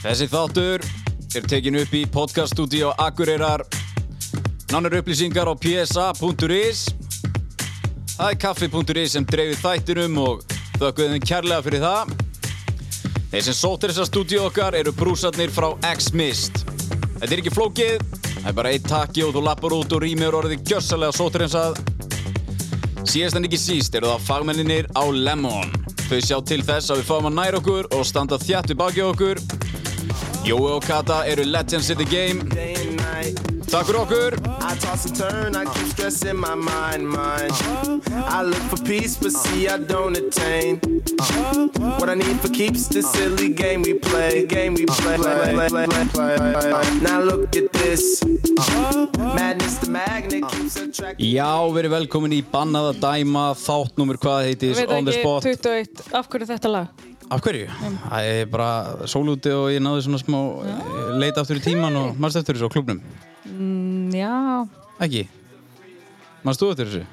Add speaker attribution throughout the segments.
Speaker 1: Þessi þáttur er tekin upp í podcaststudio Akureyrar. Nánar upplýsingar á psa.is. Það er kaffi.is sem dreifir þættinum og þökkum þeim kærlega fyrir það. Þeir sem sótir þessa stúdíu okkar eru brúsarnir frá X-Mist. Þetta er ekki flókið, það er bara eitt takki og þú lappar út og rýmur orðið gjössalega sótir eins að. Síðast en ekki síst eru það fagmenninir á Lemon. Þau sjá til þess að við fáum að næra okkur og standa þjætt við baki okkur. Jói og Kata eru legends in the game.
Speaker 2: day and night.
Speaker 1: Takk fyrir okkur.
Speaker 2: I toss and turn, I keep stressing my mind, mind. I look for peace, but see I don't attain. What I need for keeps this silly game we play, game we play. play, play, play, play, play. Now look at this. Madness the magnet keeps attracting.
Speaker 1: Já, verið velkomin í Bannað að dæma þáttnúmur hvað heitir
Speaker 3: Ég veit
Speaker 1: on the
Speaker 3: ekki,
Speaker 1: spot.
Speaker 3: 21, af hverju þetta lag?
Speaker 1: Af hverju? Það er bara sólúti og ég náði svona smá eh, leita aftur í tíman og mannst eftir þessu á klubnum.
Speaker 3: Mm, Já,
Speaker 1: Ekki? Mannst þú eftir þessu?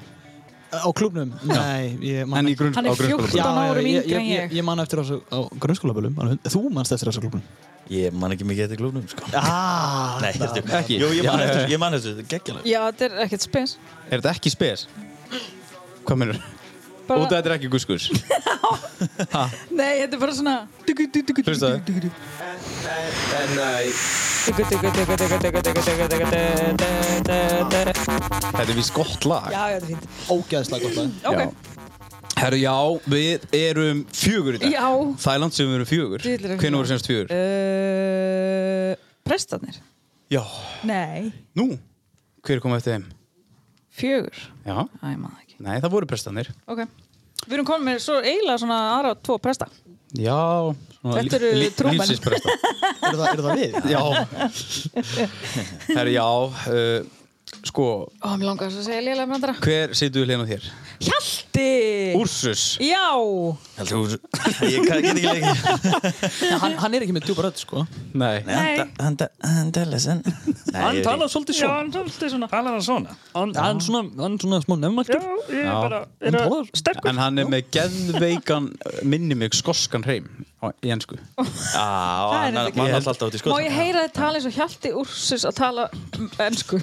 Speaker 4: Á klubnum? Nei, ég man
Speaker 1: En í
Speaker 4: ekki.
Speaker 1: grunns-
Speaker 3: Hann
Speaker 1: á
Speaker 3: er
Speaker 1: grunnskóla.
Speaker 3: 14 árum yngri en
Speaker 4: ég, ég, ég,
Speaker 3: ég.
Speaker 4: ég man eftir þessu á grunnskólabölum alveg- Þú manst eftir þessu á klubnum
Speaker 5: Ég man ekki mikið eftir klubnum sko.
Speaker 4: ah,
Speaker 5: Nei, heldur
Speaker 1: Ekki?
Speaker 5: Jú, ég man
Speaker 1: Já,
Speaker 5: eftir, ég man eftir, þetta er geggjala
Speaker 3: Já, þetta er ekkert spes.
Speaker 1: Er þetta ekki spes? Hvað minnur?
Speaker 3: Bara-
Speaker 1: Út af þetta er ekki guskus.
Speaker 3: Nei, þetta er bara svona... Dugu, dugu, dugu, dugu,
Speaker 1: Hlustaðu.
Speaker 3: dugu, dugu.
Speaker 2: At night.
Speaker 3: Dugu, dugu, dugu, dugu, dugu, dugu, dugu, dugu, dugu, dugu, dugu.
Speaker 1: Þetta er við skott lag.
Speaker 3: Já, já, þetta er fínt.
Speaker 4: Ógæðslega gott lag
Speaker 1: Já.
Speaker 3: Ok,
Speaker 1: Herru, já, við erum fjögur í dag.
Speaker 3: Já.
Speaker 1: Þæland sem við erum fjögur.
Speaker 3: Dýrlega fjögur. Eh.
Speaker 1: Hvernig voru semst fjögur?
Speaker 3: Uh, prestarnir?
Speaker 1: Já.
Speaker 3: Nei,
Speaker 1: Nú, hver kom eftir þeim?
Speaker 3: fjögur.
Speaker 1: Já.
Speaker 3: Æ, ég man það ekki.
Speaker 1: Nei, það voru prestanir.
Speaker 3: Ok. Við erum komin með svo eiginlega svona aðra tvo presta.
Speaker 1: Já. svona lí-
Speaker 3: Þetta eru
Speaker 1: lí-
Speaker 3: trúmenn.
Speaker 1: Lífsins presta.
Speaker 4: Eru það, er það við?
Speaker 1: já. Herru, já, uh, sko,
Speaker 3: Ó, mér langar svo að segja liðlega með andra.
Speaker 1: hver situr við hlena þér?
Speaker 3: Hjalti!
Speaker 1: Úrsus.
Speaker 3: Já!
Speaker 5: Heldur þú Ég kann- get ekki lengi
Speaker 4: hann, hann er ekki með djúpa rödd sko
Speaker 1: Nei.
Speaker 3: Nei.
Speaker 5: Andalesen
Speaker 6: Hann talar svolítið svona
Speaker 3: svolítið svona.
Speaker 6: Talar hann svona Hann, hann, svona, hann svona smá nefnmæltur
Speaker 3: Já, ég er bara...
Speaker 6: Hann talar
Speaker 3: Sterkur.
Speaker 1: En hann er með geðveikan minnimig skoskan hreim á- í ensku.
Speaker 5: Já, og
Speaker 3: Það er
Speaker 5: hann
Speaker 3: þetta ekki.
Speaker 5: hann alltaf út í
Speaker 3: Má
Speaker 5: skotum
Speaker 3: ég heyra þið tala eins og Hjalti Úrsus að tala um ennsku?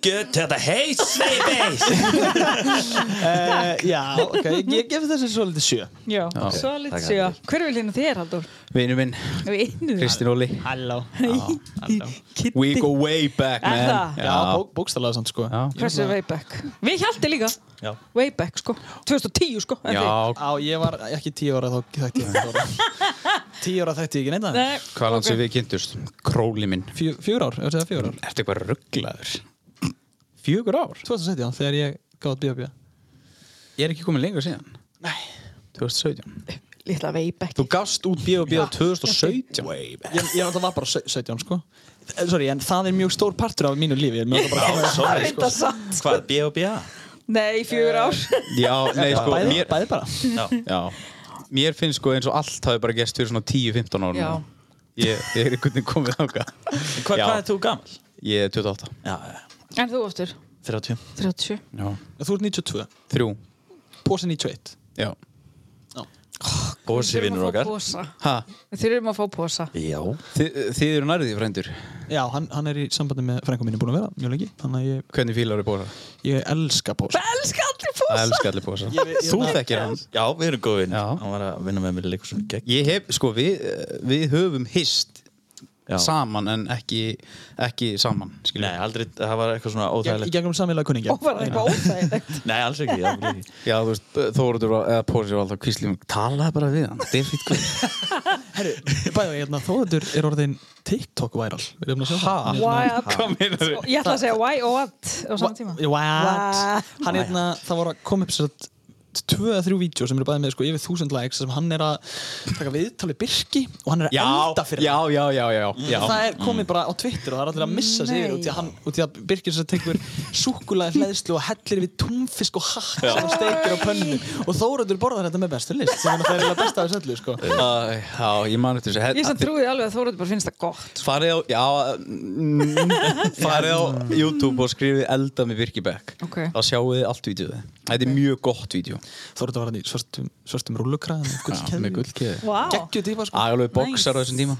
Speaker 5: Gött uh, þetta heis Sveibis
Speaker 4: uh, Já, ok, ég gef þessu svo litið sjö
Speaker 3: Já, svo litið sjá. Hver vil hérna þér, Haldur?
Speaker 1: Vinnu minn,
Speaker 3: Við innum það.
Speaker 1: Kristín Óli.
Speaker 4: Halló
Speaker 1: We go way back,
Speaker 3: Er
Speaker 1: man.
Speaker 3: það?
Speaker 4: Já, bók, bókstælega samt sko
Speaker 1: Já.
Speaker 3: Hversu way back? Við Hjalti líka.
Speaker 5: Já.
Speaker 3: Way back, sko. 2010, sko. en þið?
Speaker 1: Já,
Speaker 4: Á, ég var ekki tíu ára þá þekkti ég ekki Tíu ára þekkti ég ekki neina
Speaker 3: Nei,
Speaker 1: hvað land sem við kynntumst? Króli minn.
Speaker 4: Fjö, Fjör ár, ef það fjör ár
Speaker 1: Ertu eitthvað rugglaður? Fjögur ár?
Speaker 4: 2017 þegar ég gáði bíða bíða
Speaker 1: Ég er ekki komið lengur síðan. Nei. 2017.
Speaker 3: Lítla way back.
Speaker 1: Þú gafst út bíða og bíða 2017. Way back.
Speaker 4: Ég, ég náttúrulega var bara sau- 17 sko Eh, Sorry, en það er mjög stór partur af mínu lífi Ég er mjög bara að koma
Speaker 5: Sorry sko
Speaker 3: Þetta satt.
Speaker 5: Hvað, B.O.B.A.
Speaker 3: Nei, fjögur ár.
Speaker 1: Já, nei, sko,
Speaker 4: Bæði,
Speaker 1: mér,
Speaker 4: bæði bara
Speaker 1: já, mér finnst sko eins og allt hafi bara gæst fyrir svona 10-15 ára.
Speaker 3: Já.
Speaker 1: Ég, ég er einhvern veginn komið þáka.
Speaker 5: Hvað hvað er þú gammal?
Speaker 1: Ég er 28.
Speaker 5: Já,
Speaker 3: En þú aftur?
Speaker 5: 30
Speaker 3: 30.
Speaker 1: Já.
Speaker 4: Þú ert 92,
Speaker 1: Þrjú.
Speaker 4: Pósi 91
Speaker 1: Já.
Speaker 5: Bósi vinnur okkar
Speaker 1: Ha,
Speaker 3: Við þurfum að fá posa.
Speaker 5: Já
Speaker 1: þið, þið eru nærðið, frændur.
Speaker 4: Já, hann, hann er í sambandi með frængum mínu búin að vera mjög lengi Þannig að ég,
Speaker 1: Hvernig fílar eru bósa?
Speaker 4: ég elska Pósi
Speaker 3: Ég elska allir
Speaker 1: Það
Speaker 3: posa.
Speaker 1: elskar allir bósa.
Speaker 4: Ég- ég-
Speaker 1: Þú þekkir hann.
Speaker 5: Já, við erum góð vinn
Speaker 1: Já.
Speaker 5: Hann var að vinna með mér í leikursunni gegn
Speaker 1: Ég hef, sko, við, við höfum hist
Speaker 5: Já.
Speaker 1: saman en ekki, ekki saman, skiljum.
Speaker 5: Nei, aldrei, það var eitthvað svona
Speaker 4: Geg- Í
Speaker 5: óþægilegt
Speaker 4: gegnum Hérna. samveglega kunningja
Speaker 3: Og bara eitthvað óþægilegt.
Speaker 5: Nei, alls ekki, alls ekki.
Speaker 1: Já, þú veist, Þóruður var- eða Pósi var alltaf kvíslið mig, talaði bara við hann, David Guð.
Speaker 4: Herru, bæði, hérna, Þóðatur er orðin TikTok viral Við erum að sjá það Hérna,
Speaker 3: Why up?
Speaker 1: Hvað meina þau?
Speaker 3: Ég ætla að segja why og what á saman tíma.
Speaker 4: What? Hann er hérna, það voru að koma upp sér Tvö að þrjú vídeo sem eru bæði með sko yfir þúsund likes sem hann er að taka viðtalið Birki og hann er að
Speaker 1: Já,
Speaker 4: elda fyrir
Speaker 1: já, já, já, já, já.
Speaker 4: það er
Speaker 5: Mm.
Speaker 4: komið bara á Twitter og það er allir að missa sig yfir
Speaker 3: Nei.
Speaker 4: út í að, hann, út í að Birkir sem tekur súkulæði hlæðslu og hellir við túnfisk og hakk sem hann steikir á pönnu og Þóraður borðar þetta með bestu list sem hann það er eiginlega besta af þessu öllu sko.
Speaker 1: Æ, Hérna, Já, ég man eftir þessu. He-
Speaker 3: Ég sem trúði alveg að Þóruður bara finnst það gott.
Speaker 1: Farið á, já, mm, farið á YouTube og skrifið elda með Birki Beck.
Speaker 3: Ok.
Speaker 1: Þá sjáu þið allt vídeoðið. Þetta er mjög gott vídeo.
Speaker 4: Þórður var hann í svörtum, svörtum rúllukraðan
Speaker 5: með Ah. gullkeði
Speaker 3: Vá.
Speaker 4: Gekkju típa sko
Speaker 1: Alveg
Speaker 3: boxar á Nice. þessum tíma.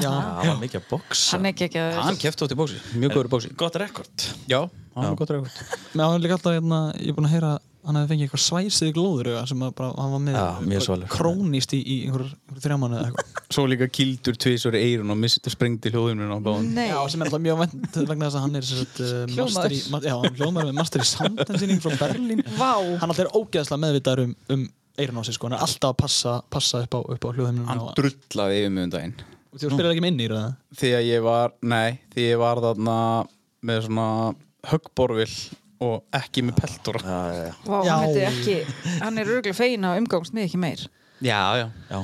Speaker 4: Já,
Speaker 5: það var mikið að boksa
Speaker 3: Hann er ekki ekki að
Speaker 1: Hann kefti átt í bóksi, mjög góður í bóksi
Speaker 5: gott rekord
Speaker 1: Já, hann var gott rekord
Speaker 4: með hann er líka alltaf hérna, ég er búin að heyra hann hefði fengið eitthvað svæsið glóður sem að bara, hann var með
Speaker 5: Já, mjög svalur.
Speaker 4: krónist í, í einhver, einhver þrjámanu eða eitthvað
Speaker 1: Svo líka kildur tvisur í eirun og misti sprengdi hljóðunum á báðum
Speaker 3: Nei,
Speaker 4: Já, sem er alltaf mjög vend vegna þess að hann er sem sagt, uh, master í, ma já, hann hljómar með master í samtensýning frá Berlín
Speaker 3: vá
Speaker 4: hann alltaf er ógeðslega meðvitaður um, um eirun á sig sko, hann er alltaf að passa, passa upp á, upp á hljóðheimnum
Speaker 1: Hann
Speaker 4: og
Speaker 1: drullaði yfir mig um daginn
Speaker 4: og þú spilar ekki með inn í það
Speaker 1: Þegar ég var, nei, þegar ég var þarna með svona höggborvill og ekki með peltor
Speaker 5: já, já, já.
Speaker 3: Vá,
Speaker 4: sko, Já.
Speaker 3: hann myndi ekki Hann er örgulega fegin að umgangst mig ekki meir
Speaker 1: Já, já
Speaker 5: Já.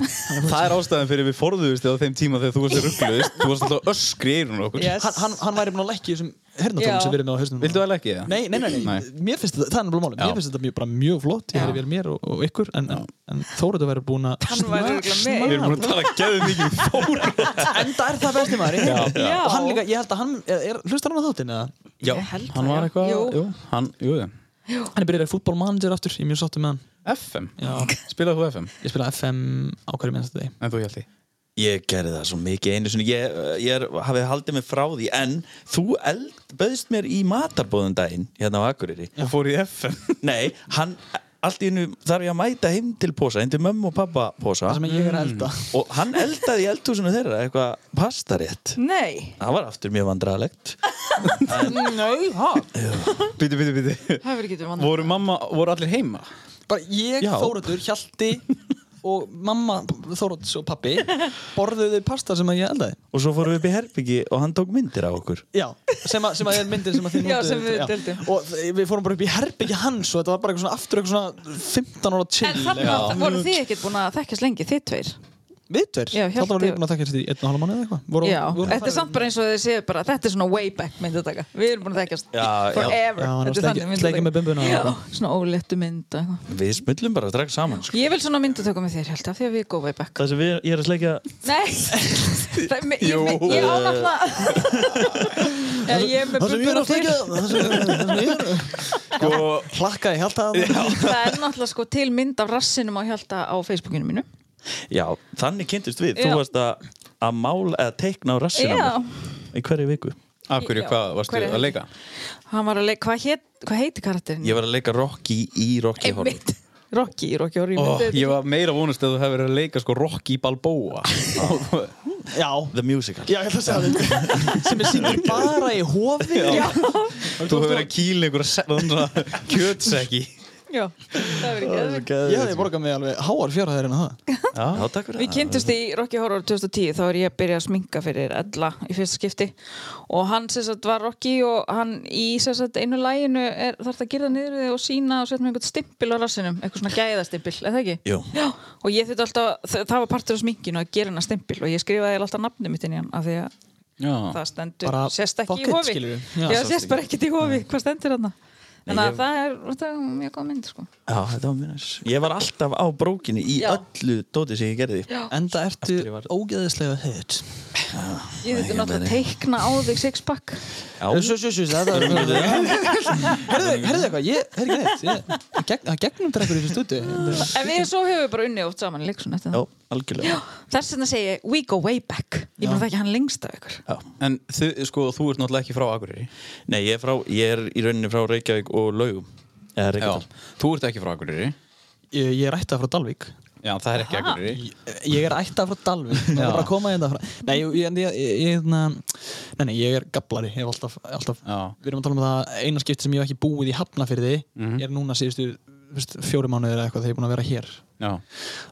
Speaker 1: Það er ástæðan fyrir við forðuðust á þeim tíma þegar þú varst ruggluðist Þú varst alltaf öskri í eirun okkur
Speaker 3: Yes.
Speaker 4: hann, hann, hann væri búin að leggja í þessum hernatón
Speaker 3: Já.
Speaker 4: sem við erum með á hausnum
Speaker 1: Vildu það ekki það?
Speaker 4: Nei, nei, nei, nei,
Speaker 1: Nei.
Speaker 4: mér finnst þetta, það er náttúrulega
Speaker 1: Já.
Speaker 4: málum Mér finnst þetta mjög, bara mjög flott, ég
Speaker 3: Já.
Speaker 4: hefði verið mér og, og ykkur En, en, en Þóruður væri búin að
Speaker 3: Hann væri örugglega með.
Speaker 1: Við erum búin að tala geðum mikið um Þóra
Speaker 4: Enda er það besti maður í heimi.
Speaker 3: Já.
Speaker 4: Og hann líka, ég held að hann, er, er, hlustar hann á þáttinn eða?
Speaker 1: Já,
Speaker 3: Ég held
Speaker 1: hann
Speaker 3: það,
Speaker 1: var
Speaker 3: já.
Speaker 1: eitthvað
Speaker 3: Jú.
Speaker 1: Jú, hann, jú, jú
Speaker 4: Hann er byrjar í fútbol manager aftur, ég er mjög sáttu með hann
Speaker 1: FM?
Speaker 4: Já.
Speaker 1: Spilaðu þú FM?
Speaker 4: Ég spila FM á hverju minnast þetta
Speaker 1: En þú hjalti?
Speaker 5: Ég gerði það svo mikið einu sinni Ég, ég er, hafi haldið mig frá því En þú eld, bauðst mér í matarbóðum daginn Hérna á Akureyri
Speaker 1: Þú fór í FM?
Speaker 5: Nei, hann, allt í hennu þarf ég að mæta heim til posa Heim til mömmu og pappa posa
Speaker 4: Það sem ég er að elda
Speaker 5: Og hann eldaði í eldhúsinu þeirra Eitthvað pastarétt
Speaker 3: Nei,
Speaker 5: Það var aftur mjög vandræðalegt
Speaker 3: nei, ha
Speaker 1: Bíti, bíti, bíti
Speaker 3: Það verður getur vann
Speaker 1: Voru mamma, voru allir heima?
Speaker 4: Bara ég,
Speaker 5: Já.
Speaker 4: Þóruður, Hjalti og mamma Þóruðs og pappi borðuðu pasta sem að ég eldaði
Speaker 5: Og svo fórum við upp í herbyggi og hann tók myndir á okkur
Speaker 4: Já, sem að, sem að er myndin sem að þið
Speaker 3: Já,
Speaker 4: notuðu.
Speaker 3: sem við deildum.
Speaker 4: Og þ- við fórum bara upp í herbyggja hans og þetta var bara eitthvað svona aftur eitthvað svona 15 ára chill
Speaker 3: En þannig að voru þið ekkert búin að þekkjast lengi, þið tveir
Speaker 4: Við tver,
Speaker 3: Já,
Speaker 4: þarna vorum
Speaker 3: Hjalti-
Speaker 4: við búin að taka þessi í einn og halva mánuð eða eitthvað Vorum-
Speaker 3: Já,
Speaker 4: vorum
Speaker 3: þetta er
Speaker 4: farið-
Speaker 3: samt bara eins og þið séu bara Þetta er svona way back myndataka Við erum búin að þekkjast
Speaker 5: Já, já.
Speaker 3: forever
Speaker 4: Já, hann var
Speaker 3: Þetta er
Speaker 4: sleikja-
Speaker 3: þannig
Speaker 4: sleikja með sko. bumbuna og
Speaker 3: Já,
Speaker 4: eitthvað.
Speaker 3: svona óléttu mynd og eitthvað.
Speaker 5: Við smullum bara að draga saman sko.
Speaker 3: Ég vil svona myndatöku með þér, held af því að við erum góð way back
Speaker 5: Það sem við, ég er að sleikja
Speaker 3: Nei Það er með- Ég, ég, ég ánáttla Ég er með
Speaker 4: Það sem ég er
Speaker 3: bumbur
Speaker 4: að stekja Það sem það sem ég er Sko Hlakkaði Hjalti að
Speaker 3: Það er náttúrulega sko til mynd af rassinum á hjalta á Facebookinu mínu
Speaker 5: Já, þannig kynntist við
Speaker 3: Já.
Speaker 5: Þú varst að, að mála eða teikna á rassinu
Speaker 3: Já.
Speaker 5: Í hverju viku
Speaker 1: Af hverju,
Speaker 3: Já.
Speaker 1: hvað varstu
Speaker 3: Hverju?
Speaker 1: að leika?
Speaker 3: Hann var að leika, hvað heit, hva heiti karakterinn?
Speaker 5: Ég var að leika Rocky í Rocky Horror
Speaker 3: Einmitt Rocky, Rocky Horror
Speaker 1: Ó,
Speaker 3: myndi-
Speaker 1: ég var meira vonast að þú hefur verið að leika sko Rocky Balboa
Speaker 4: Já
Speaker 5: The Musical
Speaker 4: Já, ég ætla að segja þetta Sem er sýndur bara í hofi Já
Speaker 1: Þú hefur verið að kýla einhverja kjötsekki
Speaker 3: Já, það verið ekki
Speaker 4: Ég hefði borgað mig alveg háar fjárhæðir en það
Speaker 5: Já, takk fyrir
Speaker 3: Við kynntumst í Rocky Horror 2010 þá er ég að byrja að sminka fyrir Ella í fyrsta skipti og hann sem sagt var Rocky og hann í sem sagt einu læginu er, þarf það að gyrða niður við þig og sína og setja með einhvern stimpil á rassinum, eitthvað svona gæðastimpil, eða ekki?
Speaker 5: Jú.
Speaker 3: Já, og ég þurfti alltaf, það, það var partur af sminkinu að gera hennar stimpil og ég skrifaði eiginlega alltaf nafnum mitt inn í hann af því að
Speaker 1: Já,
Speaker 3: það stendur,
Speaker 4: Bara
Speaker 3: sérst ekki
Speaker 4: pocket,
Speaker 3: í hofi
Speaker 4: skilurðu? Já,
Speaker 3: Já,
Speaker 4: sást
Speaker 3: sérst bara ekkit í hofi, hvað stendur hann Þannig
Speaker 5: Nei,
Speaker 3: að
Speaker 5: ég-
Speaker 3: það er, það er mjög góð mynd sko.
Speaker 5: Já, þetta var mjög næs Ég var alltaf á brókinni í
Speaker 3: Já.
Speaker 5: öllu dóti sem ég gerði
Speaker 4: Enda ertu
Speaker 5: Aftur ég var-
Speaker 4: ógeðislega högt
Speaker 3: Ég þurfti
Speaker 5: ég
Speaker 3: náttúrulega að
Speaker 5: meina.
Speaker 3: teikna á þig sixpack
Speaker 5: Já,
Speaker 4: Sjö, sjö, sjö, þetta er Herðu eitthvað, ég, herðu ekki neitt ég- ég gegn- Það gegnum drekkur í þessu stúdíu Þetta-
Speaker 3: En við svo höfum við bara unnið oft saman í leiksun eftir
Speaker 5: já
Speaker 3: það.
Speaker 5: algjörlega
Speaker 3: Þess vegna segi ég, we go way back. Ég maður það ekki hann lengst af ykkur.
Speaker 5: Já.
Speaker 1: en þið, sko, þú ert náttúrulega ekki frá Akureyri
Speaker 5: Nei, ég er, frá, ég er í rauninni frá Reykjavík og Laugum Eða Reykjavík
Speaker 1: Þú ert ekki frá Akureyri
Speaker 4: Ég ég er ættað frá Dalvík
Speaker 1: Já, það er ekki Akureyri
Speaker 4: Ég er ættað frá Dalvík Það er bara að koma hérna frá Nei, ég, ég, ég, ég, ég, hérna- nei, nei, ég er gablari Ég hef alltaf, alltaf
Speaker 1: Já.
Speaker 4: Við erum að tala um það eina skipti sem ég hef ekki búið í Hafnafyrði
Speaker 5: Mhm.
Speaker 4: Ég er núna síðustu fyrst, fjóri mánuðir eða eitthvað þegar ég er búin að vera hér
Speaker 1: Já,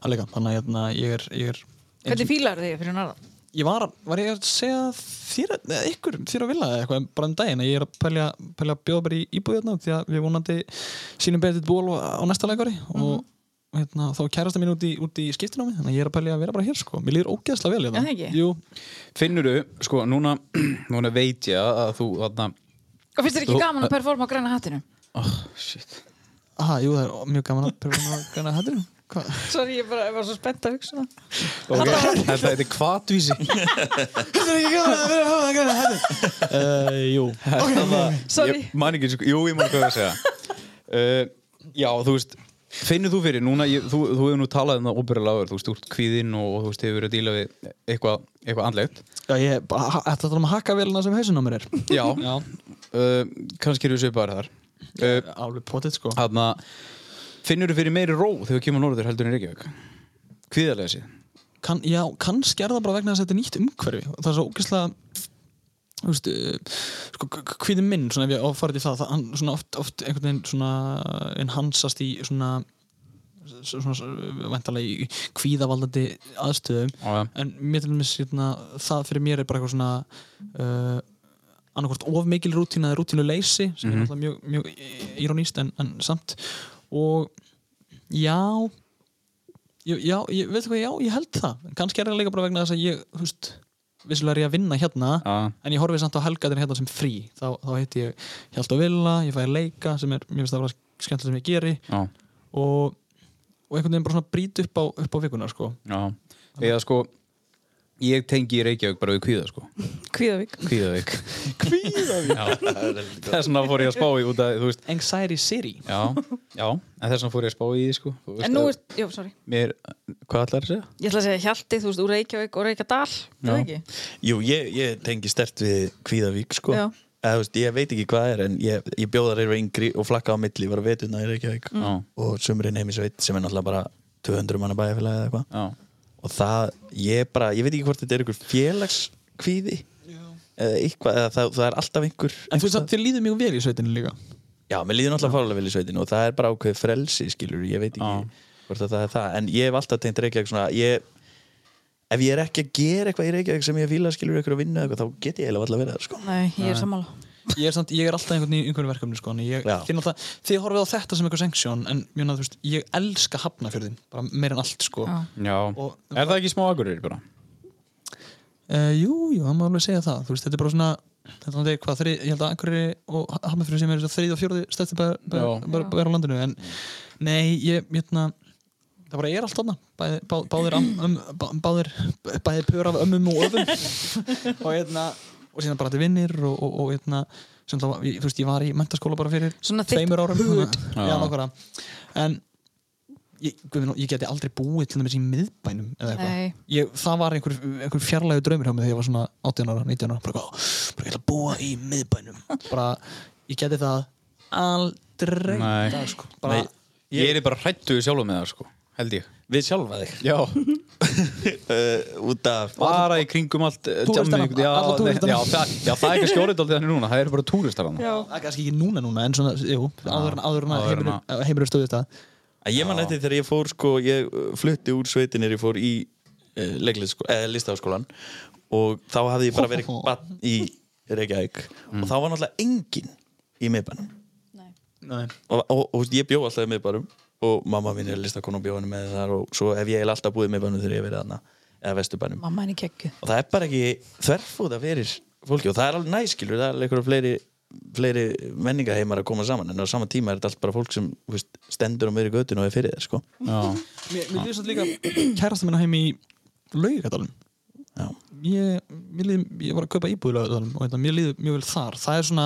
Speaker 4: Það líka, Þannig að hérna, ég er, ég er
Speaker 3: Hvernig fílar þig fyrir náðan?
Speaker 4: Ég var, var ég að segja þér, eða ykkur, þér að vilja eða eitthvað bara um daginn að ég er að pælja, pælja að bjóða bara í íbúðjarna því að við vonandi sínum betur ból á á næsta leikari og hérna, þá kærasta mín út í, út í skiptinámi þannig að ég er að pælja að vera bara hér sko Mér líður ógeðslega vel
Speaker 3: Já,
Speaker 4: hérna
Speaker 3: það ekki.
Speaker 4: Jú,
Speaker 1: finnur sko, núna, núna veit ég að þú, þarna
Speaker 3: Og finnst þér ekki gaman að performa á græna hattinu?
Speaker 1: oh, Shit
Speaker 4: aha, jú, það er mjög gaman að pröfa að gana hættir Hvað?
Speaker 3: Sorry, ég bara ég var svo spennt að hugsa það.
Speaker 1: okay. Þetta þetta er kvatvísi
Speaker 4: Það er ekki gaman að vera að gana hættir uh, Jú
Speaker 1: okay,
Speaker 3: Sorry.
Speaker 1: Ég man ekki, eins og- jú, ég man hvað ég var að segja uh, Já, þú veist Finnur þú fyrir, núna, ég, þú, þú hefur nú talað um það óbyrjulega áður, þú veist, úr kvíðinn og, og þú veist, hefur verið að díla við eitthvað, eitthvað andlegt.
Speaker 4: Já, ég ætla að tala um hakkavélina sem hausinn á mér er
Speaker 1: Já, Uh, kannski eru við svipaðar þar. Uh,
Speaker 4: Alveg potið sko
Speaker 1: Þarna, finnur þú fyrir meiri ró þegar þú kemur norður heldur en Reykjavík? Kvíðarlega séð.
Speaker 4: kan, Já, kannski er það bara vegna þess að þetta er nýtt umhverfi og það er svo ógeðslega þú veist, uh, sko, hvíði minn svona ef ég á að fara til það, það hann svona oft, oft einhvern veginn svona enhansast í svona svona, svona væntalega í kvíðavaldandi aðstöðum
Speaker 1: Já, já.
Speaker 4: en mér til dæmis hérna, það fyrir mér er bara eitthvað svona uh, annarkvort of mikil rútína eða rútínu leysi sem er alltaf mjög, mjög ironíst en, en samt og já Jú, Já, ég, veitu hvað, já, ég held það kannski er það líka bara vegna þess að ég, þú veist vissulega er ég að vinna hérna
Speaker 1: Já.
Speaker 4: en ég horfi samt á helgatir hérna sem frí þá, þá heiti ég Hjald og Villa, ég fæ að leika sem er, mér finnst það bara skemmtilega sem ég geri
Speaker 1: Já,
Speaker 4: og, og einhvern veginn bara svona brýt upp á, upp á vikuna sko.
Speaker 1: já. Eða sko, ég tengi Reykjavík bara við kvíða, sko.
Speaker 3: Kvíðavík
Speaker 1: Kvíðavík. Kvíðavík? Já, þess vegna fór ég að spá í út að, þú veist,
Speaker 4: Anxiety City
Speaker 1: já, já, en þess vegna fór ég að spá í því, sko. Þú veist
Speaker 3: En nú
Speaker 1: að
Speaker 3: er, já, sorry
Speaker 1: Mér, hvað ætlar að segja?
Speaker 3: Ég ætla að segja Hjalti, þú veist, úr Reykjavík og Reykjadal Já Það ekki?
Speaker 5: Jú, ég, ég tengi stert við Kvíðavík sko.
Speaker 3: Já.
Speaker 5: Eða, þú veist, ég veit ekki hvað er en ég, ég bjóðar eru yngri og flakka á milli var að vetuna í Reykjavík
Speaker 1: Já.
Speaker 5: og sumurinn heim í sveit sem er náttúrulega bara 200 manna bæjarfélagi eða eitthvað
Speaker 1: Já.
Speaker 5: og það, ég bara, ég veit ekki hvort þetta er einhver félagskvíði eða eitthvað, eða það, það er alltaf einhver
Speaker 4: En þú veist að þér líður mjög vel í sveitinu líka
Speaker 5: Já, mér líður náttúrulega fárlega vel í sveitinu og það er bara ákveð frelsi, skilur, ég veit ekki hvort að það er það, en ég hef alltaf tengt Reykjavík svona, ég ef ég er ekki að gera eitthvað í Reykjavík sem ég fíla skilur ykkur að vinna eða eitthvað, þá get ég eiginlega alltaf verið það, sko.
Speaker 3: Nei, ég er sammála
Speaker 4: Ég er, samt, ég er alltaf einhvern í einhvern verkefni sko, en ég,
Speaker 5: Já.
Speaker 4: þið, náttúrulega- þið horfið á þetta sem eitthvað sanksjón en mjöna, veist, ég elska hafnafjörðin bara meira en allt sko.
Speaker 3: Já.
Speaker 1: Já.
Speaker 4: Og-
Speaker 1: er það ekki smá agurir bara?
Speaker 4: Uh, jú, jú, það má alveg segja það Þú veist, þetta er bara svona þetta er náttúrulega hvað, þri, ég held að einhverjir og hafnafyrir sem er þess að þrið og fjórði stætti bara, bara,
Speaker 1: Já.
Speaker 4: bara, bara er á landinu en nei, ég, hérna það bara er allt þarna bæði, bá, báðir, am, um, bá, báðir bæði pör af ömmum og öfum og hérna og síðan bara til vinnir og, og, og hérna sem þá, ég- þú veist, ég var í mentaskóla bara fyrir
Speaker 3: Svona þitt
Speaker 4: tveimur árum
Speaker 3: hud.
Speaker 4: þannig að- já,
Speaker 1: Já.
Speaker 4: nokkura en ég, guð minn, ég geti aldrei búið til þess í miðbænum eða
Speaker 3: Nei.
Speaker 4: eitthvað ég, það var einhver, einhver fjarlægu draumur hjá mig þegar ég var svona 18 ára, 19 ára bara, eitthvað, bara ég ætla að búa í miðbænum bara ég geti það aldrei
Speaker 1: Nei.
Speaker 4: í dag, sko. bara,
Speaker 5: Nei.
Speaker 1: Ég, er bara hrættu sjálfum með það, sko, held ég.
Speaker 5: Við sjálfa þig.
Speaker 1: Já,
Speaker 5: Uh, út af...
Speaker 1: bara í kringum allt eh,
Speaker 4: Túristana,
Speaker 1: jammið, já,
Speaker 4: alla
Speaker 1: nei,
Speaker 4: túristana.
Speaker 1: já, það, já, það er ekki skjórið þannig núna, það eru bara túristar hann
Speaker 4: það er kannski ekki núna núna en svona, jú, áður en áður
Speaker 1: áður
Speaker 4: en
Speaker 1: en
Speaker 4: að heimurinn- heimurinn stóði þetta
Speaker 5: Að Ég man eftir þegar ég fór, sko, ég uh, flutti úr sveitinir, ég fór í uh, leiklisskó- eh, listaháskólan og þá hafði ég bara verið bann í Reykjavík og þá var náttúrulega enginn í miðbænum
Speaker 4: Nei.
Speaker 5: og, og, og, og ég bjó alltaf í miðbænum og mamma mín er listakonu og bjó henni með þar og svo hef ég eiginlega alltaf búið í miðbænum þegar ég hef verið þarna eða vesturbænum
Speaker 3: Mamma henni kekku
Speaker 5: og það er bara ekki þverfúða fyrir fólki og það er alveg næskilur, það er alveg einhverja fleiri, fleiri menningaheimar að koma saman en á sama tíma er þetta allt bara fólk sem þú veist, stendur á meiri göttinu og er fyrir þér sko.
Speaker 4: mér, mér líður svolítið líka kærasta minna heim í laugadalum
Speaker 5: Já.
Speaker 4: ég, mér líður, ég var að kaupa íbúð í laugadalum og þetta, mér líður mjög vel þar það er svona,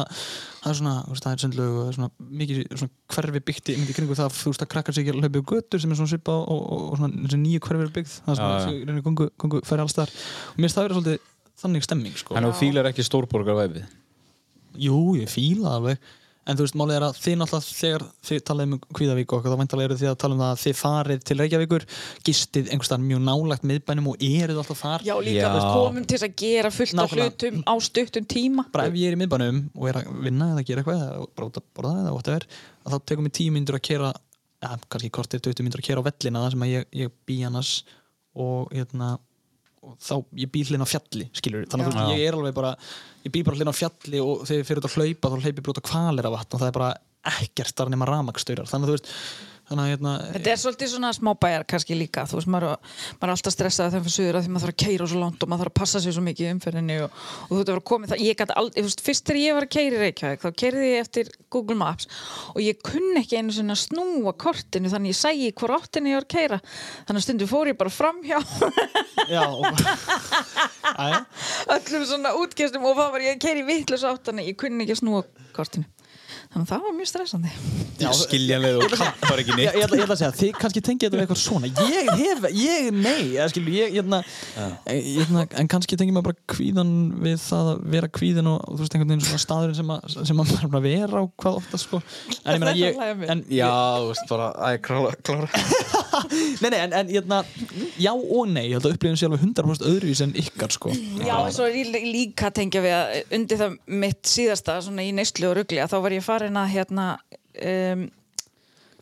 Speaker 4: það er svona, þú veist, það er sundlög og það er svona mikið svona hverfi byggt í myndi kringu það, þú veist, að krakkar sig ekki að hlaupa á götur sem er svona svipa og, og, og svona þessi nýju hverfi er byggð, það er svona,
Speaker 1: Já, já.
Speaker 4: þessi reynir gungu, gungu færi alls þar og mér finnst það vera svolítið þannig stemming, sko
Speaker 1: Þannig að þú fílar ekki stórborgarvæfið
Speaker 4: Jú, ég fíla það alveg En þú veist, málið er að þið náttúrulega þegar þið talaði um Kvíðavík og okkur, þá væntalega eru þið að tala um það að þið farið til Reykjavíkur, gistið einhverstaðar mjög nálægt miðbænum og eruð alltaf þar
Speaker 3: Já, líka,
Speaker 1: Já.
Speaker 3: þú veist, komum til þess að gera fullt af
Speaker 4: Nákvæmlega.
Speaker 3: hlutum á stuttum tíma
Speaker 4: bara ef ég er í miðbænum og er að vinna eða gera eitthvað eða bara út að borða eða whatever að þá tekum ég tíu myndur að kera ja, kannski kortir 20 myndur að kera á vellina það sem að ég, ég bý annars og hérna og þá ég bý hlinn á fjalli skilur þannig að þú veist, ég er alveg bara ég bý bara hlinn á fjalli og þegar ég fyrir út að hlaupa þá hleypi brúta kvalir af vatn og það er bara ekkert þar nema ramakstaurar þannig að þú veist þannig að hérna
Speaker 3: Þetta er svolítið svona smábæjar kannski líka þú veist, maður, maður er alltaf stressað þegar fyrir suður að því maður þarf að keira svo langt og maður þarf að passa sér svo mikið í umferðinni og, og þú veist að vera komið það, ég gæti aldrei, þú veist, fyrst þegar ég var að keira í Reykjavík þá keirði ég eftir Google Maps og ég kunni ekki einu sinni að snúa kortinu þannig ég sægi hvor áttinu ég var að keira þannig að stundum fór ég bara framhjá
Speaker 4: já og, Æ,
Speaker 3: öllum svona útgjastum og það var ég að keira í vitleis áttinu, ég kunni ekki að snúa kortinu þannig að það var mjög stressandi
Speaker 5: skiljanlega og kappar ekki
Speaker 4: Ég, ég, ætla, ég ætla að segja, þið kannski tengið þetta við eitthvað svona Ég hef, ég nei eða skilu, ég, ég, ætla- ég, ætla- En kannski tengið maður bara kvíðan við það að vera kvíðin og, og þú veist einhvern veginn svona staðurinn sem, að, sem maður er búinn að vera á hvað ofta sko En ég meina
Speaker 3: Þetta
Speaker 4: ég,
Speaker 3: hlæja mér.
Speaker 4: en,
Speaker 5: Já, þú veist bara, að ég klára, klára.
Speaker 4: Nei, nei, en, en ég, ætla- já og nei, ég held að upplifin sé alveg 100% öðruvís en ykkar sko
Speaker 3: Já, og svo er ég lí- líka að tengja við að undir það mitt síðasta svona í neyslu og rugli að þá var ég farin að hérna um,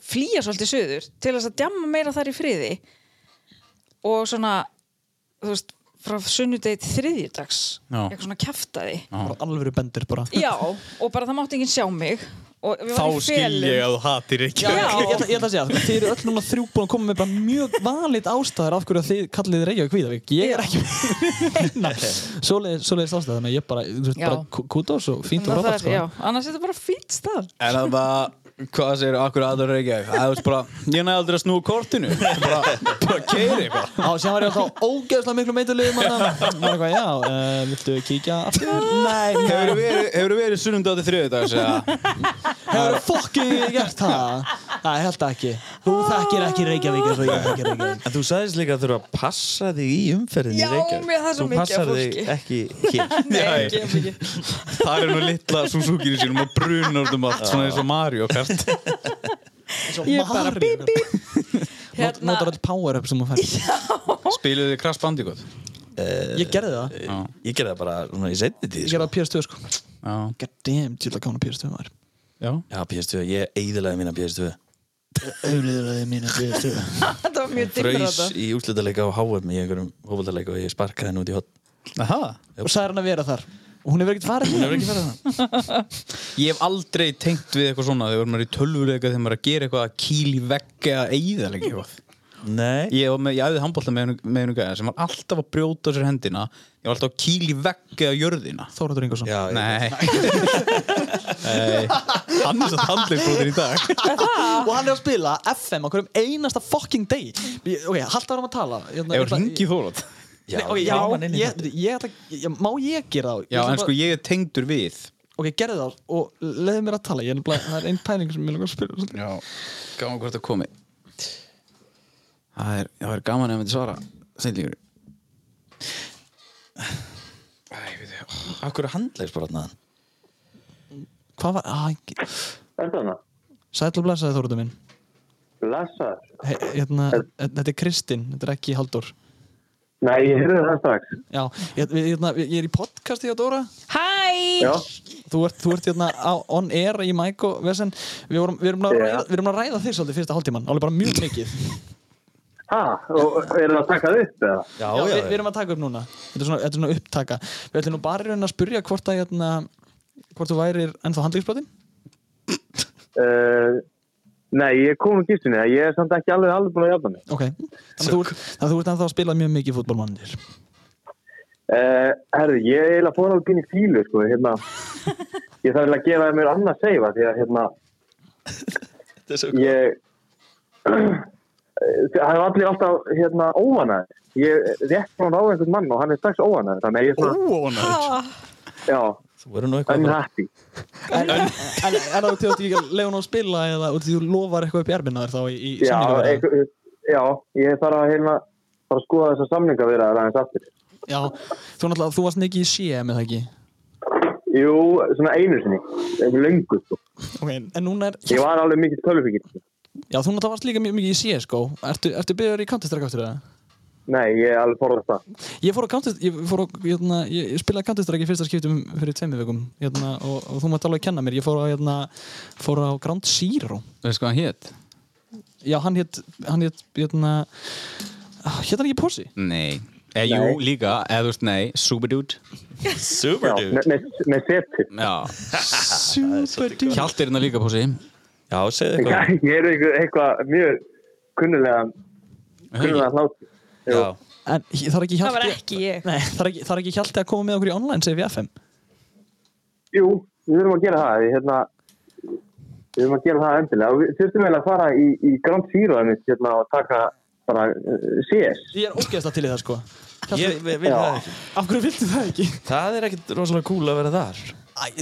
Speaker 3: flýja svolítið suður til þess að djamma meira þar í friði og svona þú veist, frá sunnudegi til þriðjudags
Speaker 1: Já.
Speaker 3: eitthvað svona kjaftaði
Speaker 4: Bara alvöru bendir bara
Speaker 3: Já, og bara það mátti enginn sjá mig og við
Speaker 5: Þá
Speaker 3: varum í
Speaker 5: skil
Speaker 3: felum.
Speaker 5: ég að þú hatir ekki
Speaker 3: Já.
Speaker 4: Ég, ætla, ég ætla að segja, sko, þið eru öll núna þrjú búin að koma með bara mjög vanlít ástæðar af hverju að þið kallið þið Reykjavík Víðavík Ég er ekki með Svoleiðis svoleiðis ástæðar, þannig að ég bara, þú veist,
Speaker 3: Já.
Speaker 4: bara kú- kúdós og fínt og
Speaker 3: Þannig að það
Speaker 4: rápat
Speaker 3: er-
Speaker 4: sko.
Speaker 3: Já, annars er þetta bara fýtt stað
Speaker 1: En það var, hvað segir akkur aðra Reykjavík? Það er bara, ég næði aldrei að snúa kortinu bara, bara keiri bara
Speaker 4: Á, sem var ég alltaf á ógeðslega miklu meitulegu manna Var eitthvað, já, uh, viltu kíkja aftur? Nei,
Speaker 1: Hefur verið, hefurðu verið sunnundátti þriði dags eða?
Speaker 4: hefur fokkin gert það? Nei, held ekki Þú þekkir ekki Reykjavík eins og ég þekkir Reykjavík
Speaker 5: En þú sagðist líka að þurfa að passa þig í umferðin
Speaker 3: Já,
Speaker 5: í Reykjavík
Speaker 3: mér það er svo mikið
Speaker 5: Þú passar
Speaker 3: af
Speaker 5: þig ekki hér
Speaker 3: Nei,
Speaker 1: Já,
Speaker 3: ekki, ekki, ekki.
Speaker 1: Það er nú litla Suzuki-ri sínum og brunar um allt svona eins og Mario Kart
Speaker 3: Ég er bara bíp, bíp
Speaker 4: Not,
Speaker 3: Hérna,
Speaker 4: Notar all power up sem þú fær
Speaker 1: Spiluðu þið Crash Bandicoot?
Speaker 4: Ég gerði það
Speaker 1: Já,
Speaker 5: Ég gerði það bara svona í setni tíð
Speaker 4: Ég
Speaker 5: sko.
Speaker 4: gerði það PS2 sko
Speaker 1: já,
Speaker 4: God damn, til að kána PS2 maður
Speaker 1: já
Speaker 5: Já, PS2, ég eigðilaði mína PS2
Speaker 4: Auðvitaði mínu PS2
Speaker 3: þetta var mjög dimmur
Speaker 5: Fröys
Speaker 3: þetta
Speaker 5: í úrslutaleika á HM í einhverjum hófaldaleika og ég sparkaði henni út í hot
Speaker 1: Aha.
Speaker 4: Og sagði hann að vera þar Og hún hefur ekkert farið Hún hefur ekki farið það
Speaker 1: Ég hef aldrei tengt við eitthvað svona þegar maður er í tölvuleika þegar maður er að gera eitthvað að kýl í vegg eða eigða leik eitthvað
Speaker 5: Nei
Speaker 1: Ég, var með, ég æfði handbólta með einu- með einu gæða sem var alltaf að brjóta sér hendina ég var alltaf að kýl í vegg eða jörðina
Speaker 4: Þóratur Ingarsson
Speaker 5: Já, ég-
Speaker 1: Nei Nei Hann er satt handleikbrotin í dag
Speaker 4: Og hann er að spila FM á hverjum einasta fucking degi Ég- Ok, halda hann að tala Ég-
Speaker 1: Ef
Speaker 4: ég-
Speaker 1: hringi þólat
Speaker 4: Nei, ok,
Speaker 5: ég
Speaker 4: já,
Speaker 5: ringdi hann inn í
Speaker 4: ég,
Speaker 5: þáttinn.
Speaker 4: ég ætla, ég, má ég gera það?
Speaker 1: Já,
Speaker 4: ætla
Speaker 1: en
Speaker 4: bara-
Speaker 1: sko ég er tengdur við
Speaker 4: Ok, gerði það og leiði mér að tala ég, er nefnilega- Það er einn pæling sem ég langar að spila svolítið.
Speaker 1: Já Gaman hvort það komi Það er, það er gaman ef maður svara Sennlíkur Æ, við þau
Speaker 5: Akkur handlegs bara hann
Speaker 4: Hvað var, að,
Speaker 7: Endanna,
Speaker 4: sætla blessaði Þóratur minn
Speaker 7: blessar.
Speaker 4: He, hérna, Þetta er Kristinn, þetta er ekki Haldur
Speaker 7: Nei, ég heyrði það strax.
Speaker 4: Já, ég, við- hérna, ég er í podcasti á Dóra
Speaker 7: Já,
Speaker 3: Hæ,
Speaker 4: Þú ert, þú ert hérna á, on air í mæk og vesen Við vorum, við erum að
Speaker 7: Já.
Speaker 4: ræða, við erum að ræða þig svolítið fyrsta hálftíman Alveg bara mjög mikið Já,
Speaker 7: ha, og er það að taka það upp eða?
Speaker 5: Já,
Speaker 4: við, við erum að taka upp núna Þetta er svona, þetta er svona upptaka Við ætlum nú bara í rauninni að spyrja hvort að hérna Hvort þú værir ennþá handlíksbrotin
Speaker 7: Uh, nei, ég kom úr gistinni, ég er samt ekki alveg alveg búin að jafna mig.
Speaker 4: Ok, þannig að þú, ert- þannig að þú ert ennþá að spila mjög mikið fútbolmannir
Speaker 7: Uh, herri, ég er eiginlega fór alveg pín í fílu, sko, hérna. Ég þarf eiginlega að gefa mér annað seifa, því að, hérna,
Speaker 5: Þetta er svo
Speaker 7: ég... Það hefur allir alltaf, hérna, óanæður. Ég er rétt frá hann á einhvern mann og hann er strax óanæður, þannig að ég er svona,
Speaker 3: ha,
Speaker 7: já,
Speaker 5: Þú verður nú eitthvað bara-
Speaker 7: unhappy.
Speaker 4: En, en, en, en að þú átt ekki að leiða nú að spila eða út í þú lofar eitthvað upp í erminna þér þá í, í
Speaker 7: Já,
Speaker 4: samningaviðræðum?
Speaker 7: einhver, já, ég þarf að, hérna, fara að skoða þessar samninga vera aðeins aftur.
Speaker 4: Já, þú náttúrulega, þú varst mikið í CM eða ekki
Speaker 7: Jú, svona einu sinni, einhver löngu sko.
Speaker 4: Ok, en núna er
Speaker 7: Ég var alveg mikill sko. tölvfíkir.
Speaker 4: Já, þú náttúrulega varst líka mjög mikið í CSGO Ertu, ertu byrjar í Counter-Strike aftur það?
Speaker 7: Nei, ég er alveg forðast það.
Speaker 4: Ég fór á Counter-Strike, ég, fór á, hérna, ég, ég spilaði Counter-Strike í fyrsta skiptum fyrir tveimur vikum hérna, og, og þú mátt alveg kenna mér, ég fór á, hérna, fór á Ground Zero
Speaker 1: Veist hvað hann hétt?
Speaker 4: Já, hann hétt, hann hétt, hérna, ah, hétt hann ekki Posi?
Speaker 1: Nei Eða jú, líka, eða þú veist nei Superdude
Speaker 5: Super
Speaker 7: Já,
Speaker 5: dude
Speaker 7: með, með, með seti.
Speaker 1: Já
Speaker 4: Superdude
Speaker 1: Hjaltir hérna líka pósi
Speaker 5: Já, segðu
Speaker 7: Já,
Speaker 5: eitthvað
Speaker 7: Ég er eitthvað, eitthvað mjög kunnulega, kunnulega hlátt.
Speaker 5: Já,
Speaker 4: En ég- það er ekki
Speaker 3: það var
Speaker 4: hjalti
Speaker 3: ekki ég
Speaker 4: Nei, það er ekki, það er ekki hjalti að koma með okkur í online, segir við FM
Speaker 7: Jú, við þurfum að gera það. Ég, hérna, við þurfum að gera það endilega. Og Við þurfum eiginlega að fara í, í Grand Zero einmitt, hérna, og taka bara uh, CS.
Speaker 4: Ég er ógeðslega til í það, sko
Speaker 5: ég vil það ekki
Speaker 4: Af hverju viltu það ekki?
Speaker 5: Það er ekkit rosalega cool að vera þar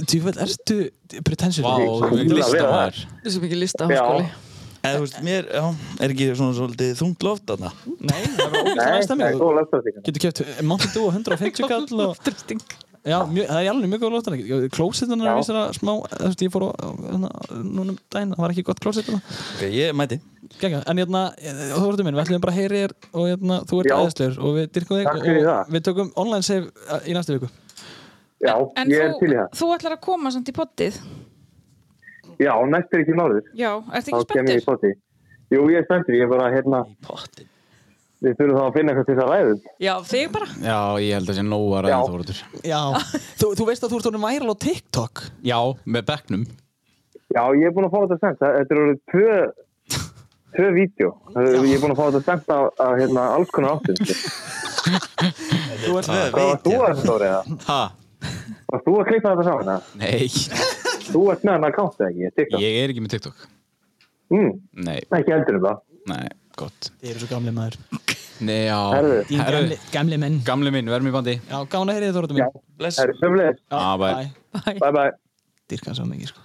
Speaker 4: Tvífæll, ertu pretentious?
Speaker 1: Vá,
Speaker 7: Ég-
Speaker 1: þú
Speaker 7: ég-
Speaker 1: er listamæður
Speaker 3: Þetta er svo mikið lista
Speaker 7: Já.
Speaker 3: háskóli.
Speaker 5: Eða, þú veist, mér, já, er ekki svona svolítið þungt loft þarna
Speaker 4: Nei, það var ógæðslega
Speaker 7: Nei, það
Speaker 4: stemming
Speaker 7: er
Speaker 4: Þú
Speaker 7: góð lastafíkan.
Speaker 4: Getur keft Mountain Dew á 150 kall og,
Speaker 3: Drifting.
Speaker 4: Já, mjög, það er alveg mjög góð lóttan Klósetan er
Speaker 7: Já.
Speaker 4: vissara smá Þú veist, ég fór á hérna, Núna um daginn, það var ekki gott klósetan
Speaker 5: Ok, ég mæti
Speaker 4: Gæga, en hérna, þú verður minn, við ætlum bara að heyri þér og hérna, þú ert
Speaker 7: Já.
Speaker 4: aðeinslegur og við dyrkum þig
Speaker 7: Takk fyrir
Speaker 4: og
Speaker 7: það.
Speaker 4: við tökum online save eh, í næstu viku.
Speaker 7: Já,
Speaker 3: En
Speaker 7: ég er til í
Speaker 3: þú,
Speaker 7: það.
Speaker 3: þú ætlar að koma samt í pottið.
Speaker 7: Já, næst er ekki máður.
Speaker 3: Já, ertu
Speaker 7: Þá
Speaker 3: ekki
Speaker 7: kem ég í
Speaker 3: spenntur?
Speaker 7: poti. Jú, ég er spenntur. Ég er bara, hérna,
Speaker 5: Pottin
Speaker 7: við þurfum þá að finna eitthvað til það ræðum.
Speaker 3: Já, þig bara.
Speaker 1: Já, ég held að sé nóa
Speaker 7: Já.
Speaker 1: ræðin Þóratur
Speaker 4: Já, þú, þú veist að þú ert orðin væral á TikTok.
Speaker 1: Já, með bekknum
Speaker 7: Já, ég er búin að fá þetta sendt. Það- Þetta eru orðið tvö, tvö vídeo. Ég er búin að fá þetta sendt á, á hérna, alls konar áttum.
Speaker 4: Þú ert
Speaker 5: Hvað
Speaker 7: Hvað var þú að þetta orðið það?
Speaker 1: Ha?
Speaker 7: Var þú að klippa þetta saman? eða?
Speaker 1: Nei,
Speaker 7: Þú ert með hann að kánta ekki, TikTok.
Speaker 1: ég er ekki með TikTok
Speaker 7: Mm,
Speaker 1: Nei,
Speaker 7: ekki heldur um það.
Speaker 1: nei, gott
Speaker 4: Þið eru svo gamli maður.
Speaker 1: Nei, já
Speaker 7: Herðu.
Speaker 4: Þið eru
Speaker 1: Herðu,
Speaker 4: gamli, gamli menn.
Speaker 1: gamli minn, verðum í bandi
Speaker 4: Já, gána heyrið þú orðin
Speaker 7: Já.
Speaker 4: minn.
Speaker 5: Bless
Speaker 7: Það er sömulegis.
Speaker 1: Ah, bye.
Speaker 7: Bye bye.
Speaker 4: Dyrka svo mikið, sko.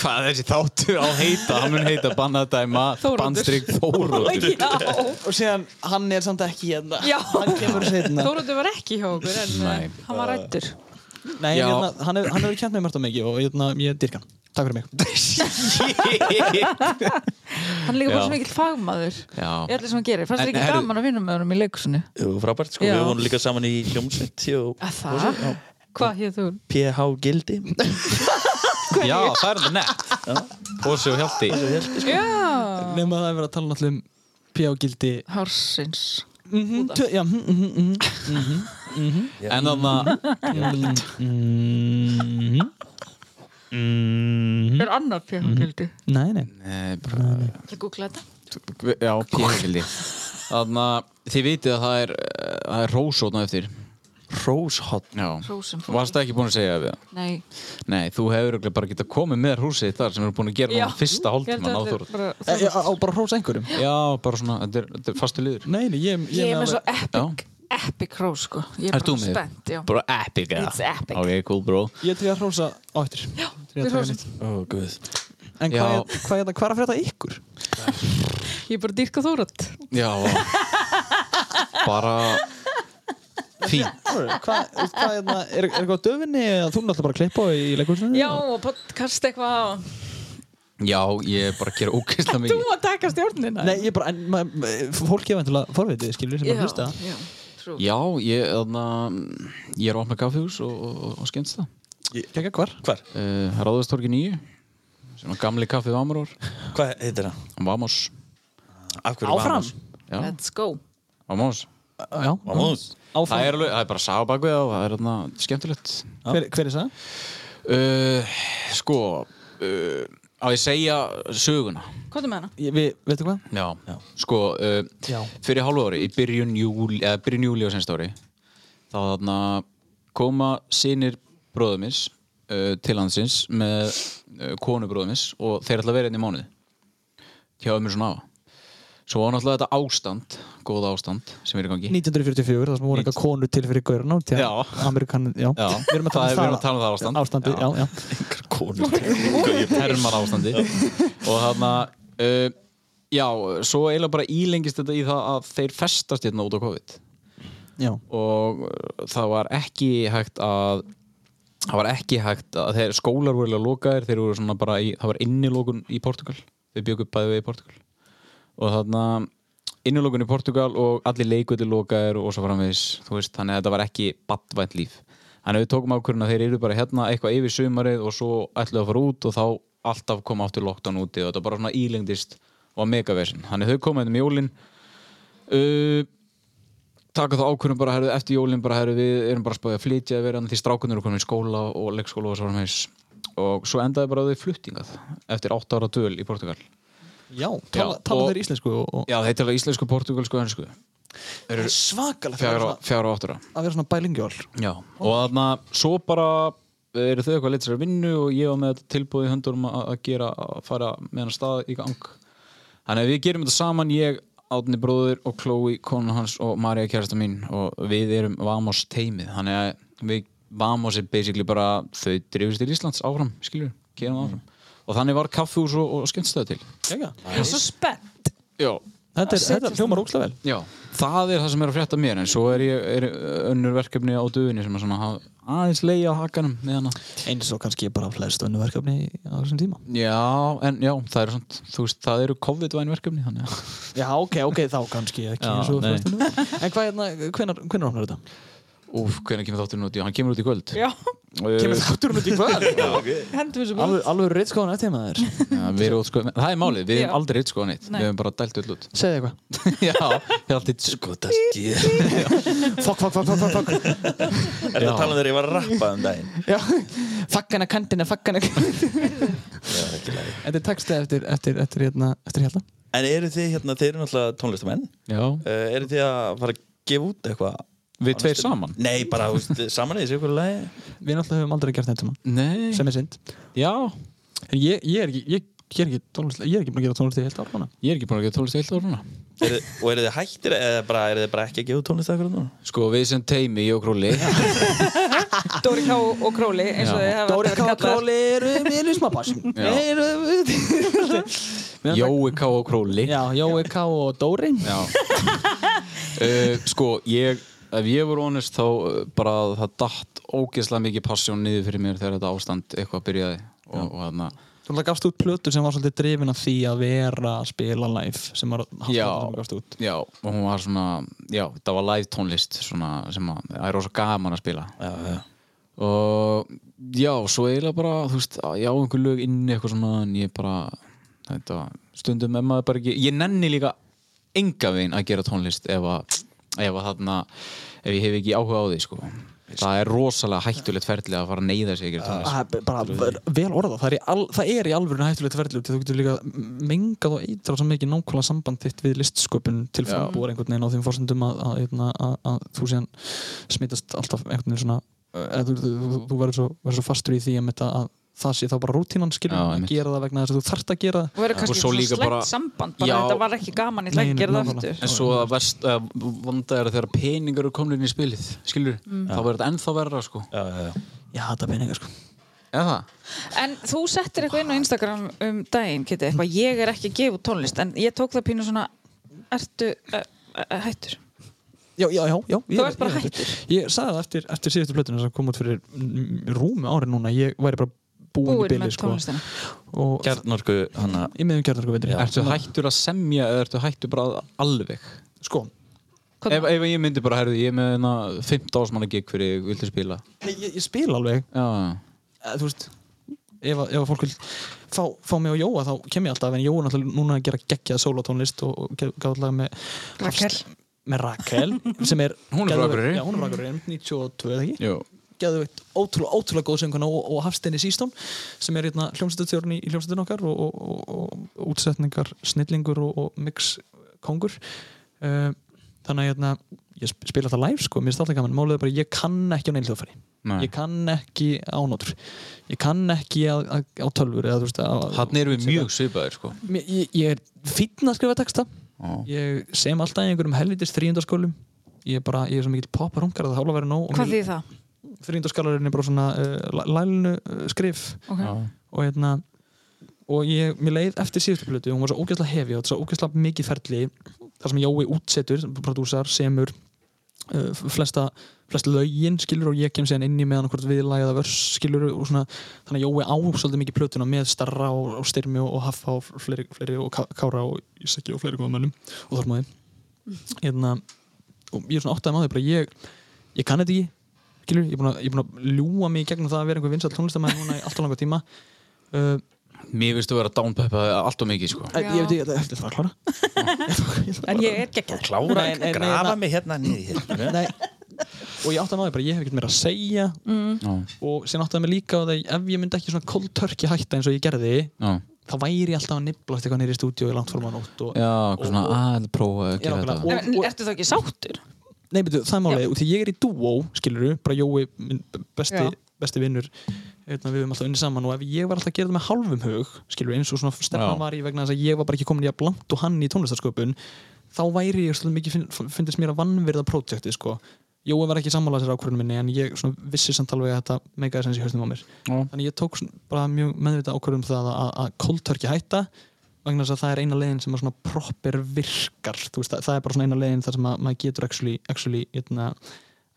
Speaker 1: Hvað er þessi þáttur á að heita? Hann mun heita bannadæma
Speaker 3: Þóroddur.
Speaker 1: bandstrygg Þórótur
Speaker 3: Já.
Speaker 4: Og síðan, hann er samt ekki hérna.
Speaker 3: Já.
Speaker 4: Hann kemur setna.
Speaker 3: Þóróttur var ekki hjá okkur en
Speaker 1: Nei.
Speaker 3: Nei. hann var rættur.
Speaker 4: Nei,
Speaker 1: Já.
Speaker 4: hérna, hann hefur hef kjent með mörgt á mikið og hérna, ég dyrka hann. Takk fyrir mig.
Speaker 3: Hann er líka bara
Speaker 1: Já.
Speaker 3: svo mikill fagmaður. Ég
Speaker 1: Já,
Speaker 3: allir sem hann gerir. Fannst
Speaker 1: En-
Speaker 3: þér ekki
Speaker 1: herru-
Speaker 3: gaman að vinna með honum í leikusinu?
Speaker 5: Jú, frábært, sko,
Speaker 3: Já.
Speaker 5: við vorum líka saman í hljómsveit og
Speaker 3: Að það? Hvað hér þú?
Speaker 5: PH Gildi
Speaker 1: já það er þetta nett Pósi og Hjalti
Speaker 3: Já.
Speaker 4: Nefnum að það hefur verið að tala náttúrulega um pjágildi.
Speaker 3: Hársins.
Speaker 4: Mhm, tö- Já, mhm, mhm, mhm.
Speaker 1: En þannig
Speaker 4: Mhm.
Speaker 3: Er annar pjafagildi?
Speaker 4: Nei, nei.
Speaker 1: að bara
Speaker 3: Ég googla þetta.
Speaker 1: Já, píkildi Þannig að þið vitið að það er eh, það er rósótna eftir
Speaker 5: Róshot
Speaker 1: Já
Speaker 3: Hrósum fólki.
Speaker 1: Varst ekki búin að segja við það?
Speaker 3: Nei.
Speaker 1: Nei, þú hefur örugglega bara getað komið með húsið þitt þar sem eru búin að gera
Speaker 3: Já.
Speaker 1: hann fyrsta hálftíman á
Speaker 3: Ég held að
Speaker 1: Þórótur
Speaker 3: þetta er bara-
Speaker 4: Eh, Já, á bara hrósa einhverjum.
Speaker 1: Já, bara svona, þetta er, þetta er fastu liður
Speaker 4: Nei, nei, ég,
Speaker 3: Ég er með svo
Speaker 4: alveg-
Speaker 3: epic, epic hrós sko. Ég er
Speaker 1: Ert þú
Speaker 3: bara
Speaker 1: með?
Speaker 3: spennt, já.
Speaker 1: Bara epic eða?
Speaker 3: It's epic.
Speaker 1: Ok, cool bro
Speaker 4: Ég er til að hrósa á eftir. Já,
Speaker 3: við hrósum.
Speaker 5: Ó, guð
Speaker 4: En
Speaker 1: Já.
Speaker 4: hvað er, hvað er, hvað er að frétta ykkur?
Speaker 3: Ég er bara dýrka þórat.
Speaker 1: Já Bara Fínt
Speaker 4: Hvað, þú veist, hvað er, er, er eitthvað á döfinni eða þú er náttúrulega bara að klippa í leikursunni?
Speaker 3: Já, og podcast eitthvað.
Speaker 1: Já, ég er bara að gera ógeðslega
Speaker 3: Þú
Speaker 1: mikið
Speaker 3: að taka stjórnina.
Speaker 4: Nei, ég bara, en ma- ma- fólk er vantilega forvitið, skilur, sem bara hlusta.
Speaker 3: Já, já. trú.
Speaker 1: Já, ég, þarna, ég er að opna kaffihús og, og, og, og skemmst það
Speaker 4: Kækja hvar?
Speaker 5: Hvar?
Speaker 1: uh, Ráðustorgi 9 sem var gamli kaffið Vamuror
Speaker 5: Hvað heitir það?
Speaker 1: Vamos
Speaker 5: Af hverju
Speaker 4: Áfram.
Speaker 5: Vamos?
Speaker 1: já,
Speaker 3: Let's go.
Speaker 1: Vamos
Speaker 4: Já,
Speaker 5: Vamos
Speaker 4: áfram.
Speaker 1: það er, alveg, það er bara sá bakvið það og það er þarna skemmtilegt
Speaker 4: Hver, hver er það?
Speaker 1: uh, sko uh, á ég að segja söguna
Speaker 3: Hvað er með hana?
Speaker 4: Ég- Við, veitu hvað?
Speaker 1: já, sko uh,
Speaker 4: Já.
Speaker 1: fyrir hálfu ári í byrjun júli eða byrjun júli á senst ári þá þarna koma sinir bróðumis uh, til landsins með uh, konu bróðumis og þeir ætla að vera einn í mánuði hjá ömur svona afa svo var náttúrulega þetta ástand góð ástand sem er í gangi
Speaker 4: 1944, það sem voru eitthvað konur til fyrir gaurna til
Speaker 1: Já.
Speaker 4: Amerikan, já.
Speaker 1: Já.
Speaker 4: Við erum að tala
Speaker 1: Það er- við
Speaker 4: um það.
Speaker 1: erum að tala um það ástand.
Speaker 4: Ástandi, já, já.
Speaker 5: Konur
Speaker 1: hermar ástandi og þarna uh, já, svo eiginlega bara ílengist þetta í það að þeir festast hérna út á COVID
Speaker 4: Já,
Speaker 1: og uh, það var ekki hægt að það var ekki hægt að þeir skólar voru eiginlega lokaðir, þeir voru svona bara í, það var innilokun í Portugal þau bjögum bæði við í Portugal og þarna innilokun í Portugal og allir leikvöldi lokaðir og svo framvegis þú veist, þannig að þetta var ekki badvænt líf þannig að við tókum ákvörðin að þeir eru bara hérna eitthvað yfir sumarið og svo ætluðu að fara út og þá alltaf kom aftur lockdown úti og þetta bara svona ílengdist og megavesin þannig að þau komaði með jólin uh, taka þá ákvörðum bara herðu, eftir jólin bara herðu, við erum bara spáðið að flytja að vera því strákunnur eru komin í skóla og leikskóla og svo framvegis og svo endaði bara þau fluttingað eftir 8 ára döl í Portugal
Speaker 4: já, tala,
Speaker 1: Já,
Speaker 4: tala
Speaker 1: og-
Speaker 4: þeir íslensku og, og
Speaker 1: Já, þeir tala íslensku, portugalsku og ennsku eru
Speaker 4: svakalega fyrir
Speaker 1: fjara,
Speaker 4: svona-
Speaker 1: fjara og áttara
Speaker 4: að vera svona bilingual.
Speaker 1: Já, og þarna svo bara eh, eru þau eitthvað leitt sér að vinnu og ég var með þetta tilbúið í höndurum að að gera að fara með hann stað í gang Þannig að við gerum þetta saman ég, Átni bróður og Chloe, konan hans og Marja kærasta mín og við erum Vamos teimið þannig að við Vamos er basically bara þau drifist til Íslands áfram, skilur, kynum áfram og þannig var kaffús og, og skemmtstöð til
Speaker 4: Jæja.
Speaker 3: Ég er svo spennt
Speaker 1: Já,
Speaker 4: Þetta er,
Speaker 3: Að
Speaker 4: þetta
Speaker 3: setjast
Speaker 4: hljómar ókslega vel
Speaker 1: já Það er það sem er að frétta mér en svo er, ég, er önnur verkefni á döðinni sem er svona hafa aðeins leið á hakanum með hana
Speaker 4: eins og kannski bara flest önnu verkefni á þessum tíma
Speaker 1: Já, en já, það eru svona, þú veist, það eru COVID-væn verkefni þannig að
Speaker 4: Já, ok, ok, þá kannski ekki
Speaker 1: Já,
Speaker 4: eins og
Speaker 1: nei.
Speaker 4: flest önnur verkefni. En hvað hérna, hvenar, hvenar opnar þetta?
Speaker 1: Úf, hvernig kemur þátturinn út í, hann kemur út í kvöld
Speaker 3: Já,
Speaker 1: Uh,
Speaker 4: Kemur þátturinn út í hvað?
Speaker 3: hendum þessu bara
Speaker 4: alveg alveg reytskóðan eftir maður
Speaker 1: Já, við erum útskoðað, það er málið, við
Speaker 3: Já.
Speaker 1: erum aldrei útskoðað neitt,
Speaker 3: Nei.
Speaker 1: við erum bara dælt öll út
Speaker 4: Segðu eitthvað
Speaker 1: Já, við erum alltaf skotast
Speaker 4: Fuck, fuck, fuck, fuck, fuck, fuck
Speaker 5: Er það að tala um þegar ég var að rappa um daginn?
Speaker 4: Já, faggana kantina, faggana Þetta er textið eftir, eftir, eftir, hérna, eftir hérna
Speaker 5: En eru þið hérna, þeir eru náttúrulega tónlistamenn
Speaker 1: Já,
Speaker 5: uh, Eru þið að fara að gefa út eitthvað?
Speaker 1: við tveir saman
Speaker 5: Nei, bara þú veist, saman eða ykkur lagi
Speaker 4: Við náttúrulega höfum aldrei gert þetta saman,
Speaker 1: Nei,
Speaker 4: sem er synd
Speaker 1: já,
Speaker 4: En ég, ég er ekki, ég, ég er ekki tónlist Ég er ekki búin að gera tónlist í heilt ár núna
Speaker 1: ég er ekki búin að gera tónlist heilt ára núna
Speaker 5: Eru- Og eru þið hættir eða bara, eru þið bara ekki að gefa út tónlist akkur núna?
Speaker 1: Sko, við sem teimi, ég og Krulli
Speaker 3: Dóri K. og Króli eins og
Speaker 1: Já.
Speaker 3: þið hafa verið kallar
Speaker 4: erum við lusmabass
Speaker 1: Jói K. og Krulli
Speaker 4: Já, Jói K og Dóri
Speaker 1: Já uh, Sko, ég Ef ég voru honest þá uh, bara að það datt ógeðslega mikið passjón niður fyrir mér þegar þetta ástand eitthvað byrjaði og, og þarna,
Speaker 4: Þú náttúrulega gafst út plötu sem var svolítið drifin af því að vera að spila live sem var
Speaker 1: Já.
Speaker 4: hann gafst út
Speaker 1: já, og hún var svona já, þetta var live tónlist svona, sem að, það er rosa gaman að spila
Speaker 5: Já, já
Speaker 1: og já, svo eiginlega bara þú veist, að ég á einhver lög inni eitthvað svona en ég bara, þetta stundum er maður bara ekki, ég nenni líka enga veginn að gera tónlist ef að, ef að þarna ef ég hef ekki áhuga á því, sko það er rosalega hættulegt ferli að fara að neyða sig að gera tónlist,
Speaker 4: Það er bara vel orða það er í, al, það er í alvörinu hættulegt ferðlu þú getur líka mengað og eitra svo mikið nákvæmlega samband þitt við listsköpun til frambúar einhvern veginn á þeim fórsendum að, að, hérna, að, að þú síðan smitast alltaf einhvern veginn svona eða, þú, þú, þú, þú verður svo, verður svo fastur í því einmitt að, að það sé þá bara rútínan skilur
Speaker 1: Já,
Speaker 4: að
Speaker 1: einmitt.
Speaker 4: gera það vegna þess að þú þarft að gera það
Speaker 3: og verður
Speaker 1: Og
Speaker 3: kannski
Speaker 1: svo
Speaker 3: svona
Speaker 1: líka
Speaker 3: slæmt
Speaker 1: bara-
Speaker 3: samband bara
Speaker 1: Já.
Speaker 3: þetta var ekki gaman, ég ætla
Speaker 4: Nei,
Speaker 3: ekki að gera það
Speaker 4: nákvæmlega.
Speaker 3: aftur
Speaker 1: en svo að verst, að vanda er að þegar peningar eru komnir inn í spilið, skilur þá verður þetta ennþá verra, sko
Speaker 5: Já, já,
Speaker 4: Já, þetta er peningar sko
Speaker 1: eða það?
Speaker 3: En þú settir eitthvað inn á Instagram um daginn, Kitty, eitthvað, ég er ekki að gefa út tónlist, en ég tók það pínu svona, ertu uh, uh, hættur?
Speaker 4: Já, já, já, já ég
Speaker 3: Þú
Speaker 4: er-
Speaker 3: ert bara
Speaker 4: ég er-
Speaker 3: hættur.
Speaker 4: Ég sagði það eftir, eftir síðustu plötuna sem kom út fyrir mm, rúmi ári núna ég væri bara búin, í
Speaker 3: Búin
Speaker 4: bili
Speaker 3: með
Speaker 4: sko.
Speaker 3: tónlistina.
Speaker 4: og
Speaker 5: Kjarnorku, hann að
Speaker 4: í sko, miðum kjarnarku
Speaker 1: Ertu hættur að semja eða ertu hættur bara alveg?
Speaker 4: sko,
Speaker 3: Hvað-
Speaker 1: Ef, ef ég myndi bara, herðu, ég er með hérna 15 ásmanna gig fyrir þig, viltu spila?
Speaker 4: Nei, ég, ég spil alveg
Speaker 1: Já, já.
Speaker 4: eh, þú veist ef, að- ef að fólk vil fá, fá mig og Jóa þá kem ég alltaf en Jóa er náttúrulega núna að gera geggjað sólatónlist og, og gáði lag með
Speaker 3: Rakel.
Speaker 4: með Rakel sem er
Speaker 1: Hún er frá
Speaker 4: geðveik-
Speaker 1: Akureyri.
Speaker 4: já, hún er frakurri 92 eða ekki
Speaker 1: Jú.
Speaker 4: geðveikt ótrúlega, ótrúlega góð sönguna og, og Hafsteini Sístón sem er hérna hljómsættutjórn í, í hljómsættun okkar og, og, og, og útsetningar snillingur og, og mix kongur uh, þannig að hérna, ég sp- spila það live sko, mér er stálega gaman, málið er bara að ég kann ekki á neil hljóðfæri,
Speaker 1: Nei.
Speaker 4: ég kann ekki á nótur, ég kann ekki að, að, á tölfur eða þú veist að,
Speaker 1: Þannig erum við mjög svipaðir, sko.
Speaker 4: Mér- ég, ég er fínn að skrifa texta
Speaker 1: Já.
Speaker 4: ég sem alltaf í einhverjum helvitis þrýjundaskólum ég er bara, ég er svo mikill popparungar að það hálfa verið nóg og mér-
Speaker 3: Hvað þýð það?
Speaker 4: þrýndarskalarinn er bara svona uh, lælinu uh, skrif
Speaker 3: Ok.
Speaker 4: og hérna og ég, mér leið eftir síðustu plötu hún var svo ógeðslega hefi og þetta svo ógeðslega mikið ferli þar sem Jói útsetur, prodúsar, semur uh, flesta, flesta lögin skilur og ég kem síðan inn í meðan hvort viðlag eða vörs skilur og svona þannig að Jói á svolítið mikið plötuna með starra og, og styrmi og, og haffa og fleiri, fleiri og Ká- kára og ísæki og fleiri góða mönnum og þormaði hérna, og ég er svona áttaði maður bara ég, ég kann þetta ekki Skilur, ég er búin að- ég er búin að ljúa mig í gegnum það að vera einhver vinsall tónlistamæði núna í alltaf langa tíma uh,
Speaker 1: Mér finnst þú vera downpeppaði allt og mikið, sko.
Speaker 4: En Ég veit ekki, þetta er það að klára
Speaker 3: En ég er geggjað.
Speaker 5: klára,
Speaker 4: Nei, nei, nei,
Speaker 5: grafa
Speaker 4: nei.
Speaker 5: mig hérna niður hérna.
Speaker 4: Nei Og ég áttaði maður bara, ég hef ekkert meira að segja
Speaker 3: Mm.
Speaker 1: Já.
Speaker 4: Og síðan áttaði maður líka á það Ef ég myndi ekki svona cold turkey hætta eins og ég gerði
Speaker 1: Já,
Speaker 4: Þá væri ég alltaf að nibblast eitthvað nýri í stúdíu Í langt fórum að nótt og
Speaker 1: já eitthvað svona, "Ah,
Speaker 4: og-
Speaker 1: að prófa að
Speaker 4: Já,
Speaker 1: gera
Speaker 4: nákvæmlega.
Speaker 1: þetta.
Speaker 4: Og-
Speaker 3: En
Speaker 4: og-
Speaker 3: ertu þá ekki sáttur?
Speaker 4: Nei, betur, það er málið, út því ég er í dúó, skiluru, bara Jói, minn besti,
Speaker 3: Já.
Speaker 4: besti vinnur, hérna, við erum alltaf unni saman og ef ég var alltaf að gera það með hálfum hug, skiluru, eins og svona
Speaker 1: Já.
Speaker 4: stefnan var í vegna þess að ég var bara ekki komin í að blant og hann í tónlistarsköpun, þá væri ég svolítið mikið, finn- fyndist mér að vannverða prójektið, sko. Jói var ekki sammála sér ákvörðinu minni en ég svona vissi samt alveg að þetta meikaði sens í höstum á mér
Speaker 6: Já.
Speaker 4: þannig ég tók svona bara mjög meðvitað ákvörðum það að, að kóltörki hætta vegna þess að það er eina leiðin sem að svona proper virkar þú veist, það, það er bara svona eina leiðin þar sem að maður getur actually, actually, eitna,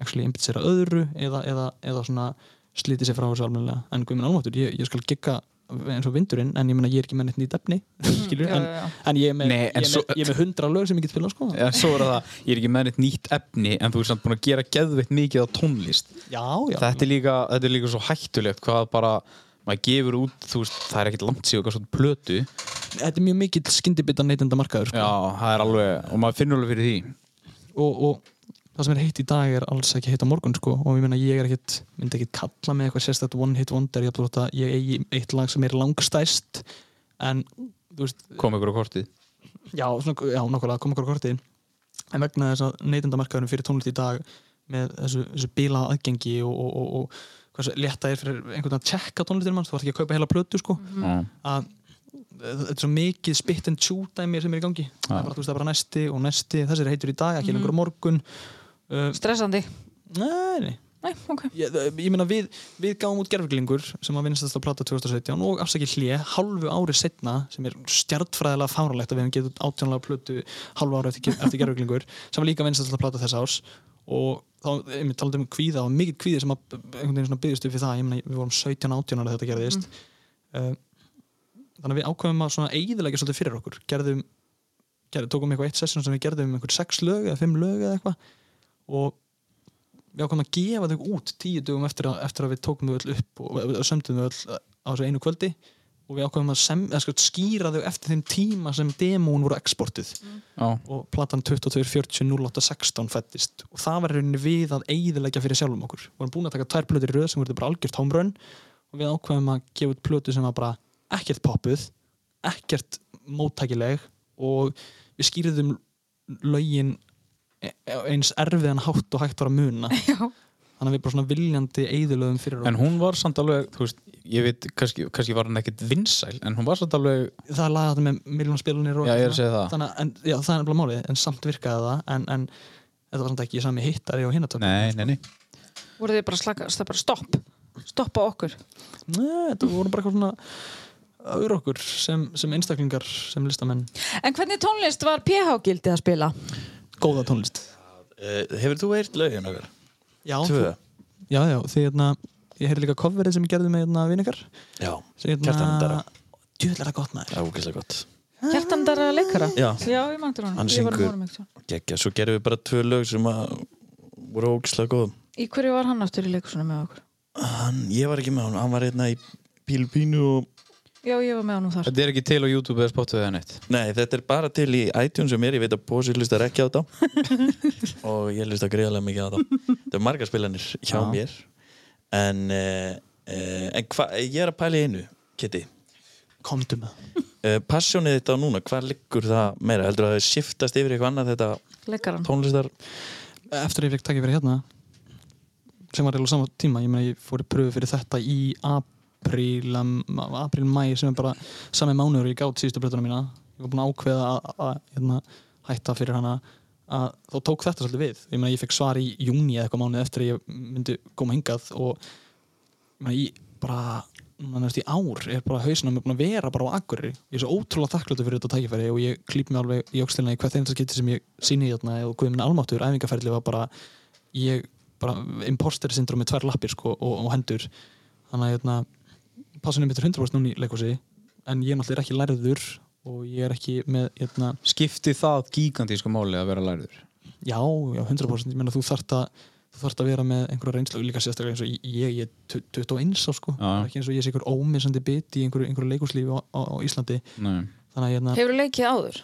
Speaker 4: actually einbytt sér að öðru eða, eða, eða svona slíti sér frá þessu almennilega en guð minn almáttur, ég, ég skal gigga eins og vindurinn, en ég meina ég er ekki með neitt nýtt efni skilur,
Speaker 3: Mm, já,
Speaker 4: en,
Speaker 3: já, já.
Speaker 4: en ég er með,
Speaker 1: Nei, en
Speaker 4: ég, er
Speaker 1: svo-
Speaker 4: með, ég er með hundra lög sem ég get spilað sko
Speaker 1: En svo er það, ég er ekki með neitt nýtt efni en þú er samt búin að gera geðveitt mikið á tónlist
Speaker 4: já, já,
Speaker 1: þetta er, líka, þetta er líka svo hættulegt hvað bara, maður gefur út þú veist, það er ekkert langt síðan eitthvað svona plötu Já,
Speaker 4: þetta er mjög mikill skyndibita neytenda markaður sko.
Speaker 1: það er alveg, og maður finnur alveg fyrir því
Speaker 4: og, og það sem er heitt í dag er alls ekki heitt á morgun sko. og ég meina ég er ekkit, myndi ekkit kalla með eitthvað sérstætt one hit wonder ég, að ég eigi eitt lag sem er langstæst en þú veist
Speaker 1: kom ykkur á kortið
Speaker 4: já, svona, já nokkulega, koma okkur á kortið en vegna þess að neytendamarkaðurum fyrir tónlist í dag með þessu, þessu bíla aðgengi og, og, og, og hversu létta er fyrir einhvern veginn að tjekka tónlistin manns, þú vart ekki að kaupa heila plötu sko,
Speaker 1: Mhm.
Speaker 4: að þetta er svo mikið spit and chew dæmi sem er í gangi það er bara, þú veist, það er bara næsti og næsti þessi er heitur í dag, ekki lengur á morgun uh,
Speaker 3: Stressandi
Speaker 4: nei, nei
Speaker 3: Nei, ok
Speaker 4: ég, ég meina við, við gáum út gerfglingur sem að vinstast að plata 2017 og afsakið hlje hálfu ári setna sem er stjartfræðilega fáralegt að við hefum getið átjónlega plötu hálfu ári eftir, eftir gerfglingur sem var líka vinstast að plata þess árs og þá, ég með talaði um kvíða og mikið kvíði sem að einhvern veginn svona byggðist upp við það ég meina við vorum 17-18 ára þegar þetta gerðist Mm. uh, þannig að við ákveðum að svona eigðilega svolítið fyrir okkur gerðum, gerðum, tókum eitthvað eitt session sem við gerðum um einhver 6 lög eða 5 lög eða eitthvað og við ákvæmum að gefa þau út tíu dögum eftir að, eftir að við tókum þau öll upp og við- við sömdum þau öll á þessu einu kvöldi og við ákvæmum að, sem, að sko, skýra þau eftir þeim tíma sem demón voru exportið
Speaker 1: Já.
Speaker 4: og platan 22.40.08.16 fættist og það var í rauninni við að eigðilegja fyrir sjálfum okkur við vorum búin að taka tvær plötur í röð sem voru bara algjört hámrönn og við ákvæmum að gefa út plötu sem var bara ekkert poppuð ekkert móttækileg og við skýrðum lögin e- eins erfiðan hátt og hægt var að muna Já. þannig að við bara svona viljandi eigðilögum fyrir okkur
Speaker 1: en hún var samt alveg, þú veist ég veit, kannski, kannski var hann ekkert vinsæl en hún var samt alveg,
Speaker 4: það er lagað með miljónspilunir
Speaker 1: Já, ég er að segja það.
Speaker 4: þannig, að- en, já, það er nefnilega málið en samt virkaði það en, en þetta var samt ekki sami hittari og hinnatöp
Speaker 1: nei, nei, nei
Speaker 3: Voru þið bara slakast, það er bara stopp Stoppa okkur
Speaker 4: Nei, þetta voru bara eitthvað svona auður okkur sem, sem einstaklingar sem listamenn,
Speaker 3: En hvernig tónlist var PH gildið að spila?
Speaker 4: góða tónlist
Speaker 5: Uh, hefur þú eirt lögin okkar?
Speaker 4: Já,
Speaker 5: Tvö?
Speaker 4: þú- já, já því hérna, ég heyrði líka coverið sem ég gerði með hérna vinnekar
Speaker 5: Já,
Speaker 4: Hérna-
Speaker 5: Kjartan Dara.
Speaker 4: Djúðlega er það gott maður
Speaker 5: það er ógeðslega gott
Speaker 3: Kjartan Dara leikara?
Speaker 5: Já.
Speaker 3: Já, ég mangtur hann
Speaker 5: Hann syngur. Gekja, svo gerum við bara tvö lög sem að voru ógeðslega góð
Speaker 3: Í hverju var hann aftur í leikursunum með okkur?
Speaker 5: hann, Ég var ekki með hann, hann var hérna í Pílpínu og
Speaker 3: Já, ég var með hann þar
Speaker 1: þetta er ekki til á YouTube eða Spotify eða neitt
Speaker 5: Nei, þetta er bara til í iTunes sem er, ég veit að Bósi hlustar ekki á þetta og ég hlusta greiðlega mikið á þetta Það er margar spilanir hjá mér en, uh, uh, en hva, ég er að pæla í einu, Kitty
Speaker 4: Komdu með það.
Speaker 5: uh, Passjónið þetta núna, hvað liggur það meira? Heldur það að shiftast yfir eitthvað annað þetta
Speaker 3: Leikaran
Speaker 5: tónlistar?
Speaker 4: Eftir að ég fekk takk fyrir hérna sem var eiginlega á sama tíma ég, meina, ég fór í pröfu fyrir þetta í apríl, um, apríl mæ sem er bara sami mánuður og ég gátt síðustu blötuna mína ég var búin að ákveða að- að- að hérna, hætta fyrir hana að þá tók þetta svolítið við ég, meina, ég fekk svar í júni eða eitthvað mánuð eftir að ég myndi koma hingað og ég meina, ég bara núna næst í ár er bara hausinn að mér búin að vera bara á akkurir ég er svo ótrúlega þakkláttur fyrir þetta tækifæri og ég klýp mig alveg í ókslinna í hvert einasta skipti sem ég sýni hérna þarna og guðminn almáttur æfingarferðli var bara ég bara imposter syndrom með tvær lappir sko og, og hendur þannig að hérna, passunum mitt er 100% núna í leikúsi en ég náttúrulega er ekki lærður og ég er ekki með hérna,
Speaker 1: skipti það gigantísku máli að vera lærður
Speaker 4: Já, já, 100% ég meina þú þart að þú þart að vera með einhverja reynslu líka sérstaklega eins og ég, ég er 21 á sko,
Speaker 1: Já.
Speaker 4: ekki eins og ég sé einhver ómissandi bit í einhverju, einhverju leikurslífi á, á, á Íslandi
Speaker 1: nei.
Speaker 4: þannig að hérna,
Speaker 3: Hefur leikið áður?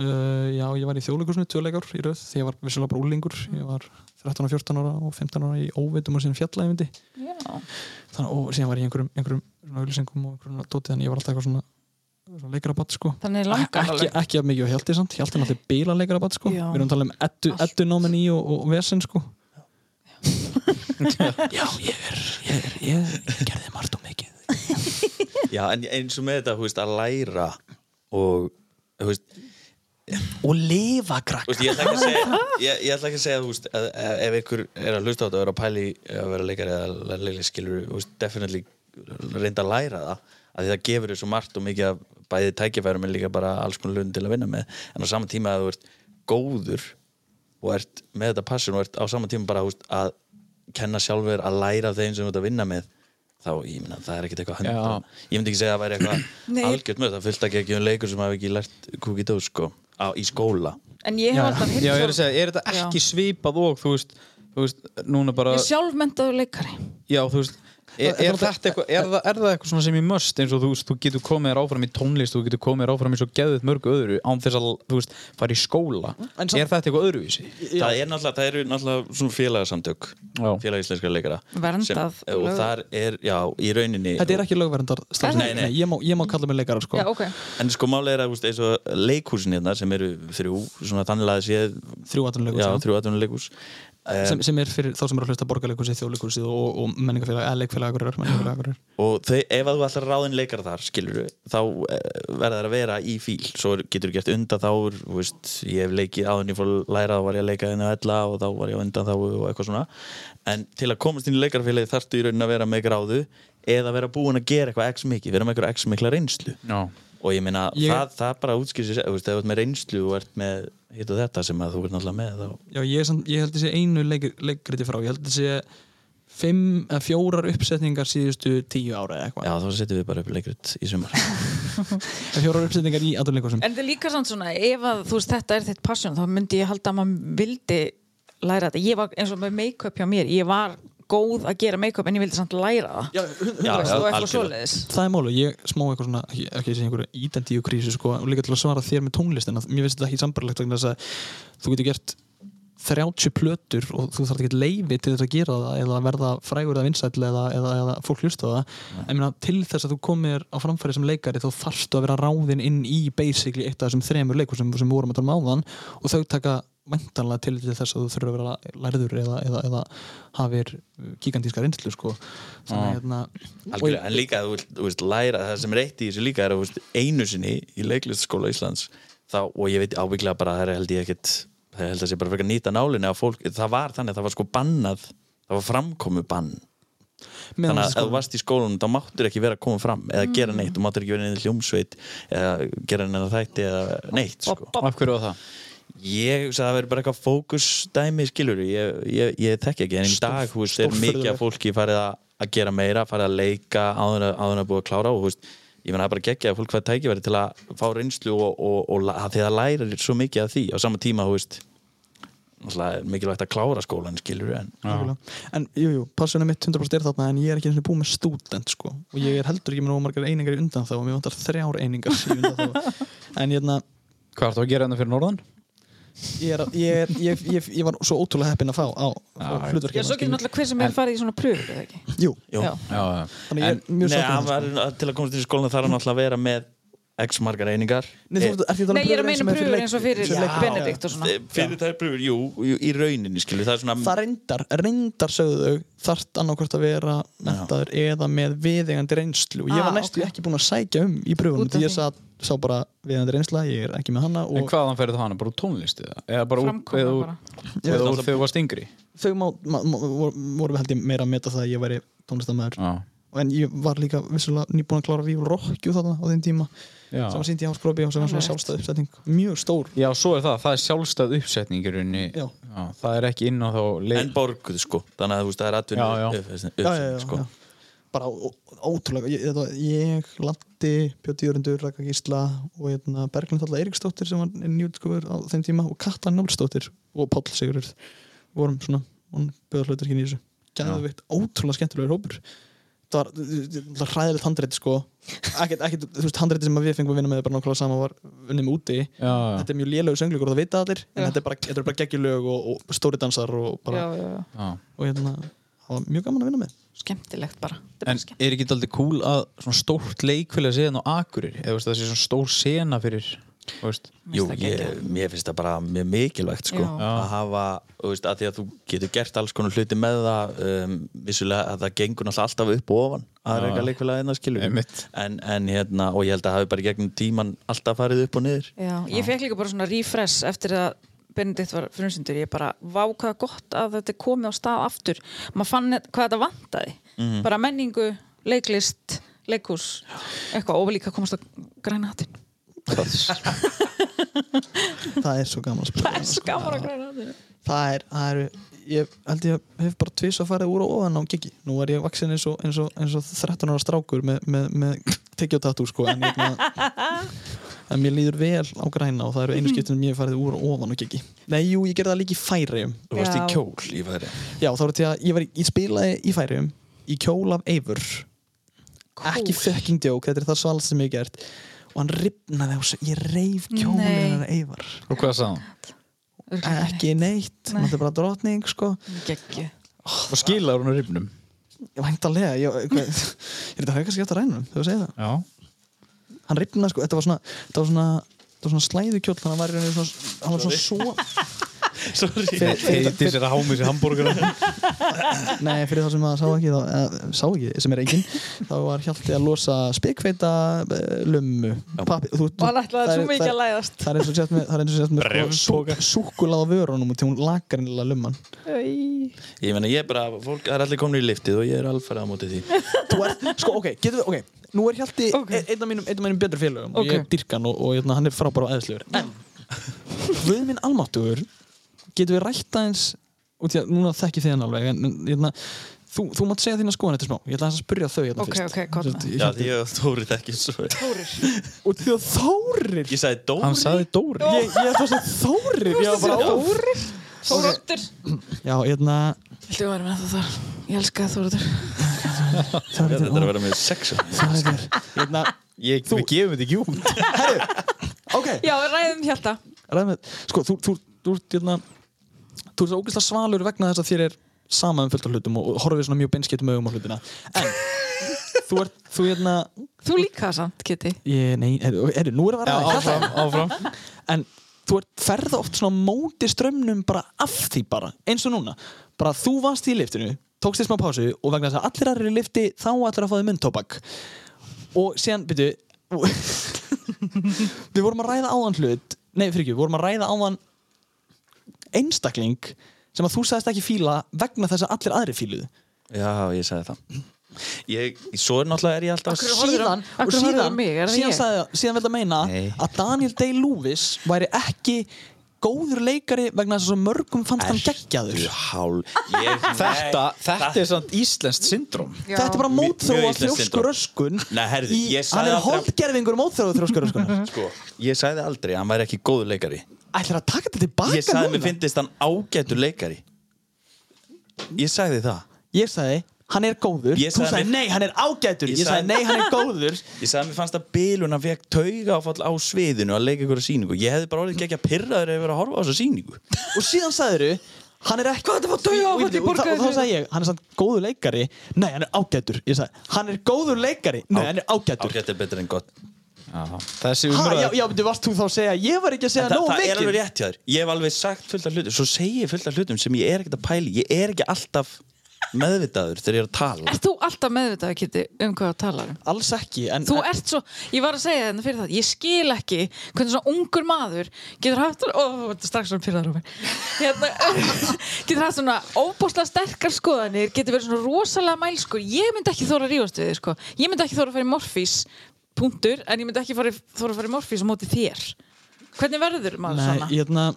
Speaker 4: uh, já, ég var í þjóðleikursinu tjóðleikar í röð, því ég var vissulega bara úlingur ég var 13, 14 ára og 15 ára í óveitum og síðan fjallægindi
Speaker 3: Já
Speaker 4: þannig, og síðan var ég í einhverjum, einhverjum svona auðlýsingum og einhverjum dótið en ég var alltaf eitthvað svona, svona leikarabatt sko
Speaker 3: Þannig langar
Speaker 4: ekki, ekki að mikið á Hjalti samt Hjalti er náttúrulega bíla leikarabatt sko
Speaker 3: Já.
Speaker 4: við erum að tala um eddu,
Speaker 3: Allt.
Speaker 4: eddu námen í og, og vesen sko já, ég er ég, er, ég gerði margt og mikið
Speaker 5: Já, en eins og með þetta, þú veist, að læra og, þú veist,
Speaker 4: og lifa krakk
Speaker 5: Þú veist, ég ætla ekki að segja, ég, ég ætla ekki að segja þú veist, að, að, ef ykkur er að hlusta á þetta og er að pæli að vera leikari eða leikari skilur, þú veist, definitely reynda að læra það, að það gefur þér svo margt og mikið af bæði tækifærum en líka bara alls konar lun til að vinna með en á sama tíma að þú ert góður og ert með þetta passion og ert á sama tíma bara þú veist, að kenna sjálfur að læra af þeim sem þú ert að vinna með þá, ég myndi það er ekkert eitthvað
Speaker 4: Já.
Speaker 5: hundra ég myndi ekki segja að það væri
Speaker 3: Nei.
Speaker 5: eitthvað algjört með það fyllt ekki ekki um leikur sem hafi ekki lært kúkið dós sko, á, í skóla
Speaker 3: en ég hef alltaf
Speaker 1: Já, ég er að segja, er þetta ekki svipað og þú veist, þú veist, núna bara
Speaker 3: Ég er sjálfmyndaður leikari
Speaker 1: Já, þú veist Er, er, þetta eitthvað, er, það, er það eitthvað svona sem ég möst eins og þú, veist, þú getur komið þér áfram í tónlist þú getur komið þér áfram í svo geðið mörgu öðru án þess að þú veist, fara í skóla
Speaker 4: En samt-
Speaker 1: er þetta eitthvað öðruvísi?
Speaker 5: það er náttúrulega, það eru náttúrulega svona félagsamtök
Speaker 1: Já.
Speaker 5: félag íslenskra leikara
Speaker 3: Verndað
Speaker 5: sem, og
Speaker 3: lög.
Speaker 5: þar er, já, í rauninni
Speaker 4: Þetta er ekki lögverndar starfsemi.
Speaker 5: Nei, nei.
Speaker 4: Ég, má, ég má kalla mig leikara sko.
Speaker 3: Já, ok
Speaker 5: en sko máli er að þú veist, eins og leikhúsin hérna sem eru þrjú, svona þannig að séð
Speaker 4: Þrjú atvinnuleikur
Speaker 5: já,
Speaker 4: saman.
Speaker 5: þrjú aðtunum leikhús
Speaker 4: sem, sem er fyrir þá sem eru að hlusta borgarleikursi, þjóðleikursi og, og menningafélag, eða leikfélagagurir menningafélagurir.
Speaker 5: og þau, ef að þú ætlar að ráðin leikar þar skilur þá eh, verða þær að vera í fíl svo er- getur þú gert undan þá veist, ég hef leikið áðun ég fór að læra þá var ég að leika inn á ella og þá var ég á undan þá og eitthvað svona en til að komast inn í leikarfélagi þarftu í raunin að vera með gráðu eða vera búin að gera eitthvað x mikið vera með eitthvað x mikla reynslu
Speaker 1: Já,
Speaker 5: og ég meina,
Speaker 4: Ég-
Speaker 5: það, það bara útskýr sér þú veist, ef þú ert með reynslu og ert með hitt og þetta sem að þú ert náttúrulega með þá
Speaker 4: Já, ég, er samt- ég held þessi einu leik, leikriti frá, ég held þessi fimm eða fjórar uppsetningar síðustu tíu ára eða eitthvað.
Speaker 5: já, þá setjum við bara upp leikrit í sumar
Speaker 4: Eða Fjórar uppsetningar í atvinnuleikursin.
Speaker 3: En þetta er líka samt svona, ef að, þú veist, þetta er þitt passion, þá myndi ég halda að maður vildi læra þetta. Ég var eins og með make-up hjá mér, ég var góð að gera make-up en ég vildi samt læra það.
Speaker 4: Já,
Speaker 5: já,
Speaker 3: Þú veist, og eitthvað
Speaker 5: algjörlega.
Speaker 3: svoleiðis.
Speaker 4: það er málu, ég smá eitthvað svona ekki, ekki sem einhverju ídentíu krísu sko og líka til að svara þér með tónlistina mér finnst þetta ekki sambarlegt vegna þess að þú getur gert 30 plötur og þú þarf ekki leifi til þess að gera það eða verða frægur eða vinsæll eða, eða, eða fólk hlusta á það en minna, til þess að þú komir á framfæri sem leikari þá þarfstu að vera ráðinn inn í basically eitt af þessum þremur leikur sem, sem við vorum að tala um áðan og þau taka væntanlega til til þess að þú þurfur að vera lærður eða, eða, eða hafir gigantíska reynslu sko þannig að hérna og ég-
Speaker 5: Algjörlega, en líka að þú vilt, þú vilt læra það sem reytti í þessu líka er að þú veist, einu sinni í leiklistaskóla Íslands þá, og ég veit ábygglega bara að það er held ég ekkit það held að sé bara fyrir að nýta nálinni að fólk, það var þannig að það var sko bannað það var framkomu bann
Speaker 4: meðan sko, þessi
Speaker 5: þannig að ef þú varst í skólanum þá máttur ekki vera að koma fram eða gera neitt, þú máttur ekki vera neina hljómsveit eða gera neina þætti eða neitt sko.
Speaker 1: af hverju var það?
Speaker 5: Ég hugsa að það verður bara eitthvað fókusdæmi skilur, ég, ég, ég tekki ekki en í dag, þú veist, er mikið af fólki farið að, að gera meira, farið að leika áður en- áður en að búið að klára og, þú veist, ég meina það er bara geggja að fólk fær tækifæri til að fá reynslu og, og, og, og því það lærir svo mikið af því á sama tíma, þú veist náttúrulega er mikilvægt að klára skólan skilur en
Speaker 4: Algjörlega. En jú, jú, passunum mitt 100% er þarna en ég er ekki einu sinni búið með stúdent sko og ég er heldur ekki með nógu margar einingar í undan þá og mér vantar þrjár einingar í undan en hérna,
Speaker 1: Hvað ertu að gera hérna fyrir norðan?
Speaker 4: ég, er, ég, er, ég, ég, ég var svo ótrúlega heppinn að fá á, á
Speaker 3: Já,
Speaker 4: hlutverkina
Speaker 3: svo getur náttúrulega hver sem er farið í svona pröfur, eða ekki?
Speaker 4: Jú,
Speaker 5: Jú.
Speaker 3: Já.
Speaker 1: Já, já
Speaker 4: þannig ég
Speaker 5: en,
Speaker 4: er mjög
Speaker 5: nei,
Speaker 4: sáttur með sko.
Speaker 5: hann
Speaker 4: það,
Speaker 5: var, til að komast inn í skólan þarf hann alltaf að vera með x margar einingar
Speaker 4: sko. Nei, þú ert- ert því að tala um
Speaker 3: Nei, ég er að
Speaker 4: pröfur eins
Speaker 3: meina
Speaker 4: og með fyrir
Speaker 3: pröfur
Speaker 4: leik-
Speaker 3: eins og fyrir
Speaker 4: fyrir leik-
Speaker 3: Benedikt og svona.
Speaker 5: Eh, fyrir þær pröfur, jú, jú, í rauninni skilur, það er svona
Speaker 4: Það reyndar, reyndar sögðu þau þart annarkvort að vera mentaður eða með viðegandi reynslu og ég
Speaker 3: Ah,
Speaker 4: var næstu
Speaker 3: ok.
Speaker 4: ekki búin að sækja um í pröfunum
Speaker 3: Út af
Speaker 4: því ég
Speaker 3: því.
Speaker 4: sá, sá bara viðegandi reynsla, ég er ekki með hana
Speaker 1: En
Speaker 4: og
Speaker 1: hvaðan ferði það hana? Bara úr tónlisti? Eða bara úr,
Speaker 3: Framkoma
Speaker 1: eða úr,
Speaker 3: bara.
Speaker 1: eða úr þegar þú varst yngri?
Speaker 4: þau má, má, má, vor- voru held ég meira að meta það að ég væri tónlistamæður
Speaker 1: Já,
Speaker 4: en ég var líka vissulega nýbúin að klára Víul Rokkju þarna á þeim tíma
Speaker 1: Já.
Speaker 4: sem var sínt í Háskóla og sem var svona sjálfstæð uppsetning mjög stór
Speaker 1: já svo er það, það er sjálfstæð uppsetning í rauninni
Speaker 4: Já.
Speaker 1: Það er ekki inn á þá leið
Speaker 5: en borguð sko þannig að þú veist það er atvinni
Speaker 1: Já, já.
Speaker 5: uppsetning,
Speaker 4: já, já, já,
Speaker 5: sko.
Speaker 4: já. bara ó- ótrúlega ég, þetta, var- ég Landi, Björn Jörundur, Raka Gísla og hérna, Berglind Alla Eiríksdóttir sem var nýjútskofur á þeim tíma og Katla Nársdóttir og Páll Sigurður vorum svona, hún bjöður hlutur í þessu gæðvikt, ótrúlega skemmtilegur hópur það var það var hræðilegt handrétt sko ekkert, ekkert, þú veist, handrétti sem að við fengum að vinna með bara nákvæmlega sama var unnum úti
Speaker 1: Já, já.
Speaker 4: þetta er mjög lélög sönglíkur og það vita allir en
Speaker 3: Já.
Speaker 4: þetta er bara, þetta er bara geggjulög og, og stóri dansar og bara,
Speaker 3: Já, já, já.
Speaker 1: Já.
Speaker 4: og hérna það var mjög gaman að vinna með
Speaker 3: Skemmtilegt bara. Þetta
Speaker 1: En
Speaker 3: er bara skemmt.
Speaker 1: er ekki alltaf cool að svona stórt leikfélag séðan á Akureyri eða þú veist, það sé svona stór sena fyrir Þú veist,
Speaker 5: Jú,
Speaker 3: það
Speaker 5: ég,
Speaker 3: geggjað.
Speaker 5: mér finnst það bara mjög mikilvægt sko,
Speaker 3: Já.
Speaker 5: að hafa, þú veist, að því að þú getur gert alls konar hluti með það um, vissulega að það gengur náttúrulega alltaf upp og ofan að reyka leikfélag einna skilur
Speaker 1: Einmitt.
Speaker 5: en, en hérna, og ég held að hafi bara í gegnum tíman alltaf farið upp og niður
Speaker 3: Já, ég fekk líka bara svona refresh eftir að Benedikt var frumsyndur, ég bara vákaða gott að þetta er komið á stað aftur maður fann net- hvað þetta vantaði bara menningu, leiklist leikhús, eitthvað og líka komast að græna hattinn
Speaker 4: það er svo gaman að spila
Speaker 3: það er
Speaker 4: sko.
Speaker 3: skamar að græna hattinn
Speaker 4: það er, það er ég held ég hef bara tvís að fara úr og ofan á gigi nú er ég vaksin eins og, eins og, eins og 13 ára strákur með, með, með tekjótatú sko en, hérna, en mér líður vel á græna og það eru einu skiptin sem ég hef farið úr og ofan á gigi nei jú, ég gerði það líka í færiðum
Speaker 5: Þú varst í
Speaker 3: Já.
Speaker 5: kjól í færi
Speaker 4: já þá er þetta að ég, var, í- ég spilaði í færiðum í kjól af Eivur ekki fucking djók, þetta er það svalast sem ég hef gert og hann ripnaði á sig, ég reif kjólinu
Speaker 3: Nei.
Speaker 4: hennar Eivur
Speaker 1: og hvað sá hann?
Speaker 4: ekki neitt,
Speaker 3: Nei.
Speaker 4: Nei. þetta er bara drotning sko
Speaker 3: geggju
Speaker 1: Og skilar hún á rifnum
Speaker 4: væntalega ég, ég, ég, ég er þetta hefði kannski eftir rænum þegar þú segir það
Speaker 1: Já,
Speaker 4: hann ripnaði sko, þetta var svona þetta var svona, þetta var svona slæðukjóll hann var í rauninni svona, hann var svona svo Fyrir- fyrir-
Speaker 1: heiti sér að hámi sér hambúrgar
Speaker 4: nei, fyrir þá sem að sá ekki þá, eða, sá ekki, sem er engin þá var Hjalti að losa spekveita lummu Papi, þú, þú,
Speaker 3: og hann ætlaði
Speaker 4: það er-
Speaker 3: svo mikið
Speaker 4: það er-
Speaker 3: að læðast
Speaker 4: það er eins og sett með, það er eins og sett með sko, súkulað á vörunum og til hún lakar innlega lumman
Speaker 5: Ég meina, ég bara, fólk, það er allir komin í liftið og ég er alfarið á móti því
Speaker 4: þú er, sko, ok, getum við, ok nú er Hjalti okay. einn af mínum, einn af mínum betur félögum og ég
Speaker 3: Ok.
Speaker 4: dyrka hann og, og hérna, hann er frábæra og aðeinslegur en Guð minn almáttugur getum við rætt aðeins og því að núna þekki þið hann alveg en hérna, þú, þú mátt segja þína skoðan eftir smá ég ætla aðeins að spyrja þau hérna
Speaker 3: Ok,
Speaker 4: fyrst
Speaker 3: ok, hvað með?
Speaker 4: Sem sagt,
Speaker 5: Já, því ég þórið ekki svo
Speaker 4: og því að Þórir
Speaker 5: Ég sagði Dóri
Speaker 1: Hann sagði Dóri
Speaker 4: ég, ég þess að Þórir ég var bara, ó,
Speaker 3: Þórir Þóróttur
Speaker 4: já, hérna
Speaker 3: Viltu vera með það þar? Ég elska Þóróttur
Speaker 5: Þetta
Speaker 4: Þórir,
Speaker 5: er að vera með sexa
Speaker 4: Þórir hérna,
Speaker 1: ég, Við gefum þetta ekki út
Speaker 4: ok,
Speaker 3: Já, ræðum hjarta
Speaker 4: ræðum við sko, þú, þú, þú, þú, hérna, þú ert ógeðslega svalur vegna þess að þér er sama um fullt af hlutum og og horfir svona mjög beinskiptum augum á hlutina en þú ert, þú hérna
Speaker 3: Þú líka samt, Kitty
Speaker 4: ég, nei, heyrðu, heyrðu, nú er að vera aðeins,
Speaker 1: Áfram, áfram
Speaker 4: hérna. en þú ert ferða oft svona á móti strömmnum bara af því bara, eins og núna bara þú varst í liftinu, tókst þér smá pásu og vegna þess að allir aðrir í lifti þá allir að fá þið myndtóbak og síðan, byrju við vorum að ræða áðan hlut nei, fyrir ekki, við vorum að ræða áðan einstakling sem að þú sagðist ekki fíla vegna þess að allir aðri fíluðu
Speaker 5: Já, ég sagði það ég, Svo er náttúrulega er ég alltaf
Speaker 3: Akkur-
Speaker 5: að
Speaker 3: horfðir á-
Speaker 4: síðan,
Speaker 3: af hverju
Speaker 4: og
Speaker 3: horfðir á
Speaker 4: síðan,
Speaker 3: mig? Er það
Speaker 4: síðan,
Speaker 3: ég?
Speaker 4: sagði, síðan vil það meina
Speaker 5: Nei.
Speaker 4: að Daniel Day-Lewis væri ekki góður leikari vegna þess að svo mörgum fannst hann geggjaður
Speaker 5: hál ég,
Speaker 1: Þetta, þetta er samt íslenskt syndrom
Speaker 4: þetta er bara
Speaker 5: Mjög
Speaker 4: mótþróa
Speaker 5: íslenskt syndrom.
Speaker 4: þrjóskur öskun
Speaker 5: Nei, herðu,
Speaker 4: í,
Speaker 5: ég sagði
Speaker 4: hann er
Speaker 5: aldrei-
Speaker 4: holdgerfingur mótþróa þrjóskur öskunar
Speaker 5: sko, ég sagði aldrei að hann væri ekki góður leikari
Speaker 4: ætlar að taka þetta tilbaka
Speaker 5: Ég sagði að
Speaker 4: núna
Speaker 5: mér fyndist hann ágætur leikari Ég sagði það
Speaker 4: ég sagði, hann er góður
Speaker 5: Ég
Speaker 4: þú
Speaker 5: sagði-
Speaker 4: sagði, nei, hann er ágætur
Speaker 5: Ég
Speaker 4: ég sagði,
Speaker 5: sagði-
Speaker 4: nei, hann er góður
Speaker 5: Ég sagði að mér fannst að bilun hann fekk tauga áfall á sviðinu að leika ykkur sýningu Ég hefði bara orðið ekki að pyrraður ef ég verið að horfa á þessa sýningu
Speaker 4: og síðan sagðiru hann er ekki og,
Speaker 3: dauðaáfall
Speaker 4: og,
Speaker 3: í
Speaker 4: og, og,
Speaker 3: borgarinu?
Speaker 4: þá sagði ég, hann er samt góður leikari nei, hann er ágætur ég sagði, hann er góður leikari nei, hann er ágætur
Speaker 5: Ágætt er betur en gott
Speaker 1: Þessi
Speaker 4: ha, já,
Speaker 1: umræð
Speaker 4: já, betur, varst þú þá að segja ég var ekki að segja
Speaker 5: Þa,
Speaker 4: nógu
Speaker 5: það er
Speaker 4: mikið
Speaker 5: alveg rétt hjá þér Ég hef alveg sagt fullt af hlutum Svo segi ég fullt af hlutum sem ég er ekkert að pæli Ég er ekki alltaf meðvitaður þegar ég er að tala
Speaker 3: Ert þú alltaf meðvitað, Kitty, um hvað það talar um?
Speaker 4: alls ekki, en,
Speaker 3: Þú ert svo, ég var að segja þetta fyrir það, ég skil ekki hvernig svona ungur maður getur haft, ó, þetta er strax svona pyrraður á mér, hérna, getur haft svona óbúslega sterkar skoðanir, getur verið svona rosalega mælskur, ég myndi ekki þóra að rífast við þig, sko, ég myndi ekki þóra að fara í morfís, punktur, en ég myndi ekki fara, í- þóra að fara í morfís á móti þér. Hvernig verður maður
Speaker 4: nei,
Speaker 3: svona?
Speaker 4: ég hérna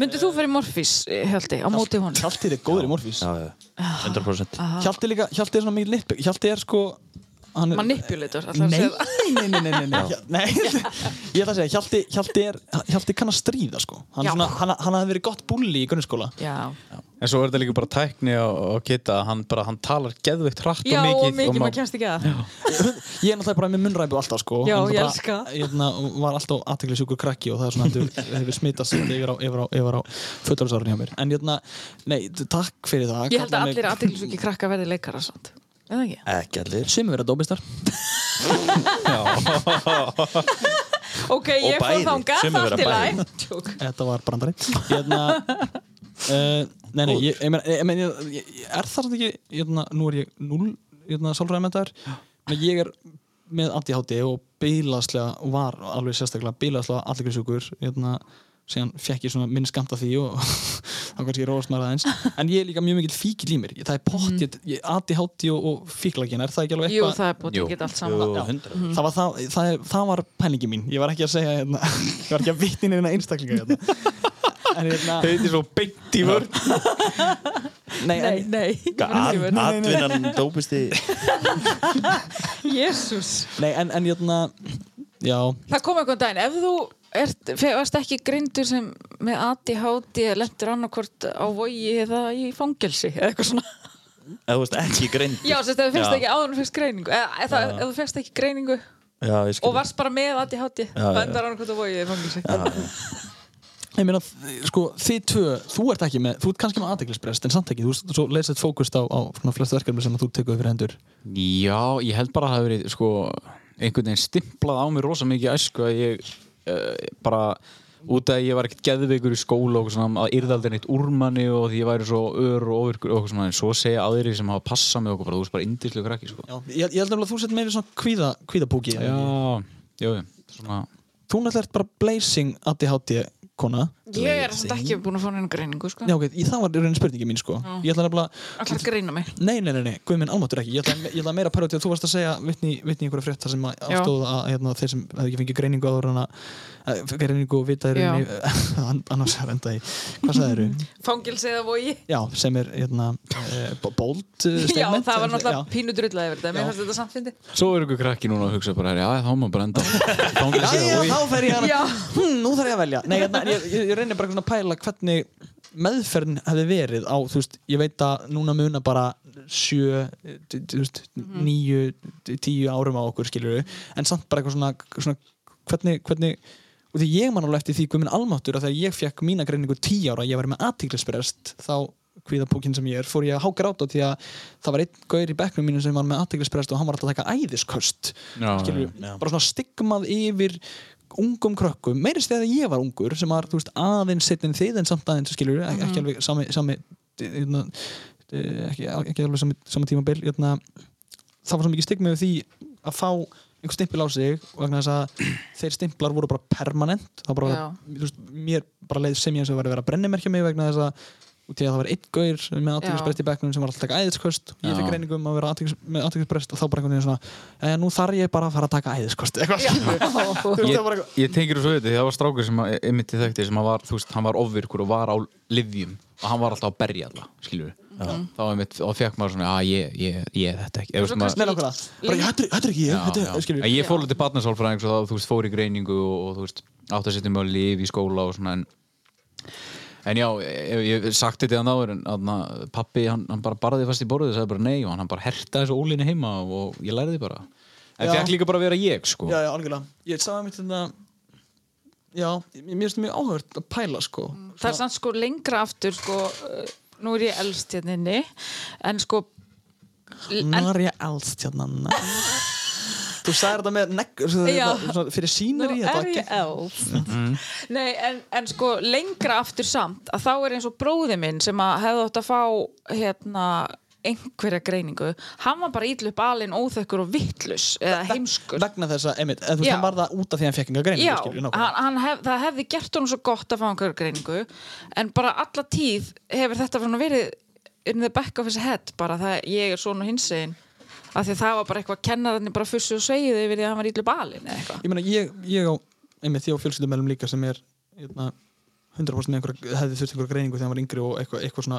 Speaker 3: Myndið þú fara í morfís, Hjaldi, á móti honum?
Speaker 4: Hjaltið er góður í morfís
Speaker 5: Já, já,
Speaker 3: Ah.
Speaker 5: 100%
Speaker 4: Hjaltið líka, Hjaltið er svona mikið nipp Hjaltið er sko hann er,
Speaker 3: Manipulator, alltaf að
Speaker 4: Nei,
Speaker 3: segja það.
Speaker 4: nei, nei, nei, nei, nei. Hjal- nei. Ég ætla að segja, Hjalti, Hjalti, er, Hjalti kann að stríða sko. hann,
Speaker 3: Já.
Speaker 4: svona, hann, hann hafði verið gott búli í grunnskóla
Speaker 3: Já,
Speaker 1: En svo er þetta líka bara tækni á, á Kitta Hann bara, hann talar geðveikt hratt
Speaker 3: já
Speaker 1: og mikið
Speaker 3: og mikið
Speaker 1: má-
Speaker 3: maður kemst ekki að.
Speaker 4: Ég er náttúrulega bara með munnræpu alltaf sko
Speaker 3: Já,
Speaker 4: náttúrulega
Speaker 3: ég
Speaker 4: bara-
Speaker 3: elska það.
Speaker 4: Hérna var alltaf aðtekli sjúkur krakki og það er svona heldur hefur smitast svolítið yfir á, yfir á, yfir á fullorðsárun hjá mér En hérna, nei, t- takk fyrir það
Speaker 3: Ég held að allir aðeinsviki krakka verði leikara samt. Eða ekki?
Speaker 5: Ekki allir
Speaker 4: Sumir vera dóbistar
Speaker 3: ok, ég fór
Speaker 5: Og bæði,
Speaker 3: þangað,
Speaker 5: sumir
Speaker 3: allt
Speaker 5: vera
Speaker 3: í
Speaker 5: bæði.
Speaker 3: læg Tjók.
Speaker 4: Þetta var brandari Hérna uh, Nei, nei, ég, ég, meina- ég, meina, ég, ég, ég er það samt ekki hérna, Nú er ég núl hérna, sálfræðimentaður Men ég er með ADHD og bílaslega var alveg sérstaklega bílaslega allikrisjúkur hérna, síðan fekk ég svona minn skamta því og þá kannski róast maður aðeins en ég er líka mjög mikill fíkil í mér ég, það er pottið, ég, ADHD og, og fíklagina er það ekki alveg
Speaker 3: Jú,
Speaker 4: eitthvað
Speaker 3: það er búin
Speaker 1: Jú.
Speaker 3: að geta allt
Speaker 5: Jú,
Speaker 3: saman
Speaker 5: hundra.
Speaker 3: Mm.
Speaker 4: það var, það, það, er- það var pælingi mín ég var ekki að segja hérna, ég var ekki að vitni neina einstaklinga hérna. en hérna
Speaker 5: Þetta er svo beint í vörn
Speaker 4: nei, en,
Speaker 3: Nei, nei,
Speaker 5: Að-
Speaker 3: nei
Speaker 5: Atvinnan dópisti
Speaker 3: Jésús
Speaker 4: nei, en, en hérna já,
Speaker 3: Það kom eitthvað daginn, ef þú ert, fe- varst ekki grindur sem með ADHD eða lentur annarkvort á vogi eða í fangelsi eða eitthvað svona
Speaker 5: Eða þú veist ekki greint
Speaker 3: Já, sem sagt, ef þú fyrst ekki áður en fyrst greiningu eða, eða ef þú fyrst ekki greiningu
Speaker 5: Já, ég skil
Speaker 3: og varst bara með ADHD
Speaker 5: já,
Speaker 3: og endar annarkvort á vogi eða í fangelsi
Speaker 4: ég meina sko, þið tvö, þú ert ekki með þú ert kannski með aðdeglisbrest, en samt ekki þú veist, svo leysið fókust á, á svona flest verkefni sem að þú tekur fyrir hendur
Speaker 1: Já, ég held bara að það hafi verið sko, einhvern veginn stimplað á mig rosa mikið í æsku að ég uh, bara út af að ég var ekkert geðveikur í skóla og eitthvað svona, að yrða aldrei neitt úrmanni og því ég væri svo ör og ofirkur og eitthvað svona, en svo segja aðrir sem hafa passað með okkur bara, þú veist bara indislu krakki sko.
Speaker 4: já, ég, ég held nefnilega að þú sett meiri svona kvíða, kvíðapúki
Speaker 1: Já, já, já, svona
Speaker 4: þú náttúrulega ert bara blazing ADHD kona
Speaker 3: Ég er samt ekki búin að fá neina greiningu sko.
Speaker 4: já, ok, í- það var í rauninni spurningi mín sko. ég ætla nefnilega
Speaker 3: Allar að greina mig
Speaker 4: Nei, nei, nei, nei, guð minn almáttur ekki Ég ætla, ég ætla meira að pæla út í að þú varst að segja vitni, vitni í einhverja frétt þar sem að
Speaker 3: Já.
Speaker 4: afstóð að hérna, þeir sem hefði ekki fengið greiningu áður en að eh, greiningu og vita
Speaker 3: Já.
Speaker 4: þeir annars er enda í hvað sagði þeir
Speaker 3: Fangelsi eða vogi
Speaker 4: Já, sem er hérna, eh, b- bold eh,
Speaker 3: Já,
Speaker 4: statement
Speaker 3: það var
Speaker 4: en-
Speaker 3: náttúrulega
Speaker 4: já.
Speaker 3: pínu drulla yfir þetta Mér fannst þetta samt fyndi
Speaker 1: Svo er ykkur krakki núna að hugsa bara, já, þá má bara enda Fangelsi
Speaker 4: Jæja,
Speaker 1: eða vogi.
Speaker 4: þá fer ég hana
Speaker 3: Já.
Speaker 4: hmm, Nú þarf ég að velja Nei, hérna, ég, ég, ég reynir bara svona að pæla hvernig meðferðin hefði verið á, þú veist, ég veit að núna muna bara sjö, eh, t- t- þú veist, níu, t- tíu árum á okkur skilur en samt bara eitthvað svona, svona hvernig, hvernig og því ég man alveg eftir því guðminn almáttur að þegar ég fekk mína greiningu tíu ára, ég var með aðtiklisbrest þá kvíðapúkinn sem ég er, fór ég að háka ráta því að það var einn gaur í bekknum mínu sem var með aðtiklisbrest og hann var alltaf að taka æðisköst
Speaker 1: Já,
Speaker 4: skilur,
Speaker 1: já.
Speaker 4: bara svona stigmað yfir ungum krökkum, meirist þegar ég var ungur sem var, þú veist, aðeins sitt en þið en samt aðeins, skilur, mm ekki
Speaker 1: Mhm.
Speaker 4: alveg sami, sami hérna, eh, ekki, ekki alveg sami, sami tímabil hérna, það var svo mikið stigmað yfir því að fá einhver stimpil á sig vegna þess að þeir stimplar voru bara permanent, það bara,
Speaker 3: Já.
Speaker 4: þú veist, mér bara leið sem ég eins og var að vera að brennimerkja mig vegna þess að og því að það var einn gaur með aðtökisbreytti í bekknum sem var alltaf að taka æðiskost ég fekk
Speaker 1: Já.
Speaker 4: reyningu um að vera athyglis- með aðtökisbreytt og þá bara einhvern veginn svona e, nú þarf ég bara að fara að taka æðiskost eitthvað Þú veist, það var
Speaker 1: ég, ég tengir þessu auðvitað því það var strákur sem að- einmitt ég þekkti sem að var, þú veist, hann var ofvirkur og var á livjum og hann var alltaf að berja alla, skilur við þá einmitt, og fekk maður svona, að ég, ég, ég er þetta ekki eða,
Speaker 3: svo
Speaker 1: veist, maður,
Speaker 4: Nei, nákvæmlega. Bara, "Já, þetta er- þetta er ekki ég, þetta
Speaker 1: já,
Speaker 4: er,
Speaker 1: já.
Speaker 4: skilur
Speaker 1: En ég fór litið barnasálfræðing svo þá, þú veist, fór í greiningu og, og þú veist, átt að setja mig á liv í skóla og svona en, en já, ég, ég hef sagt þetta hann áður en aðna, pappi, hann, hann bara barði fast í borðið sagði bara nei og hann, hann bara hertaði þessu ólinni heima og ég læriði bara en
Speaker 4: Já.
Speaker 1: fekk líka bara að vera ég, sko
Speaker 4: já, já, algjörlega ég sagði mitt þetta já, mér finnst mjög áhört að pæla sko
Speaker 3: það er samt sko lengra aftur sko, uh, nú er ég elst hérna inni en sko en,
Speaker 4: nú er ég elst hérna na. þú sagði þetta með negg, svona,
Speaker 3: Já.
Speaker 4: svona, fyrir
Speaker 3: nú
Speaker 4: sínur í
Speaker 3: er ég elst
Speaker 4: Mm.
Speaker 3: Nei, en, en sko lengra aftur samt að þá er eins og bróði minn sem að hefði átt að fá hérna einhverja greiningu hann var bara ítlu upp alinn óþökkur og vittlus eða heimskur
Speaker 4: vegna þess að, einmitt, en þú veist,
Speaker 3: Já.
Speaker 4: hann var það út af því að hann fekk enga grein
Speaker 3: Já, hann, hann hef, það hefði gert honum svo gott að fá einhverja greiningu en bara alla tíð hefur þetta svona verið in the back of his head bara það ég er svona hinsegin af því að það var bara eitthvað kennararnir bara fussu og segið yfir því að hann var ítlu balin eða eitthvað
Speaker 4: ég meina ég, ég á einmitt því á fjölskyldumælum líka sem er hérna, 100% með einhverja, hefði þurft einhverja greiningu þegar hann var yngri og eitthvað, eitthvað svona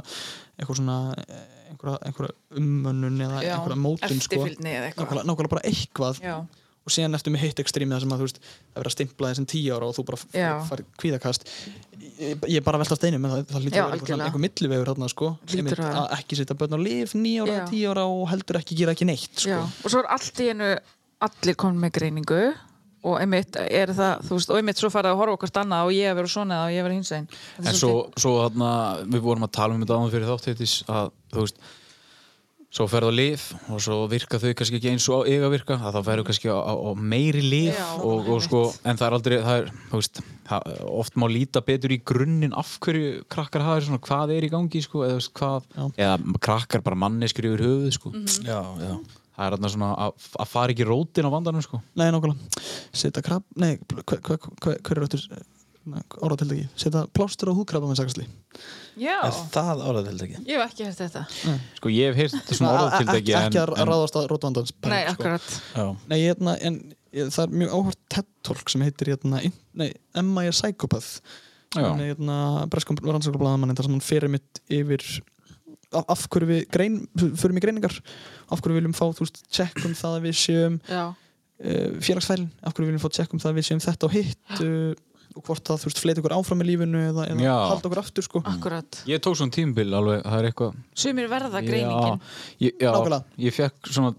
Speaker 4: eitthvað svona eh, einhverja, einhverja ummönnun eða
Speaker 3: Já,
Speaker 4: einhverja mótun sko.
Speaker 3: eftirfylgni eða eitthvað.
Speaker 4: nákvæmlega, nákvæmlega bara eitthvað
Speaker 3: Já.
Speaker 4: og síðan ertu með heitt ekstrími það sem að þú veist það verður að stimpla þessum tíu ára og þú bara
Speaker 3: Já.
Speaker 4: f- farið kvíðakast ég, ég er bara að velta steinu með það, það lítur
Speaker 3: Já,
Speaker 4: að vera einhver,
Speaker 3: algjörlega.
Speaker 4: einhver millivegur þarna sko
Speaker 3: Hlýtur
Speaker 4: Einmitt,
Speaker 3: að vera.
Speaker 4: að ekki setja börn á lif nýja ára,
Speaker 3: Já.
Speaker 4: tíu ára og heldur ekki gera ekki neitt sko.
Speaker 3: Já, og svo er allt í einu allir komin með greiningu og einmitt er það, þú veist, og einmitt svo farið að horfa okkur annað og ég að vera svona eða ég að vera hinsegin
Speaker 1: En svo, svo þarna, við vorum að tala um þetta áðan fyrir þátt heitis að, þú veist svo ferðu á lif og svo virka þau kannski ekki eins og á eiga að virka að þá ferðu kannski á, á, á meiri lif
Speaker 3: Já,
Speaker 1: og, og sko, en það er aldrei það er, þú veist, það, oft má líta betur í grunninn af hverju krakkar hafa svona, hvað er í gangi sko, eða, þú veist, hvað, eða krakkar bara manneskur yfir höfuð sko.
Speaker 5: já, já
Speaker 1: það er þarna svona að, að fara ekki rótin á vandanum sko.
Speaker 4: Nei, nákvæmlega. Setja krab... Nei, hver, hver, hver, hver er öttur orðatildegi? Setja plástur á húðkrabba með saksli.
Speaker 3: Já,
Speaker 5: er það áraðhildagi
Speaker 3: ég hef ekki hægt þetta
Speaker 1: sko ég hef heyrt þetta svona orðatildegi
Speaker 4: Ekki
Speaker 1: en,
Speaker 4: að
Speaker 1: en,
Speaker 4: ráðast að rótvandans.
Speaker 3: Nei, akkurat
Speaker 4: Nei, hérna, en ég, það er mjög áhört TED-talk sem heitir, hérna, in- nei, Emma er psychopath.
Speaker 1: Já.
Speaker 4: Hún er, hérna, breskum rannsóknarblaðamann, þar sem hún fyrir mitt yfir af, af hverju við grein, fyrir mig greiningar, af hverju við viljum fá, þú veist, check um það að við séum
Speaker 3: Já,
Speaker 4: uh, félagsfælin, af hverju við viljum fá tjekk um það að við séum þetta og hitt uh, og hvort það þú veist fleit okkur áfram í lífinu eða,
Speaker 1: Já.
Speaker 4: eða halda okkur aftur sko
Speaker 3: akkurat
Speaker 1: ég tók svona tímbil alveg, það er eitthvað
Speaker 3: Sumir verða greiningin
Speaker 1: Já, ég, já,
Speaker 4: Nákvæmlega.
Speaker 1: ég fekk svona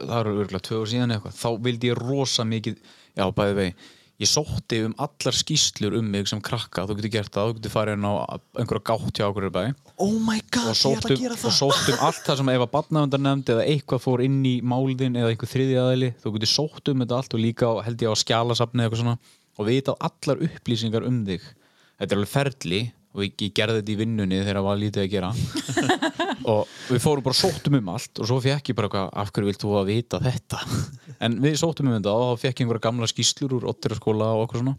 Speaker 1: það eru örgulega tvö og síðan eitthvað þá vildi ég rosa mikið já, bæði vegi, ég sótti um allar skýslur um mig sem krakka, þú getur gert það þú getur farið inn á einhverja gátt hjá okkur bæði
Speaker 4: Oh my god,
Speaker 1: og
Speaker 4: ég ætla
Speaker 1: sóttum,
Speaker 4: að gera
Speaker 1: og
Speaker 4: það
Speaker 1: sóttum allt það sem ef að barnavendar nefnd eða eitthvað fór inn í málðin eða einhver þriði aðeili, þú getur sótt um þetta allt og líka á- held ég á skjálasafni eða eitthvað svona og vita á allar upplýsingar um þig þetta er alveg ferli og ég, ég gerði þetta í vinnunni þegar það var lítið að gera og við fórum bara og sóttum um allt og svo fekk ég bara eitthvað, af hverju vilt þú að vita þetta en við sóttum um þetta og þá fekk ég einhverja gamla skýslur úr ottiraskóla og okkur svona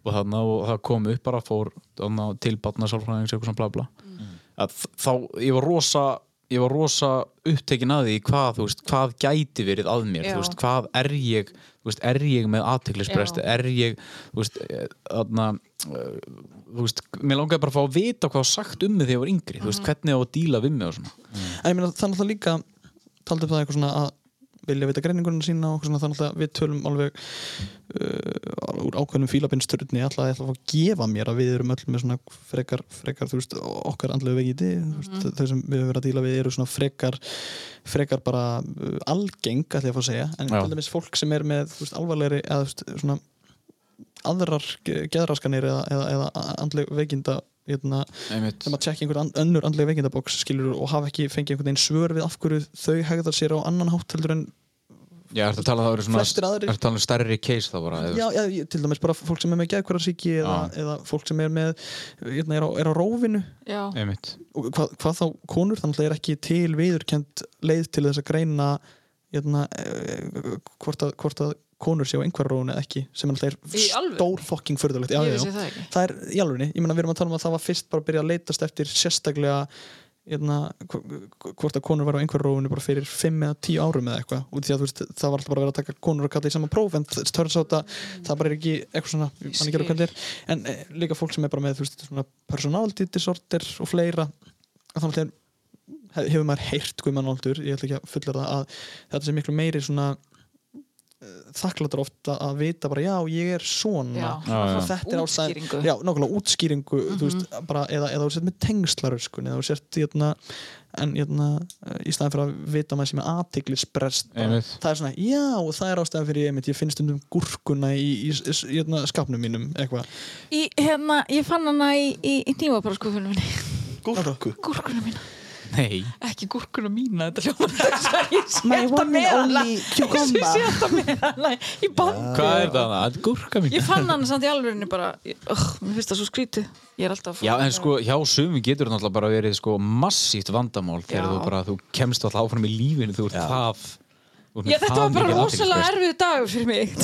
Speaker 1: og þannig að það kom upp bara fór þarna til barnasálfræðings eitthvað svona bla bla að þ- þá ég var rosa ég var rosa upptekin að því hvað, þú veist, hvað gæti verið að mér
Speaker 3: Já.
Speaker 1: þú veist, hvað er ég þú veist, er ég með aðteglisbrest
Speaker 3: Já.
Speaker 1: er ég þú veist, eh, þarna, eh, þú veist, mér langaði bara að fá að vita hvað var sagt um mig þegar ég var yngri
Speaker 4: Mhm.
Speaker 1: þú veist, hvernig það var að díla við mig og svona
Speaker 4: En ég meina þannig að líka taldi upp það eitthvað svona að vilja vita greiningurinn sína og eitthvað svona þannig að við tölum alveg uh, úr ákveðnum fílabinsturni alltaf að ég ætla að fá að gefa mér að við erum öll með svona frekar, frekar þú veist, okkar andlegu veikindi mm -hmm. þau sem við höfum verið að díla við eru svona frekar frekar bara uh, algeng ætla ég að fá að segja, en
Speaker 1: Já.
Speaker 4: til dæmis fólk sem er með þú veist, alvarlegri eða þú veist, svona aðrar geðraskanir eða, eða, eða andleg veikinda hérna,
Speaker 1: Einmitt.
Speaker 4: sem að tjekka einhver an- önnur andlega veikindaboks skilur og hafa ekki fengið einhvern veginn svör við af hverju þau hegðar sér á annan hátt heldur en
Speaker 1: Já, ertu að tala, um það eru svona,
Speaker 4: Flestir aðrir-
Speaker 1: ertu að tala um stærri case þá bara eða-
Speaker 4: já, já, ég- til dæmis bara fólk sem er með geðkvarðarsíki eða, eða fólk sem er með hérna, er, á, er á rófinu
Speaker 3: Já,
Speaker 1: Einmitt,
Speaker 4: og hvað, hvað þá konur þannig að það er ekki til viðurkend leið til þess að greina hérna, eh, hvort, að, hvort að konur séu einhver rófinu eða ekki sem alltaf er
Speaker 3: Í alvöru?
Speaker 4: stór fokking fyrðulegt
Speaker 3: ég vissi það ekki
Speaker 4: það er í alvegni, ég meina við erum að tala um að það var fyrst bara að byrja að leitast eftir sérstaklega hérna, hv- hvort að konur var á einhverju rófinu bara fyrir 5 eða 10 árum eða eitthvað út því að þú veist, það var alltaf bara að vera að taka konur og kalla í sama próf en það törns á þetta, það bara er ekki eitthvað svona, ég man ekki alveg hvað þetta er en e, líka fólk sem er bara með, þú veist, svona personality disorder og fleira að þannig að hefur maður heyrt guðmannaldur, ég ætla ekki að fullera það að þetta sé miklu meiri svona þakkláttur ofta að vita bara já, ég er svona
Speaker 3: Já,
Speaker 1: Já,
Speaker 4: og
Speaker 1: já.
Speaker 4: þetta er ástæðin
Speaker 3: Útskýringu. Mhm.
Speaker 4: já, nákvæmlega útskýringu þú veist, bara, eða, eða þú sért með tengslaröskun eða þú sért hérna, en hérna, eh, í staðan fyrir að vita maður sem er aðtiklisbrest bara,
Speaker 1: Einmitt.
Speaker 4: það er svona, já, og það er ástæðan fyrir ég, einmitt, ég finnst stundum gúrkuna í, í, í, í hérna, skapnum mínum eitthvað
Speaker 3: Í, hérna, ég fann hana í, í, í nývaparaskufunum minni
Speaker 5: gúrku
Speaker 3: Gúrkuna mína,
Speaker 1: nei
Speaker 3: ekki gúrkuna mína Þetta hljóma Ég sé þetta
Speaker 4: one
Speaker 3: með
Speaker 4: and
Speaker 3: hana
Speaker 4: only
Speaker 3: Ég sé
Speaker 4: cucumber.
Speaker 3: þetta með hana Ég bandi
Speaker 1: Hvað er það? Það er gúrka mín
Speaker 3: Ég fann hana samt í alvörinni bara ég- Ugh, Mér finnst það svo skrítið Ég er alltaf að fá-
Speaker 1: Já, en sko, hjá sumum getur það náttúrulega bara verið sko massíft vandamál þegar
Speaker 3: Já.
Speaker 1: þú bara, þú kemst alltaf áfram í lífinu þú ert það þú ert með
Speaker 3: Já, þetta
Speaker 1: það
Speaker 3: var bara
Speaker 1: mikið
Speaker 3: rosalega
Speaker 1: athyglisbrest.
Speaker 3: erfið dagur fyrir mig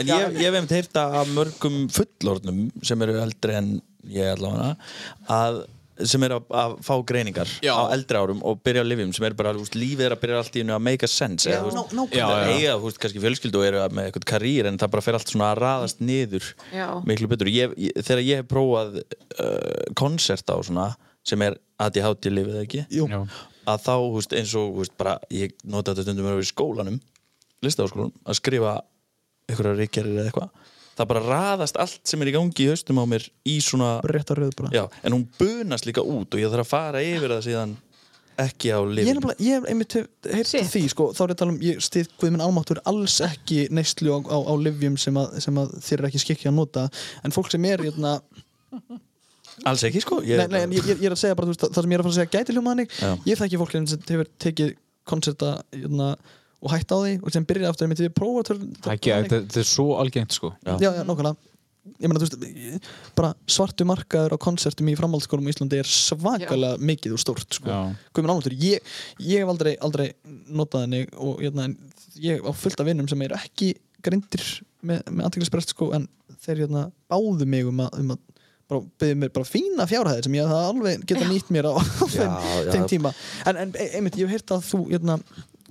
Speaker 5: En ég, ég hef einmitt heyrta af mörgum fullornum sem eru eldri en ég allavega að sem eru að, að fá greiningar
Speaker 1: Já.
Speaker 5: á eldri árum og byrja á lifjum sem eru bara, þú veist, lífið er að byrja allt í hennu að make a sense eða, þú veist,
Speaker 1: Já,
Speaker 5: það
Speaker 1: já.
Speaker 5: eiga, þú veist, kannski fjölskyldu og eru að- með eitthvað karýr en það bara fer allt svona að raðast niður
Speaker 3: Já.
Speaker 5: miklu betur ég, ég, þegar ég hef prófað uh, konsert á svona sem er ADHD lifið ekki
Speaker 4: Jú.
Speaker 1: Já.
Speaker 5: að þá, þú veist, eins og þú veist, bara, ég nota þetta stundum að vera í skólanum listaháskólanum, að skrifa einhverja reykjarir eða eitthvað það bara raðast allt sem er í gangi í haustum á mér í svona,
Speaker 4: rétt að rauð bara
Speaker 5: já, en hún bunast líka út og ég þarf að fara yfir það síðan ekki á
Speaker 4: Ég
Speaker 5: lifin
Speaker 4: er nefnilega, ég hef einmitt heyrt
Speaker 3: Shit.
Speaker 4: því sko, þá er ég að tala um, ég stið Guðminn Almáttur alls ekki neyslu á, á, á livjum sem að, sem að þér er ekki skikki að nota en fólk sem er hérna
Speaker 5: alls ekki sko ég,
Speaker 4: Nei, nei, en ég, ég ég er að segja bara, þú veist, það- það sem ég er að fara að segja gæti hljóma þannig,
Speaker 5: Já.
Speaker 4: ég þekki fólk hérna sem hefur tekið koncerta hérna, og hætt á því og sem byrja aftur með því að prófa tör,
Speaker 1: Það er ekki, þetta þetta er svo algengt sko
Speaker 5: Já.
Speaker 4: já, já, nákvæmlega ég meina, þú veist, ég- bara svartu markaður á konsertum í framhaldsskólum í Íslandi er svakalega mikið og stórt sko.
Speaker 1: Já.
Speaker 4: Guðmund Ánaldur, ég, ég hef aldrei, aldrei notað henni og hérna, en ég á fullt af vinnum sem eru ekki grindir með, með aðtiklisbrest sko, en þeir hérna, báðu mig um að, um að bara, byggðu mér bara fína fjárhæðir sem ég hafði alveg geta nýtt mér á, á þeim,
Speaker 5: já.
Speaker 4: þeim tíma en, en e- einmitt, ég hef heyrt að þú hérna,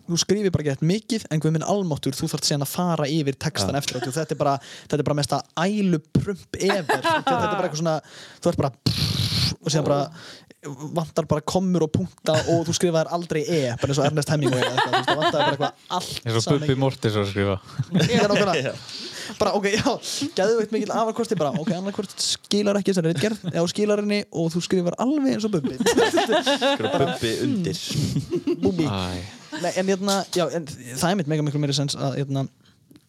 Speaker 4: þú skrifir bara gett mikið en Guðmund Almáttur, þú þarft síðan að fara yfir textan eftir þetta og þetta er bara, þetta er bara mesta æluprump ever þetta þetta er bara eitthvað svona, þú ert bara og síðan bara vantar bara komur og punkta og þú skrifaðir aldrei E bara eins og Ernest Hemingway eða eitthvað, þú veist, það vantar bara eitthvað
Speaker 1: Eins
Speaker 4: allt
Speaker 1: og Bubbi Mortis að skrifa
Speaker 4: Já, nákvæmlega. bara ok, já, geðu eitt mikill afarkosti bara, ok, annarkvort skilar ekki þessari reitgerð, já, skilar henni og þú skrifar alveg eins og Bubbi
Speaker 5: Einhverja bubbi undir
Speaker 4: Bubbi Nei, en, hérna, já, en það er mitt mega miklu meiri sens að, hérna,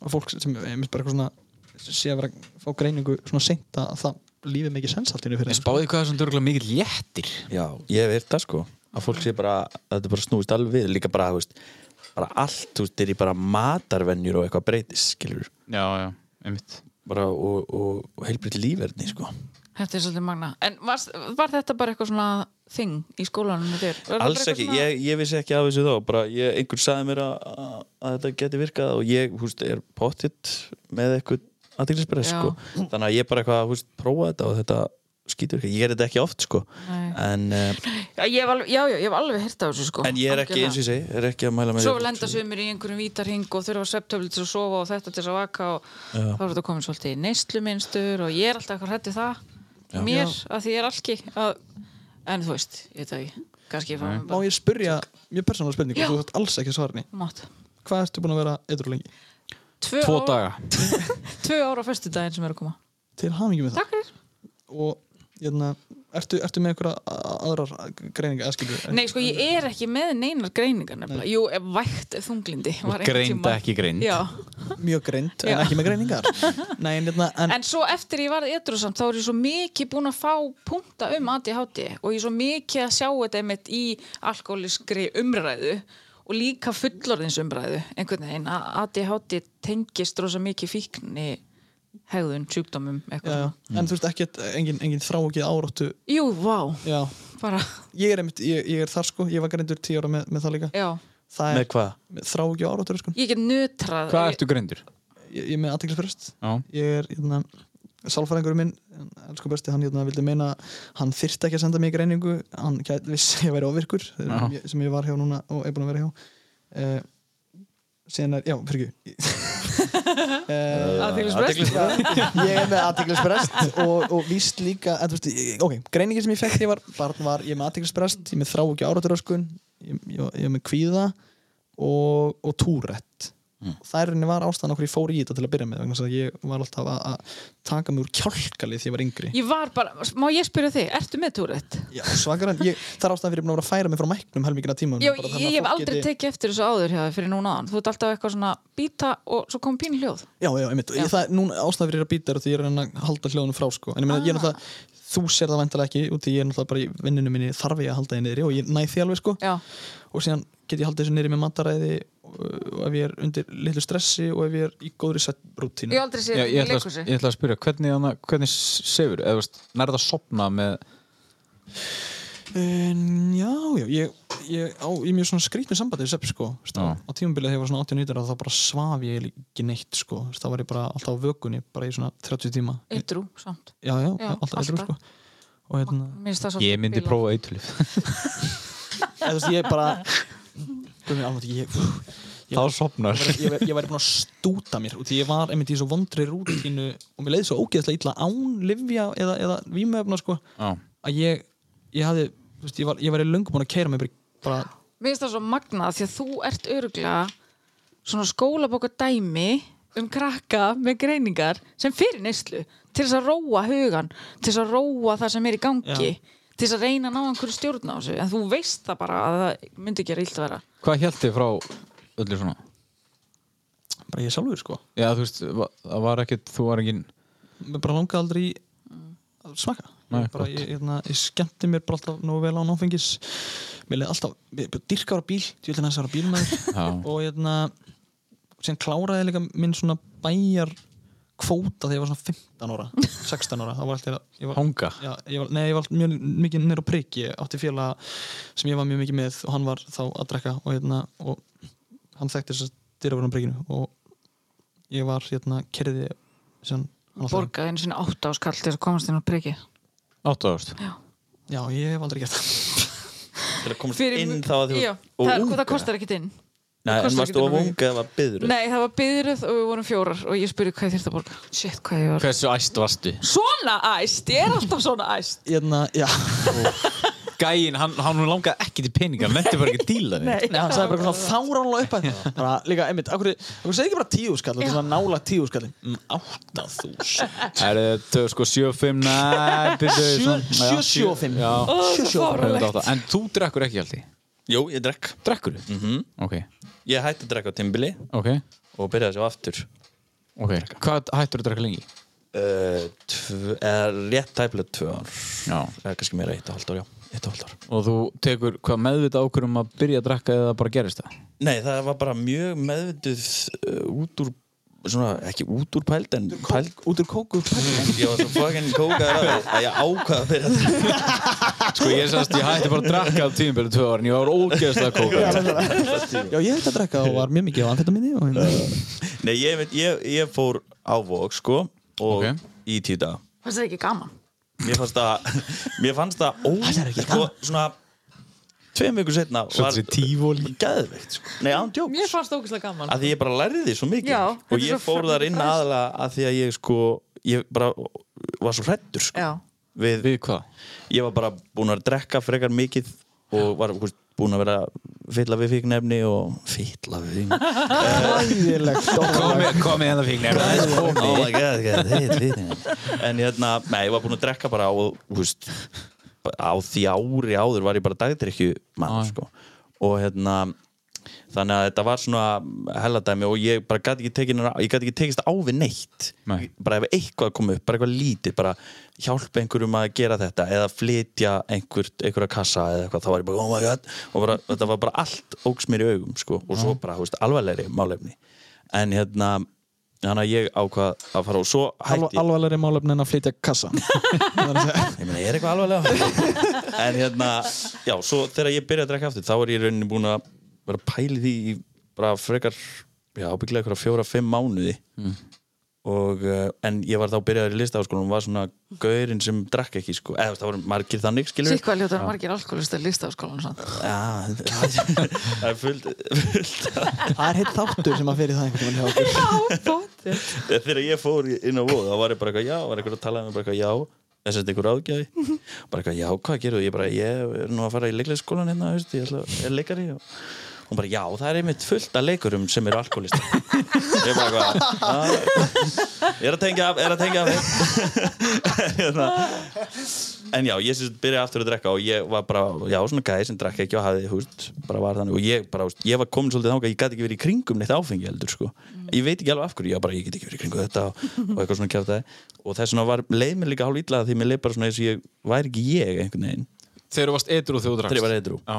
Speaker 4: að fólk sem er mitt bara eitthvað svona sé að vera að fá greiningu svona seint að það lífið mikið sens allt í henni fyrir þeim, sko.
Speaker 1: Spáði hvað þessum dörgulega mikill léttir
Speaker 5: Já, ég hef heyrt það sko að fólk sé bara, að þetta bara snúist alveg við líka bara, þú veist, bara allt þú veist, er í bara matarvenjur og eitthvað breytis skilur,
Speaker 1: Já, já, einmitt
Speaker 5: bara og, og, og heilbrið lífverðni sko
Speaker 3: Þetta er svolítið magna. En var, var þetta bara eitthvað svona þing í skólanum með þér? Var þetta
Speaker 5: Alls
Speaker 3: bara
Speaker 5: ekki,
Speaker 3: eitthvað
Speaker 5: ég, ég vissi ekki af þessu þá bara ég, einhver sagði mér að, að, að þetta geti virkað og ég, þú veist, er pottitt með eitthvað aðeinsbreyð
Speaker 3: Já.
Speaker 5: sko, þannig að ég bara eitthvað, þú veist, prófa þetta og þetta skýtur ekki, ég er þetta ekki oft sko,
Speaker 3: Nei.
Speaker 5: en, eh,
Speaker 3: Já, ég hef alveg, já, já, ég hef alveg hirt á þessu sko.
Speaker 5: en ég er ekki eins og ég segi, er ekki að mæla með
Speaker 3: Svo
Speaker 5: því að fólk
Speaker 3: lenda
Speaker 5: sé-
Speaker 3: sömur í einhverjum vítarhing og þurfa svepptöfli til að sofa og þetta til þess að vaka og þá er þetta komin svolítið í neysluminstur og ég er alltaf eitthvað hrættið það mér, að því ég er alki að, en þú veist, ég veit það ekki kannski ég fá mér
Speaker 4: Má
Speaker 3: bara
Speaker 4: ég spyrja mjög persónulega spurningu,
Speaker 3: Já.
Speaker 4: þú þátt alls ekki að svara henni
Speaker 3: mat
Speaker 4: Hvað ertu búin að vera eitthvað lengi?
Speaker 3: Tvö,
Speaker 1: Tvo
Speaker 3: ár-
Speaker 1: daga
Speaker 3: Tvö ára á föstudaginn sem er að koma
Speaker 4: Til hamingjum með það
Speaker 3: Takk fyrir
Speaker 4: Og, hérna, ertu, ertu með einhverja a- aðrar greininga aðskilu?
Speaker 3: Nei, sko, ég er ekki með neinar greiningar nefnilega Jú, ef vægt þunglindi var einhvern
Speaker 1: Greind
Speaker 3: tímann.
Speaker 1: ekki greind
Speaker 3: Já,
Speaker 4: Mjög greind, en
Speaker 3: Já.
Speaker 4: ekki með greiningar Nei, en, hérna, en,
Speaker 3: en svo eftir ég varð etrusamt þá er ég svo mikið búin að fá punta um ADHD og ég er svo mikið að sjá þetta einmitt í alkoholiskri umræðu og líka fullorðins umræðu einhvern veginn að ADHD tengist rosa mikið fíkni hegðun, sjúkdómum,
Speaker 4: já,
Speaker 3: eitthvað
Speaker 4: já.
Speaker 3: svona.
Speaker 4: en þú veist ekki, engin, engin þrá ekki áráttu
Speaker 3: Jú, vá,
Speaker 4: Já,
Speaker 3: bara,
Speaker 4: ég er, einmitt, ég, ég er þar sko, ég var greindur tíu ára með, með það líka
Speaker 3: já
Speaker 4: Það
Speaker 5: Með
Speaker 4: er
Speaker 5: hvað?
Speaker 4: þrá ekki áráttur sko.
Speaker 3: Ég get nötrað
Speaker 1: Hvað ertu greindur?
Speaker 4: ég, ég er með aðteglisprest
Speaker 1: Já.
Speaker 4: ég er hérna, sálfæringur minn elsku besti, hann hérna, vildi meina hann þyrfti ekki að senda mig í greiningu hann gæti, vissi að ég væri ofvirkur
Speaker 1: Já.
Speaker 4: ég- sem ég var hjá núna og er búin að vera hjá uh, síðan er, já, fyrir ekki
Speaker 3: Athyglisbrest.
Speaker 4: ég er með aðteglisprest og, og víst líka en, þú veist, ég, ok, greiningin sem ég fekk þegar ég var barn var ég er með aðteglisprest, ég er með þrá ekki áraturöskun ég, ég, ég er með kvíða og, og túrætt mm. það er henni var ástæðan okkur ég fór í þetta til að byrja með vegna þess að ég var alltaf að, að taka mig úr kjálkalið því ég var yngri
Speaker 3: Ég var bara, má ég spyrja þig, ertu með túrætt?
Speaker 4: Já, svakarann, ég, það er ástæðan fyrir ég er búin að vera að færa mig frá mæknum helmingina tíma
Speaker 3: Já, ég, ég hef aldrei tekið eftir þessu áður hjá það fyrir núna áðan. Þú ert alltaf eitthvað svona býta og svo kom pín hljóð.
Speaker 4: Já, já, einmitt,
Speaker 3: Já.
Speaker 4: Ég, það er núna ástæðan fyrir ég er að býta er að því ég er að reyna að halda hljóðunum frá sko. en ég meina,
Speaker 3: Ah.
Speaker 4: ég er náttúrulega, þú sér það vantilega ekki út í ég er náttúrulega bara í vinninu minni þarf ég að halda þið niðri og ég næ því alveg sko
Speaker 3: Já,
Speaker 4: og síðan get ég haldið þessu niðri með mataræði og, og ef ég er undir litlu stressi og ef ég er í góðri sett
Speaker 3: ég
Speaker 4: rútínu
Speaker 3: hef aldrei
Speaker 1: Já,
Speaker 3: séð
Speaker 1: ég, ætla,
Speaker 3: leikhúsi.
Speaker 1: að- ég ætla að spyrja, hvernig, hana, hvernig sefur? Eða, þú veist, nærðu að sopna með
Speaker 4: En, já, já, ég, ég, á, ég er mjög svona skrítið sambandið sepp sko, Þú veist,
Speaker 1: Já.
Speaker 4: á tímabilið þegar ég var svona 89 ára, þá bara svaf ég ekki neitt sko, Þú veist, þá var ég bara alltaf á vökunni bara í svona 30 tíma já,
Speaker 3: Eitrú, samt.
Speaker 4: já,
Speaker 3: Já,
Speaker 4: alltaf eitthvað
Speaker 3: alltaf.
Speaker 4: sko og hérna,
Speaker 3: Mér finnst það svolítið
Speaker 1: Ég myndi
Speaker 3: bílað.
Speaker 1: prófa eitulif
Speaker 4: eða, þú veist, ég bara Guð minn, alveg, ég,
Speaker 1: Þá sopnar
Speaker 4: ég, ég, væri- ég væri búin að stúta mér og því ég var einmitt í svo vondri rútínu og mér leiði svo ógeðslega illa án livja eða, eða vímöfna sko
Speaker 1: Já.
Speaker 4: að ég, ég hafði, þú veist, ég var, ég var í löngum búin að keira mig bara, í- bara
Speaker 3: Mér finnst það svo magnað því að þú ert öruglega svona skólabóka dæmi um krakka með greiningar sem fyrir neyslu til þess að róa hugan, til þess að róa það sem er í gangi, til þess að reyna að ná einhverju stjórn á þessu. En þú veist það bara að það myndi ekki að rílt að vera.
Speaker 1: Hvað held þið frá öllu svona?
Speaker 4: bara ég sjálfur sko
Speaker 1: Já, þú veist, va- það var ekkert, þú var engin
Speaker 4: mér bara langaði aldrei í að smaka
Speaker 1: Nei,
Speaker 4: bara, ég, hérna, ég skemmti mér bara alltaf nú vel á náfengis mér leði alltaf, ég bara dyrka ára bíl ég vil hans ára bíl með
Speaker 1: Já.
Speaker 4: og hérna síðan kláraði ég líka minn svona bæjar kvóta þegar ég var svona 15 ára 16 ára, það var alltaf ég var,
Speaker 1: Hanga?
Speaker 4: já, ég var, nei, ég var mjög mikið nýr á priki ég átti félaga sem ég var mjög mikið með og hann var þá að drekka og, hérna, og hann þekkti þess að dyrafurinn á prikinu og ég var hérna kerði sem,
Speaker 3: Borgaði einu sinni átt áskall til þess að komast inn á priki.
Speaker 1: 8 ást
Speaker 4: já, ég hef aldrei gert það
Speaker 5: til að komast inn þá að þú
Speaker 3: Já,
Speaker 5: og
Speaker 3: það,
Speaker 5: ung,
Speaker 3: það kostar ekkit inn.
Speaker 5: Nei,
Speaker 3: kostar
Speaker 5: en
Speaker 3: ekki
Speaker 5: varstu of
Speaker 3: nema
Speaker 5: ung eða var byður
Speaker 3: Nei, það var byðruð og við vorum fjórar og ég spurði hvað ég þurfti að borga. Shit, hvað ég var.
Speaker 1: Hversu æst varstu?
Speaker 3: Svona æst, ég er alltaf svona æst.
Speaker 4: hérna, já
Speaker 1: Gæin, hann, hann langaði ekki til peningar hann nefndi bara ekki að díla því
Speaker 4: Nei, hann sagði bara svona fáránlega upphæð bara líka, einmitt, akkur, akkur segir ekki bara tíu skall þetta er svona nála tíu skall mm, átta þús
Speaker 1: Er þetta sko 7-5 Nei, byrju,
Speaker 4: Sjö-
Speaker 1: svona- já,
Speaker 4: sjö- sjö og fimm.
Speaker 1: Já,
Speaker 3: Ó, það er fáránlegt.
Speaker 1: 8. En þú drekkur ekki alltaf
Speaker 5: Jú, ég drekk
Speaker 1: Drekkur Mhm. þú? Ok,
Speaker 5: Ég hætti að drekka á timbili
Speaker 1: ok,
Speaker 5: og byrjaði svo aftur
Speaker 1: ok Hvað hættur að drekka lengi?
Speaker 5: uh, tv- eða rétt tæplega tvö ár
Speaker 1: Já
Speaker 5: eða kannski meira eitt og halvt ár, já eitt og halvt ár
Speaker 1: Og þú tekur hvað meðvita ákvörðum að byrja að drekka eða bara gerist það?
Speaker 5: Nei, það var bara mjög meðvituð uh, út úr svona, ekki út úr pæld en pæld
Speaker 4: út úr kóku
Speaker 5: ég var svo fucking kókaður að því að ég ákvaða fyrir að drekka.
Speaker 1: Sko ég sagðist, ég hætti bara að drakka á tímabili tvö ára en ég var ógeðslega kókað
Speaker 4: já, ég hef að drekka og var mjög mikið á amfetaminni og hérna
Speaker 5: Nei, ég, veit- ég, ég fór á vók sko og
Speaker 1: Ok.
Speaker 5: í tíu daga
Speaker 3: Fannst það ekki gaman?
Speaker 5: mér fannst það mér fannst það ó, sko, svona tveim vikur setna var
Speaker 1: þessi tífóli.
Speaker 5: gæðveikt sko. Nei, án djók
Speaker 3: Mér fannst það ógæslega gaman.
Speaker 5: að því ég bara lærði því svo mikið
Speaker 3: Já, þetta
Speaker 5: og
Speaker 3: er
Speaker 5: ég
Speaker 3: svo
Speaker 5: fór þar inn
Speaker 3: frægt.
Speaker 5: aðalega að því að ég sko ég bara var svo hrettur sko.
Speaker 3: Já.
Speaker 5: við,
Speaker 1: Við hvað?
Speaker 5: ég var bara búinn að drekka frekar mikið og var þú veist, búinn að vera fylla við fíknefni og fylla við fíknefni
Speaker 1: Komið komi hérna fíknir
Speaker 5: oh my god, god hey, fíknefni. en hérna, nei, ég var búinn að drekka bara og, þú veist, á því ári áður var ég bara dagdrykju mann sko. og hérna þannig að þetta var svona helladæmi og ég bara gæti ekki, tekin, ég gat ekki tekist á við neitt
Speaker 1: Nei.
Speaker 5: bara ef eitthvað kom upp, bara eitthvað lítið bara hjálpa einhverjum að gera þetta eða flytja einhver, einhverja kassa eða eitthvað, þá var ég bara oh my god og bara, þetta var bara allt óks mér í augum sko, og svo bara, þú veist, alvarlegri málefni en hérna, þannig að ég ákvað að fara og svo hætti
Speaker 4: alvarlegri málefni en að flytja kassa
Speaker 5: ég meina, ég er eitthvað alvarlega en hérna, já, svo þegar ég byrja að drekka aftur þá er ég í rauninni búin að vera að pæli því í bara frekar já, bygglega eitthvað fjóra-fimm mánuði og, uh, en ég var þá byrjaður í listaháskólanum, var svona gaurinn sem drakk ekki, sko, eða þú veist, það voru margir þannig, skilur
Speaker 3: Sikk hvað ljóta margir alkoholist að lista á skólan og svona.
Speaker 5: Já, það er fullt, fullt
Speaker 4: það er heitt þáttur sem að fyrir það einhvern veginn hjá okkur
Speaker 3: Já, bótt.
Speaker 5: þegar ég fór inn á vóð þá var ég bara eitthvað já, var eitthvað að tala um bara eitthvað já þess að þetta einhver ágæði bara eitthvað já, hvað gerðu, ég bara ég er nú að fara í leikleikskólan hérna, veist, ég ætla, er leikari og hún bara já, það er einmitt fullt af leikurum sem eru alkoholista ég bara eitthvað "Já, ég er að tengja af, er að tengja af hérna. en já, ég syns byrjaði aftur að drekka og ég var bara, já, svona gæði sem drekka ekki og hafði, húst, bara var þannig og ég bara, húst, ég var komin svolítið þangað, ég gæti ekki verið í kringum neitt áfengi heldur, sko ég veit ekki alveg af hverju, já, bara, ég get ekki verið í kringum þetta og, og eitthvað svona kjátt og þess vegna var, leið mér líka hálf illa því mér leið bara svona eins og ég væri ekki ég einhvern veginn,
Speaker 1: Þegar þú varst edru þegar þú
Speaker 5: þegar ég
Speaker 1: drakst
Speaker 5: var eitthrú
Speaker 1: Já.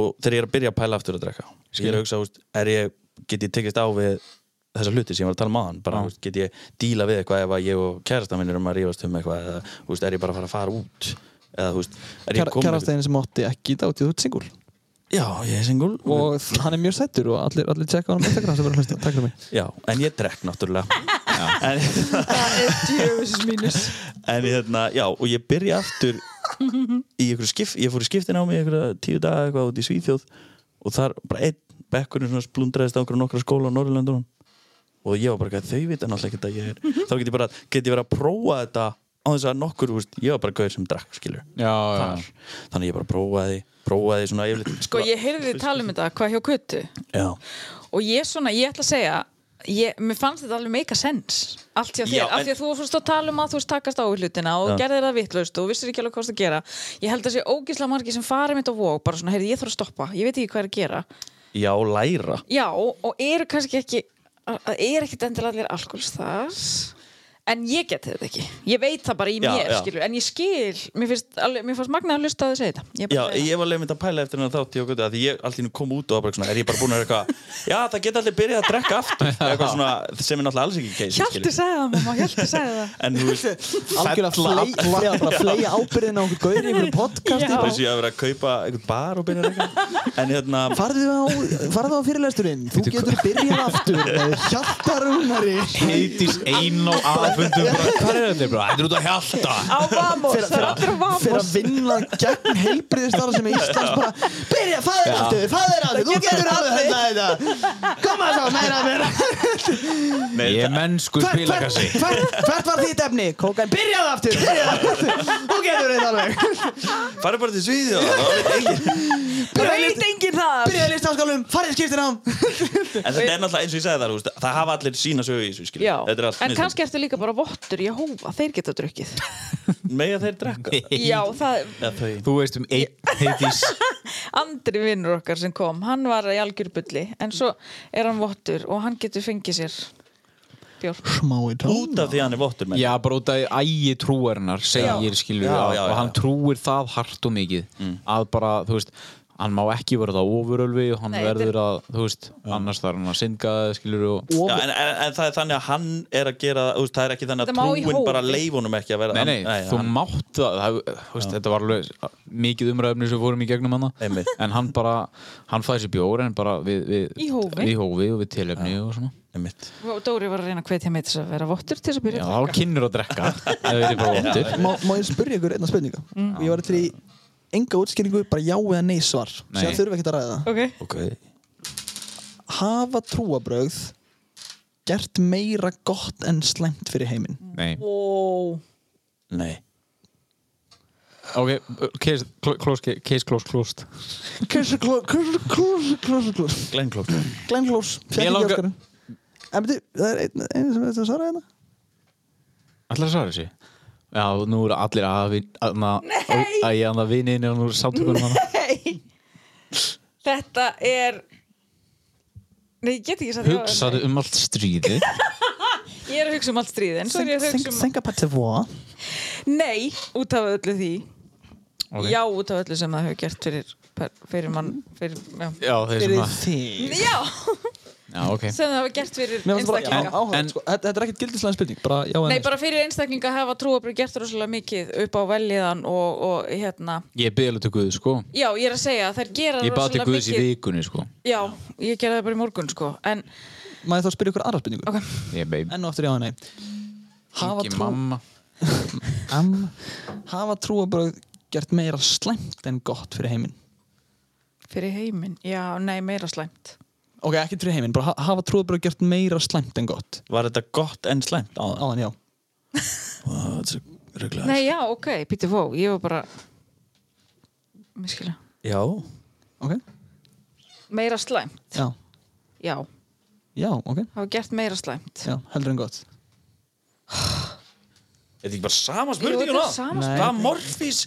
Speaker 5: og þegar ég er að byrja að pæla aftur að drekka ég er að hugsa, húst, er ég, get ég tekist á við þessa hluti sem ég var að tala um aðan bara, húst, get ég díla við eitthvað ef að ég og kærastan minn erum að rífast um eitthvað eða, húst, er ég bara að fara að fara út eða, húst, er ég komin
Speaker 4: kærastegin sem átti ekki í dag því þú ert singul
Speaker 5: já, ég er singul og...
Speaker 4: og hann er mjög sættur og allir, allir tjekka á hann á Instagram sem verður að hlusta, takk fyrir mig
Speaker 5: já, en ég drekk náttúrulega en,
Speaker 3: Það er djöfisins mínus.
Speaker 5: en hérna, já, og ég byrja aftur í ykkur skip, ég fór í skiptin á mig ykkur tíu daga eitthvað út í Svíþjóð og þar bara einn bekkurinn svona splundraðist á okkur nokkra skóla á Norrlöndunum og ég var bara eitthvað, þau vita náttúrulega ekki að ég er þá get ég bara, get ég verið að prófa þetta á þess að nokkur, þú veist, ég var bara gaur sem drakk, skilur,
Speaker 1: Já, já,
Speaker 5: þar þannig ég bara prófaði, prófaði svona yfirleitt
Speaker 3: Sko, ég heyrði þið tala um þetta, hvað hjá kuttu.
Speaker 5: já,
Speaker 3: Og ég svona, ég ætla að segja, ég, mér fannst þetta alveg make a sense. Allt hjá
Speaker 5: Já,
Speaker 3: þér, af
Speaker 5: en-
Speaker 3: því að þú fórst að tala um að þú veist takast á við hlutina og gerðir það vitlaust og vissir ekki alveg hvað þú varst að gera. Ég held að sé ógislega margir sem farið mitt á vók, bara svona, heyrði, ég þarf að stoppa, ég veit ekki hvað er að gera.
Speaker 5: já, læra
Speaker 3: Já, og eru kannski ekki, að- að eru ekkit endilega allir alkoholist þar, en ég get þetta ekki ég veit það bara í
Speaker 5: Já,
Speaker 3: mér
Speaker 5: já.
Speaker 3: skilur en ég skil, mér finnst, alveg, mér fannst magna að hlusta á þess að þetta ég,
Speaker 5: Já,
Speaker 3: bara-
Speaker 5: ég var leið mynd að pæla eftir hennar þátt í okkur Því ég allt í nú kom út og var bara svona Er ég bara búin að vera eitthvað Já, það geta allir byrjað að drekka aftur Eitthvað svona sem er náttúrulega alls ekki keis
Speaker 3: Hjalti sagði það mamma, Hjalti sagði það
Speaker 5: En þú veist,
Speaker 4: algjörlega flei- flei- bara fleia ábyrðin á okkur gauðin í einhverju podcasti
Speaker 3: Já.
Speaker 4: bara.
Speaker 5: þessi að vera að kaupa einhvern bar og byrja að drekka En hérna
Speaker 4: farðu á, farðu á fyrirlesturinn þú getur byrjað aftur með hjartarúnari
Speaker 1: Heitís einn og aðfundum bara, Hvað er þetta? bara? Þetta er út að hjalta
Speaker 3: á Vamos,
Speaker 4: Fyrir-
Speaker 3: það er allir á
Speaker 4: fyrir
Speaker 3: Vamos
Speaker 4: að vinna gegn heilbriðistara sem er Íslands bara byrja, faður aftur, faður aftur þú getur alveg þetta þetta koma svo, meira, meira
Speaker 5: Nei,
Speaker 1: Ég er mennskur
Speaker 4: Hvert-
Speaker 1: spilakassi
Speaker 4: hvert- hvert hvert var þitt efni? kókain, byrjað aftur, byrjað aftur þú getur þetta alveg
Speaker 5: farið bara til Svíði og það veit enginn
Speaker 4: byrjað í
Speaker 3: veit
Speaker 4: list-
Speaker 3: enginn það
Speaker 4: byrjað í listaskálum, farið skiptir á
Speaker 5: En þetta er náttúrulega eins og ég sagði það, þú veist, það hafa allir sína sögu í þessu, skilur.
Speaker 3: Já,
Speaker 5: Þetta er allt
Speaker 3: en
Speaker 5: mismunandi.
Speaker 3: kannski ertu líka bara vottur í að hófa, þeir geta drukkið
Speaker 5: Mega þeir drekka?
Speaker 3: Já, það,
Speaker 5: Já, þau.
Speaker 1: Þú veist um einn heitís
Speaker 3: andri vinnur okkar sem kom hann var í algjörbulli, en svo er hann vottur og hann getur fengið sér bjór
Speaker 4: smái tón
Speaker 5: Út af því að hann er vottur menn.
Speaker 1: Já, bara út af ægi trúarinnar segir skilur
Speaker 5: Já,
Speaker 1: að-
Speaker 5: já, Mm. já,
Speaker 1: og hann
Speaker 5: já.
Speaker 1: trúir það hart og mikið að bara, þú veist, hann má ekki verða ofurölvi og hann
Speaker 3: Nei, þetta er-
Speaker 1: verður að, þú veist, annars þarf hann að synga skilur og
Speaker 5: Já, en, en, en það er þannig að hann er að gera, þú veist, það er ekki þannig
Speaker 3: Þetta
Speaker 5: að
Speaker 3: má í
Speaker 5: trúin
Speaker 3: hófi.
Speaker 5: bara leif honum ekki að vera.
Speaker 1: Nei, nei,
Speaker 5: hann,
Speaker 1: þú
Speaker 5: hann-
Speaker 1: mátt það, það þú veist, þetta var alveg mikið umræðumni sem við fórum í gegnum hana
Speaker 5: Einmitt.
Speaker 1: en hann bara, hann fæði sér bjór en bara við, við,
Speaker 3: Í hófi.
Speaker 1: við hófi og við tilefni og svona
Speaker 5: Einmitt.
Speaker 3: og Dóri var að reyna að hvetja mig til þess að vera vottur til þess að
Speaker 1: Já,
Speaker 3: byrja
Speaker 1: það var kynnur að drekka eða verið bara vondur
Speaker 4: má, má ég spyrja ykkur einna spurninga ég var til í enga útskýringu bara já eða nei svar
Speaker 1: Nei.
Speaker 4: sem þurfa ekkert að ræða
Speaker 3: ok,
Speaker 5: Ok.
Speaker 4: hafa trúabrögð gert meira gott en slæmt fyrir heiminn
Speaker 1: Nei,
Speaker 3: wow
Speaker 5: Nei.
Speaker 1: ok, case cl- closed, case closed, closed
Speaker 4: Kursu klós, kursu klós, kursu klós
Speaker 5: Glenn Klopp.
Speaker 4: Glenn Klós,
Speaker 1: Mér
Speaker 4: fjækki
Speaker 1: langar-
Speaker 4: gjöskarinn En betur, það er einu ein, sem þetta svaraði hérna
Speaker 1: Ætlar að svara þessu? Já, nú eru allir að vin- aðna, að ég annað vinnin og nú sáttökunum hana
Speaker 3: Nei. þetta er Nei, ég get ekki sagt já eða
Speaker 1: Hugsaðu um allt stríði
Speaker 3: nei. Ég er að hugsa um allt stríðin Svo er ég að
Speaker 4: Think,
Speaker 3: hugsa um
Speaker 4: think about the war
Speaker 3: Nei, út af öllu því
Speaker 1: Ok.
Speaker 3: Já, út af öllu sem það hefur gert fyrir, fyrir mann fyrir, já.
Speaker 1: Já, þeir sem
Speaker 4: Fyrir
Speaker 1: að
Speaker 4: þig
Speaker 3: já,
Speaker 1: Já, ok
Speaker 3: sem það hefur gert fyrir
Speaker 8: Mér fannst bara
Speaker 3: einstaklinga
Speaker 8: áhugað,
Speaker 1: En-
Speaker 8: sko. Þetta þetta er ekkert gildislega spurning, bara já eða
Speaker 3: Nei, bara fyrir einstaklinga hafa trúabröð gert rosalega mikið upp á veljiðan og, og hérna
Speaker 1: Ég beði alveg til Guð, sko
Speaker 3: Já, ég er að segja, þær gera
Speaker 1: Ég baði til
Speaker 3: rosalega
Speaker 1: Guðs í
Speaker 3: mikið
Speaker 1: vikunni, sko
Speaker 3: Já, ég gera það bara í morgun sko En,
Speaker 4: Má ég þá spyrja ykkur aðra spurningu
Speaker 3: ok,
Speaker 1: Ég beði
Speaker 4: Enn og aftur já eða nei Hafa,
Speaker 1: ekki
Speaker 4: trú,
Speaker 1: mamma
Speaker 4: amma, hafa trúabrögð gert meira slæmt en gott fyrir heiminn
Speaker 3: fyrir heiminn Já, nei, meira slæmt
Speaker 4: Ok, ekki fyrir heiminn, bara ha- hafa trúabrögð gert meira slæmt en gott
Speaker 5: Var þetta gott en slæmt á það?
Speaker 4: Áðan, já
Speaker 5: Þetta er rugglega.
Speaker 3: Nei, já, ok, Pítur Vó, ég var bara Mér skilja
Speaker 5: Já.
Speaker 4: Ok,
Speaker 3: Meira slæmt,
Speaker 4: já,
Speaker 3: já
Speaker 4: já, ok
Speaker 3: Hafa gert meira slæmt
Speaker 4: Já, heldur en gott
Speaker 5: Þetta er ekki bara sama
Speaker 3: Jú,
Speaker 5: spurningin
Speaker 3: þetta er sama
Speaker 4: Nei.
Speaker 5: Hvað morfís?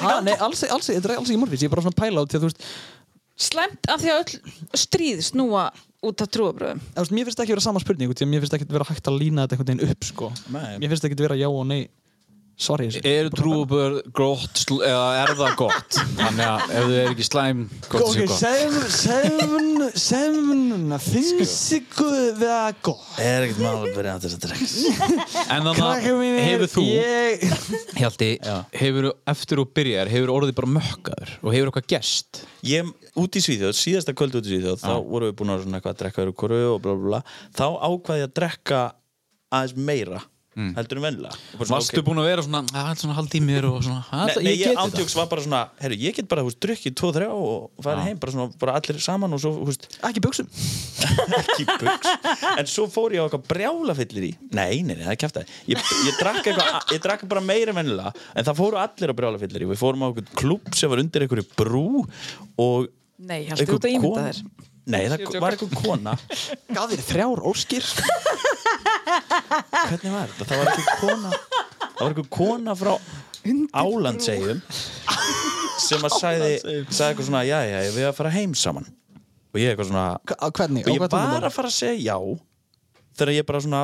Speaker 4: Ha, nei, alls, alls, þetta er alls ekki morfís, ég er bara svona að pæla á því að þú veist,
Speaker 3: Slæmt af því að öll stríð snúa út af trúabröðum
Speaker 4: þú veist, mér finnst ekki vera sama spurning út í að mér finnst ekki vera hægt að lína þetta einhvern veginn upp sko.
Speaker 5: Nei.
Speaker 4: mér finnst ekki vera já og nei svar í þessu
Speaker 1: Eru trúabur gott sl- eða er það gott? Þannig að ef þau eru ekki slæm gott sé gott
Speaker 4: seven, seven, seven finnsiku við að gott
Speaker 5: Er ekkert mál að byrja að þess að drekka.
Speaker 1: En þannig að hefur þú
Speaker 4: ég,
Speaker 1: Hjalti, hefur eftir og byrjar hefur orðið bara mökkaður og hefur eitthvað gest
Speaker 5: Ég, út í Svíþjóð, síðasta kvöld út í Svíþjóð þá vorum við búin að svona eitthvað að drekka öru koru og bla bla bla, þá ákvaði ég að drekka aðeins meira heldur en vennilega Og bara svona,
Speaker 1: Varstu
Speaker 5: ok.
Speaker 1: búin að vera svona, að svona haldi í mér og svona, "Ah, að
Speaker 5: Nei, nei, ég ándjóks var bara svona, herru, ég get bara, húst, drukkið tvo, þrjá og farið heim, bara svona, bara allir saman og svo, húst,
Speaker 4: ekki buksum
Speaker 5: ekki buks en svo fór ég á eitthvað brjálafyllir í nei, nei, nei, það er kæft að ég, ég, drakk eitthvað- ég drakk bara meira mennilega en það fóru allir á brjálafyllir í við fórum á eitthvað klubb sem var undir einhverju brú og
Speaker 3: Nei, Hjalti, þú ert að ímynda þér.
Speaker 5: Nei, það var eitthvað kona
Speaker 4: gaf þér þrjár óskir
Speaker 5: Hvernig var þetta? Það var eitthvað kona Það var eitthvað kona frá Álandsegjum sem að sagði, sagði eitthvað svona já, já, við að fara heim saman og ég eitthvað svona
Speaker 4: Hva- á hvernig,
Speaker 5: og
Speaker 4: á
Speaker 5: ég
Speaker 4: hvernig
Speaker 5: var að fara að segja já þegar ég bara svona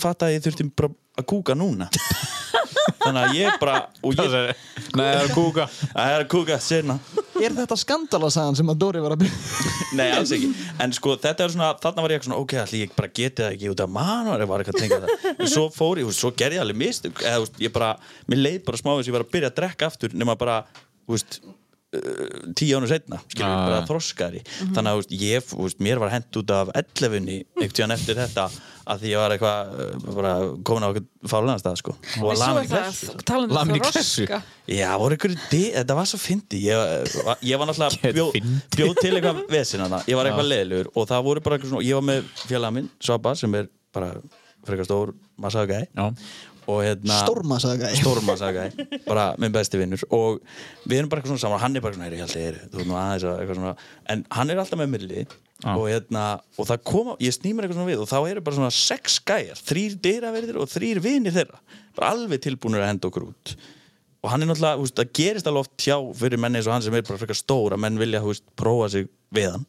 Speaker 5: fatt að ég þurfti bara að kúka núna þannig að ég bara og ég,
Speaker 1: Nei, það er að kúka
Speaker 5: það er að kúka sérna
Speaker 4: Er þetta skandalasagan sem að Dóri var að byrja?
Speaker 5: Nei, alls ekki En sko, þetta er svona, þarna var ég svona Ok, allir ég bara geti það ekki út af mann Og var eitthvað að tengja það En svo fór ég, þú veist, svo gerði ég alveg mist Eða, þú veist, ég bara, mér leið bara smá þess að Ég var að byrja að drekka aftur Nema bara, þú veist uh, tíu ánur setna, skilur
Speaker 1: Ah.
Speaker 5: við bara þroskari þannig að þú veist, ég, þú veist, mér var hent út af 11-unni einhvern tíðan eftir þetta að því ég var eitthvað, uh, bara komin á eitthvað fálanast sko, og var
Speaker 3: En svo
Speaker 5: lamin
Speaker 3: er
Speaker 5: í
Speaker 3: það,
Speaker 5: klessu
Speaker 3: talandi
Speaker 1: Lamin í
Speaker 3: um
Speaker 1: klessu?
Speaker 3: þroska
Speaker 5: Já, voru ykkur di- þetta var svo fyndi Ég, var- ég var náttúrulega
Speaker 1: Get
Speaker 5: bjó,
Speaker 1: fyndið.
Speaker 5: bjó til eitthvað vesinana Ég var eitthvað leðilegur og það voru bara eitthvað svona Ég var með félaga minn, Svaba, sem er bara frekar stór massaga gæ
Speaker 1: Já.
Speaker 5: og hérna
Speaker 9: Stórma, sagði gæi.
Speaker 5: Stórma, sagði gæ, bara minn besti vinnur og við erum bara eitthvað svona saman hann er bara svona, "Heyrðu, ég held ég er, þú veist nú aðeins að eitthvað svona en hann er alltaf með milli og hérna, og það koma, ég snýmur eitthvað svona við og þá eru bara svona sex gæjar þrýr dyraverðir og þrýr vinir þeirra bara alveg tilbúinur að henda okkur út og hann er náttúrulega, þú veist, það gerist alveg oft hjá fyrir menni eins og hann sem er bara frekar stór að menn vilja, þú veist, prófa sig við hann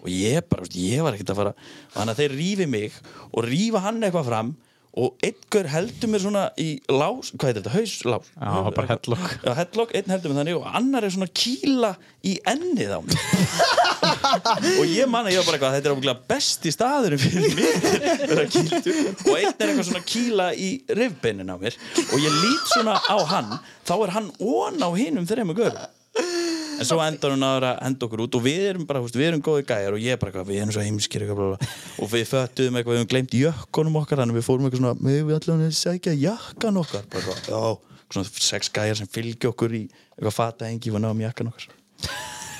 Speaker 5: og ég bara, þú veist, ég var ekkert að fara og þannig að þeir rífi mig og rífa hann eitthvað fram og einhver heldur mér svona í lás hvað heitir þetta, haus, lás
Speaker 1: Já, bara headlock.
Speaker 5: já, headlock, einn heldur mér þannig og annar er svona að kýla í ennið á mér og ég manna, ég var bara eitthvað þetta er ábygglega besti staðurinn fyrir mér þegar að kýldu og einn er eitthvað svona að kýla í rifbeinin á mér og ég lít svona á hann þá er hann ón á hinum þegar ég görum en svo endar hún aðra að henda okkur út og við erum bara, þú veist, við erum góði gæjar og ég er bara eitthvað, við erum svo heimskir eitthvað, bla, bla, bla. og við föttuðum eitthvað, við höfum glemt jökkunum okkar þannig að við fórum eitthvað svona, megum við allan að sækja jakkan okkar bara, eitthvað, já, svona sex gæjar sem fylgja okkur í eitthvað fata engi og náum jakkan okkar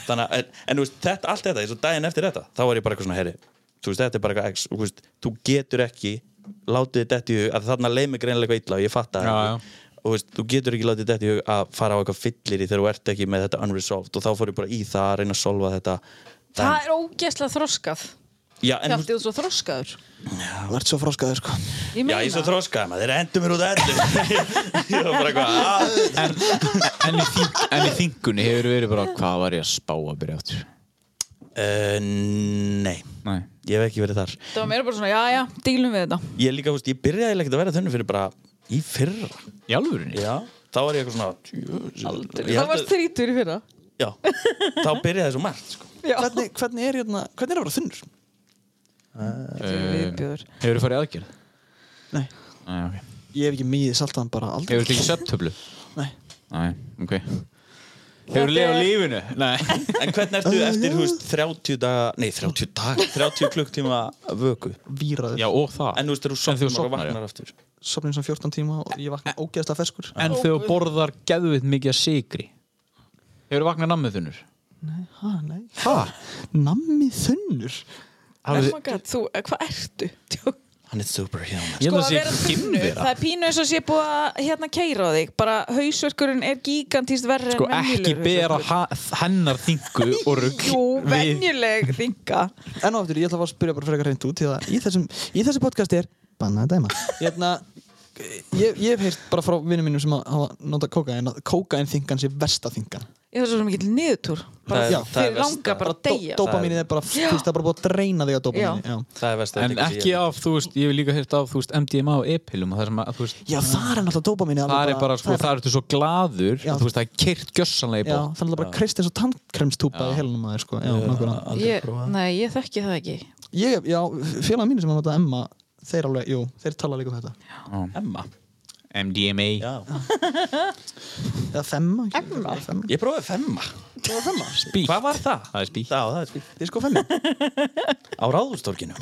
Speaker 5: þannig að, en, en þú veist, þetta, allt þetta, eins og daginn eftir þetta þá var ég bara eitthvað svona, herri, þú veist, þetta er bara eitthvað ex, og þú veist, þú getur ekki látið þetta í hug, að þarna leið mig greinilega eitthvað illa og ég fatta
Speaker 1: Já, já.
Speaker 5: og þú veist, þú getur ekki látið þetta í hug að fara á eitthvað fyllir í þegar þú ert ekki með þetta unresolved og þá fór ég bara í það að reyna að solva þetta
Speaker 3: Það er ógeðslega þroskað
Speaker 5: já, en,
Speaker 3: Hjalti þú svo þroskaður
Speaker 9: Þú ert svo froskaður sko
Speaker 3: Ég
Speaker 5: já,
Speaker 3: meina
Speaker 5: ég er svo þróskaði maður, þeir endur mér út að endur ég var bara eitthvað, "Ah." að
Speaker 1: en, en, í þing, en í þingunni hefur verið bara hvað var ég að spá að byrja áttur
Speaker 5: uh, nei,
Speaker 1: Nei.
Speaker 5: ég hef ekki verið þar
Speaker 3: Það var meira bara svona, já, já, dílum við þetta
Speaker 5: ég líka, þú veist, ég byrjaði eiginlega ekkert að vera þunni fyrir bara í fyrra,
Speaker 1: Í alvörinni?
Speaker 5: já þá var ég eitthvað svona djöfull. Ég held
Speaker 3: Það
Speaker 5: að-
Speaker 3: varst þrítur í fyrra
Speaker 5: Já, þá byrjaði svo margt sko.
Speaker 3: Já,
Speaker 4: Hvernig, hvernig er hérna, hvernig er að vera þunnur?
Speaker 3: þetta er viðbjöður
Speaker 1: Hefur þið farið í aðgerð?
Speaker 4: Nei.
Speaker 1: Nei, ok
Speaker 4: Ég hef ekki mýðið saltaðan bara aldrei
Speaker 1: Hefur þið ekki söptöflu?
Speaker 4: Nei.
Speaker 1: Nei, ok Hefur þið lifað lífinu? Nei
Speaker 5: En hvernig ertu eftir, þú veist, 30 daga Nei, 30 daga, 30 klukktíma vöku
Speaker 4: Víraður,
Speaker 1: Já, og það
Speaker 5: En þú veist, þegar
Speaker 1: þú
Speaker 5: þú sopnar, og
Speaker 1: sofnar, já.
Speaker 5: vaknar aftur
Speaker 4: sopnum sem 14 tíma og ég vakna ógeðslega ferskur
Speaker 1: En þegar þú borðar geðvitt mikið að sigri Hefur þið vaknað nammið þunnur?
Speaker 4: Hæ, nei Hæ? Nammi þunnur?
Speaker 3: Oh my god, þú, eh, hvað ertu? Sko,
Speaker 5: Hann er superhuman
Speaker 1: Ég held
Speaker 3: að
Speaker 1: að
Speaker 3: vera
Speaker 1: það sé
Speaker 3: þunnu,
Speaker 1: kynvera
Speaker 3: það er pínu eins og sé búið að hérna keira á þig Bara hausverkurinn er gigantíst verri
Speaker 1: Sko
Speaker 3: en venjulegur
Speaker 1: ekki bera
Speaker 3: hausverkur.
Speaker 1: ha- hennar þingu og rugg
Speaker 3: Jú, venjuleg þinga
Speaker 4: En á aftur, ég ætla að fara að spyrja bara frekar hreint út því að í þessum, í þessu podcast er bannað að dæma Hérna, ég, ég hef heyrt bara frá vinnum mínum sem að hafa nota kókain að kókain þingan sé versta þingan
Speaker 3: Ég þarf svo sem ekki niðurtúr
Speaker 5: Það er-
Speaker 3: Bara
Speaker 5: já, það er
Speaker 3: fyrir
Speaker 5: versta.
Speaker 3: langa bara að deyja
Speaker 4: Dópamínið er bara, þú veist, það er bara búið að dreina þig að dópamíni Já.
Speaker 5: Það er verst að
Speaker 1: En
Speaker 5: þetta sé
Speaker 1: ekki
Speaker 5: ég.
Speaker 1: af, þú veist, ég hef líka heyrt af, þú veist, MDMA og e-pillum og það sem að, þú veist,
Speaker 4: Já, það er náttúrulega dópamínið
Speaker 1: það er bara, sko,
Speaker 4: það er,
Speaker 1: það ertu svo glaður,
Speaker 4: Já.
Speaker 1: þú veist, það er keirt gjössanlega í
Speaker 4: Já,
Speaker 1: bótt.
Speaker 4: það er náttúrulega bara krist eins og tandkremstúpa í helunum aðeins, sko Já, nákvæmlega
Speaker 3: Ég, nei, ég þekki það ekki
Speaker 4: Ég, já, félagar mínir sem hafa notað Emma þeir alveg, jú, þeir tala líka um þetta
Speaker 5: Emma
Speaker 1: MDMA.
Speaker 5: Já
Speaker 4: eða femma ekki? Bara femma
Speaker 5: Ég prófaði femma
Speaker 1: Spík.
Speaker 5: Hvað var það?
Speaker 1: Það er spík.
Speaker 5: Já, það er spil
Speaker 4: þið er sko femmi
Speaker 5: Á ráðustorkinu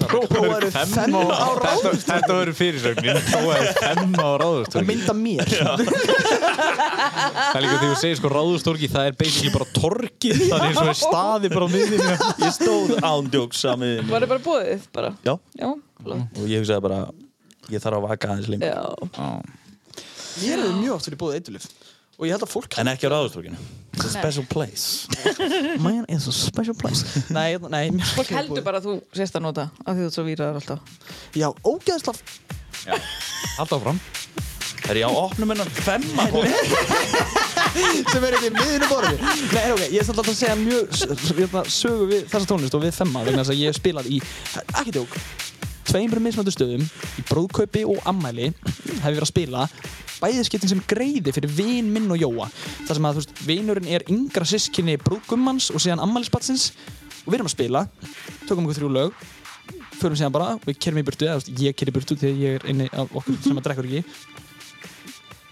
Speaker 4: prófaðu femma á ráð
Speaker 1: Þetta verður fyrirsögnin, þú er femma á
Speaker 4: og
Speaker 1: ráðustorki.
Speaker 4: mynda mér
Speaker 1: Það er líka þegar þú segir, sko, ráðustorki, það er basically bara torki, það er eins og er staði bara á miðinu.
Speaker 5: Ég stóð ándjóks samið
Speaker 3: Var það bara búið? Bara.
Speaker 5: Já,
Speaker 3: Já, flott.
Speaker 5: og ég hugsaði bara Ég þarf að vaka aðeins lengur
Speaker 3: já.
Speaker 4: ég er mjög oft verið búið eitulif og ég held að fólk
Speaker 5: En ekki á ráðustorkinu It's a special place
Speaker 4: man is a special place nei, hérna- nei mér-
Speaker 3: Fólk heldur bara að þú sést að nota af því þú ert svo víraðar alltaf
Speaker 4: já, ógeðsla
Speaker 1: Alltaf fram.
Speaker 5: Er ég á opnum hennar femma?
Speaker 4: sem er ekki í miðinu borði nei, en ok, ég er samt alltaf að segja mjög s- hérna, sögu við þessa tónlist og við femma vegna þess að ég hef spilað í ekki tjók tveimur mismöndu stöðum í brúðkaupi og ammæli hef ég verið að spila bæðiskiptin sem greiði fyrir vin minn og Jóa þar sem að þú veist, vinurinn er yngra sískinni brúðgummanns og síðan ammælisbatsins og við erum að spila tökum okkur þrjú lög förum síðan bara, við kerum í burtu eða þú veist, ég ker í burtu þegar ég er inni af okkur sem að drekkur ekki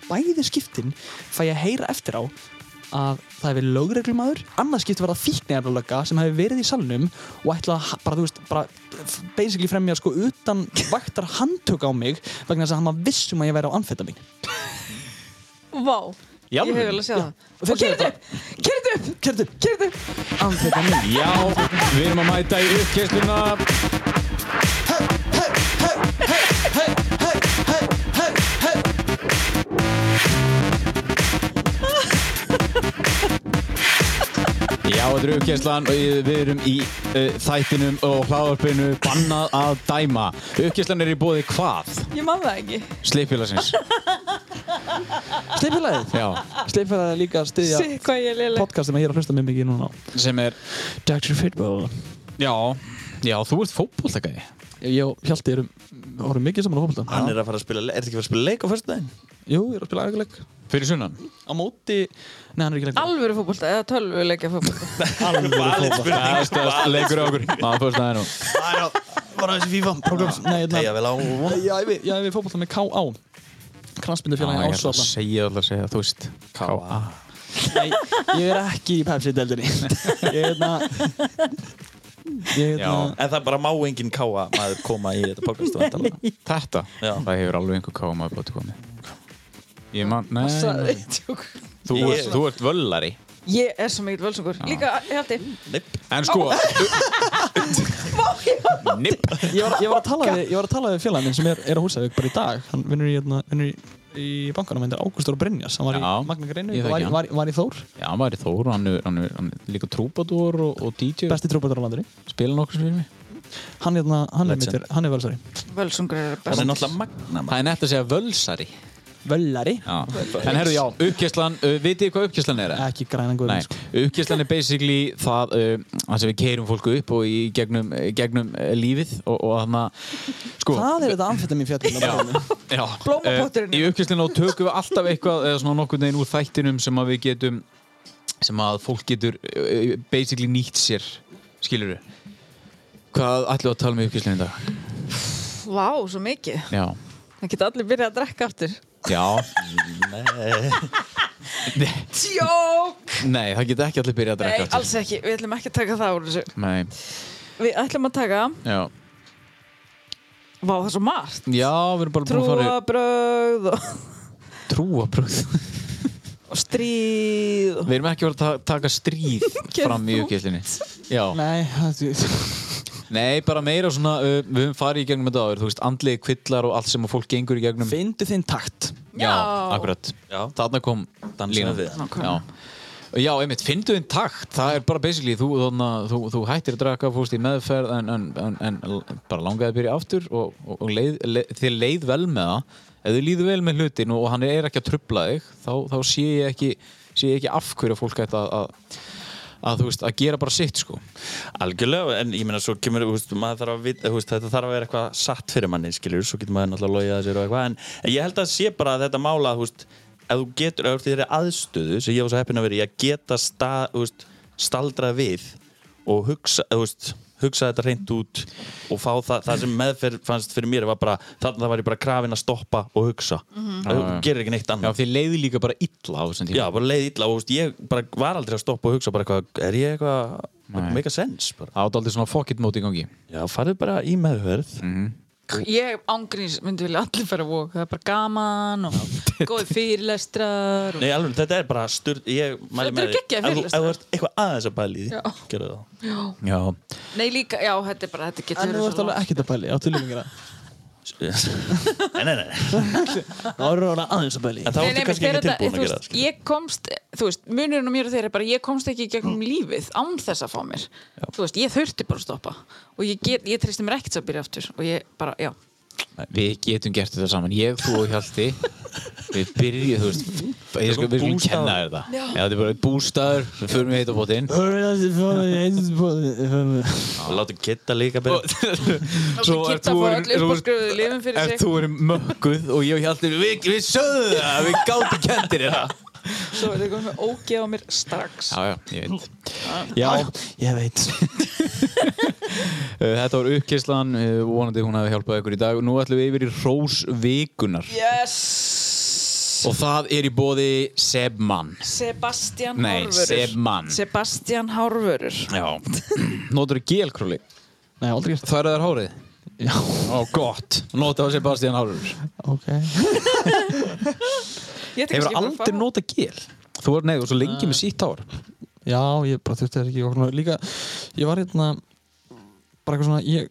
Speaker 4: bæði skiptin fæ ég að heyra eftir á að það hefði lögreglumadur annað skipti var það fíknefnalögga sem hefði verið í salnum og ætlaði að ha- bara, þú veist, bara f- basically fremja sko utan vaktar handtök á mig vegna þess að hann var vissum að ég væri á anfetta mín
Speaker 3: Vá,
Speaker 5: Já,
Speaker 3: ég hef vel að sjá
Speaker 4: og
Speaker 3: það
Speaker 4: þeir
Speaker 3: Og
Speaker 4: segja
Speaker 3: kyrðu upp, kyrðu upp,
Speaker 4: Kertu,
Speaker 3: kyrðu upp
Speaker 4: anfetta mín
Speaker 1: Já, við erum að mæta í uppkessluna Já, þetta er uppkesslan og ég- við erum í uh, þættinum og hláðarpinu bannað að dæma Uppkesslan er í bóði hvað?
Speaker 3: Ég man það ekki
Speaker 1: Sleipfélagsins
Speaker 4: Sleipfélagið,
Speaker 1: Já,
Speaker 4: Sleipfélagið er líka að styðja
Speaker 3: Sitt hvað ég er léleg
Speaker 4: podcast sem ég er að hlusta mjög mikið núna á
Speaker 1: sem er
Speaker 4: Dr. Fitball
Speaker 1: Já, já, þú ert fótbolltækari
Speaker 4: Ég og Hjalti erum, vorum mikið saman á fólkvöldan
Speaker 5: Hann er að fara að spila, er þetta ekki að fara að spila leik á fyrstu daginn?
Speaker 4: Jú, ég er að spila æguleik
Speaker 1: Fyrir sunnan
Speaker 4: á móti, nei hann er ekki lengur
Speaker 3: Alvöru fótbolta eða tölvuleikja fótbolta
Speaker 1: Það er stöðast leikur á okkur Maður fórst það nú
Speaker 4: bara þessi FIFA programs Nei, hérna-
Speaker 5: Tegja vel á og
Speaker 4: Já, ég við, já, við fótbolta með K.A.
Speaker 1: Ah,
Speaker 4: Kransbyndufélagi
Speaker 1: Ég hérna ætla að
Speaker 4: Ásvallan
Speaker 1: segja alltaf að segja, þú veist K.A.
Speaker 4: Nei, ég er ekki í Pepsi-deldinni Ég er hérna Ég er hérna
Speaker 5: En það bara má enginn káa maður koma í þetta podcast vantanlega.
Speaker 1: Þetta?
Speaker 5: Já.
Speaker 1: Það hefur alveg einhver káum að blóti komið Ég man, nei nei. Þú,
Speaker 5: Ég-
Speaker 1: ert, þú ert völlari
Speaker 3: Ég er svo mikil völsungur Líka, ég haldi
Speaker 5: Neip,
Speaker 1: En sko Nipp
Speaker 4: Ég var, ég var að tala við, ég var að tala við félagin minn sem er, er á Húsavík bara í dag Hann vinnur í, hérna, vinnur í, í bankanum Hann er Ágústur Brynjas Hann var í
Speaker 1: Já,
Speaker 4: Magna Greinu
Speaker 1: ég
Speaker 4: var,
Speaker 1: þekki
Speaker 4: var,
Speaker 1: hann.
Speaker 4: var, var í Þór
Speaker 1: Já, maður er Þór og hann er, hann er, hann er líka trúbador og, og DJ
Speaker 4: Besti trúbættur á landinni
Speaker 1: Spila nokkur sem fyrir mig
Speaker 4: Hann, hérna, hann er
Speaker 5: Legend.
Speaker 4: mittir, hann er völsari
Speaker 3: Völsungur er best
Speaker 5: hann er náttúrulega magna maður.
Speaker 1: Það er nætt að segja völsari
Speaker 4: Völlari?
Speaker 1: Já En herðu, já, uppkjæslan uh, Vitið þið hvað uppkjæslan er? eða?
Speaker 4: Ekki grænan guðum
Speaker 1: Nei,
Speaker 4: sko.
Speaker 1: uppkjæslan er basically það uh, það sem við keirum fólku upp og í gegnum, gegnum uh, lífið og, og þannig að sko,
Speaker 4: Það er þetta amfetamin fjallin
Speaker 1: Já,
Speaker 3: Blómapotturinn.
Speaker 1: Eh, Í uppkvistlinu og tökum við alltaf eitthvað eða svona nokkur neginn úr þættinum sem að við getum sem að fólk getur eh, basically nýtt sér skilur við Hvað ætlum við að tala um í uppkvistlinu í dag?
Speaker 3: Vá, svo mikið
Speaker 1: Já,
Speaker 3: Það geta allir byrjað að drekka aftur
Speaker 1: já
Speaker 3: Jók
Speaker 1: Nei, það geta ekki allir byrjað að
Speaker 3: Nei,
Speaker 1: drekka
Speaker 3: alls ekki, við ætlum ekki að taka það úr þessu
Speaker 1: Nei,
Speaker 3: Við ætlum að taka,
Speaker 1: já
Speaker 3: vá það er svo margt
Speaker 1: Já, við erum bara búin að fara
Speaker 3: Trúabröð og,
Speaker 1: í trúabröð
Speaker 3: og stríð og.
Speaker 1: Við erum ekki að fara að ta- taka stríð
Speaker 3: Gerð
Speaker 1: fram í
Speaker 3: þú?
Speaker 1: uppkvistlinu Já
Speaker 4: Nei, það
Speaker 1: Nei, bara meira svona, uh, við höfum farið í gegnum þetta áður, þú veist, andlegi kvillar og allt sem að fólk gengur í gegnum.
Speaker 4: Fyndu þinn takt
Speaker 1: Já, akkurat.
Speaker 5: Já.
Speaker 1: Þarna kom línan.
Speaker 5: við hann.
Speaker 1: Já. Já, einmitt, finndu þinn takt, það er bara basically, þú, þarna, þú, þú hættir að draka, fórst í meðferð en, en, en, en bara langaði að byrja aftur og, og, og leið, leið, þér leið vel með það, ef þið líður vel með hlutin og hann er ekki að trubla þig, þá, þá sé, ég ekki, sé ég ekki af hverju fólk ætti að, að, að, þú veist, að gera bara sitt, sko.
Speaker 5: Algjörlega, en ég meina svo kemur, þú veist, maður þarf að vita, þú veist, þetta þarf að vera eitthvað satt fyrir manni, skiljur, svo getur maður náttúrulega að loja sér og eitthvað, en en ég held að sé bara að þetta mála, þú veist, ef þú getur, ef þú ert í þeirri aðstöðu, sem ég var svo heppin að vera í, að geta sta, þú veist, staldrað við og hugsa, þú veist, hugsa þetta hreint út og fá það, það sem meðferð fannst fyrir mér var bara, þannig það var ég bara krafin að stoppa og hugsa, þú gerir ekki neitt
Speaker 1: Já,
Speaker 5: annað.
Speaker 1: þið leiði líka bara illa á þessum tíma.
Speaker 5: Já, bara leið illa og þú veist, ég bara var aldrei að stoppa og hugsa bara eitthvað, er ég eitthvað,
Speaker 1: Nei.
Speaker 5: make a sense bara.
Speaker 1: Það átt aldrei svona fuck it móti í gangi.
Speaker 5: Já, farðu bara í meðhverð
Speaker 3: Ég ángrís myndi vilja allir fara að vók Það er bara gaman og góði fyrirlestrar og...
Speaker 5: Nei, alveg, þetta er bara styrd Ég mæli
Speaker 3: Þetta
Speaker 5: með
Speaker 3: eru geggjaðir
Speaker 5: Ef þú- ef
Speaker 3: fyrirlestrar.
Speaker 5: þú ert eitthvað aðeins að bæli því Gerðu það
Speaker 1: Já.
Speaker 3: Nei líka, já þetta er bara Þetta getur
Speaker 4: En nú
Speaker 3: verið
Speaker 4: ertu
Speaker 3: svo
Speaker 4: alveg
Speaker 3: langt.
Speaker 4: ekkert að pæli á tilhengjara
Speaker 5: Nei, nei, nei
Speaker 4: Það eru orðin aðeins að pæli
Speaker 5: En þá
Speaker 3: Nei,
Speaker 5: ertu
Speaker 3: nei, þegar
Speaker 5: kannski ekki
Speaker 3: þetta- þú
Speaker 5: tilbúin að gera
Speaker 3: veist,
Speaker 5: það skilur.
Speaker 3: Ég komst, þú veist, munurinn á mér og þeir er bara Ég komst ekki í gegnum lífið án þess að fá mér Þú veist, ég þurfti bara að stoppa Og ég, get, ég treysti mér ekkert að byrja aftur Og ég bara, já
Speaker 1: Við getum gert þetta saman. Ég, þú og Hjalti, við byrjuðum, þú veist, Ég skal, við skulum
Speaker 5: Bústaður.
Speaker 1: kenna þér það. Já, þetta er bara einn bústaður, við förum í heitabótinn.
Speaker 5: og látum kitta líka byrja
Speaker 1: Svo
Speaker 3: Svo
Speaker 1: ert
Speaker 3: kitta
Speaker 1: þú
Speaker 3: fór
Speaker 1: orðin-
Speaker 3: öll uppáskrifuðu lifin fyrir
Speaker 1: Ef
Speaker 3: sig
Speaker 1: þú er mökkuð og ég held að við, við sögðum það, við gátum kendir þér það.
Speaker 3: Svo er þið komið með ógeð á mér strax
Speaker 1: Já, já, ég veit. Já,
Speaker 4: Ég veit
Speaker 1: uh, þetta var uppkyslan, uh, vonandi hún hafi hjálpað ykkur í dag. Nú ætlum við yfir í Rós vikunar
Speaker 3: Yes
Speaker 1: og það er í bóði Sebman.
Speaker 3: Sebastian
Speaker 1: Nei,
Speaker 3: Hárvörur
Speaker 1: Sebman.
Speaker 3: Sebastian Hárvörur
Speaker 1: Já. Nótur í gelkrúli.
Speaker 4: Nei, aldrei gert
Speaker 1: Það er þær hárið. Já. Ó, gott. Nóta á Sebastian Hárur.
Speaker 4: Ok
Speaker 3: Ég ætti
Speaker 1: Hefur
Speaker 3: kannski bara að
Speaker 1: aldrei
Speaker 3: fá-
Speaker 1: nota gel? Þú er neyður svo lengi með sítt hár.
Speaker 4: Já, ég bara þurfti þess ekki og svona líka Ég var hérna bara eitthvað svona Ég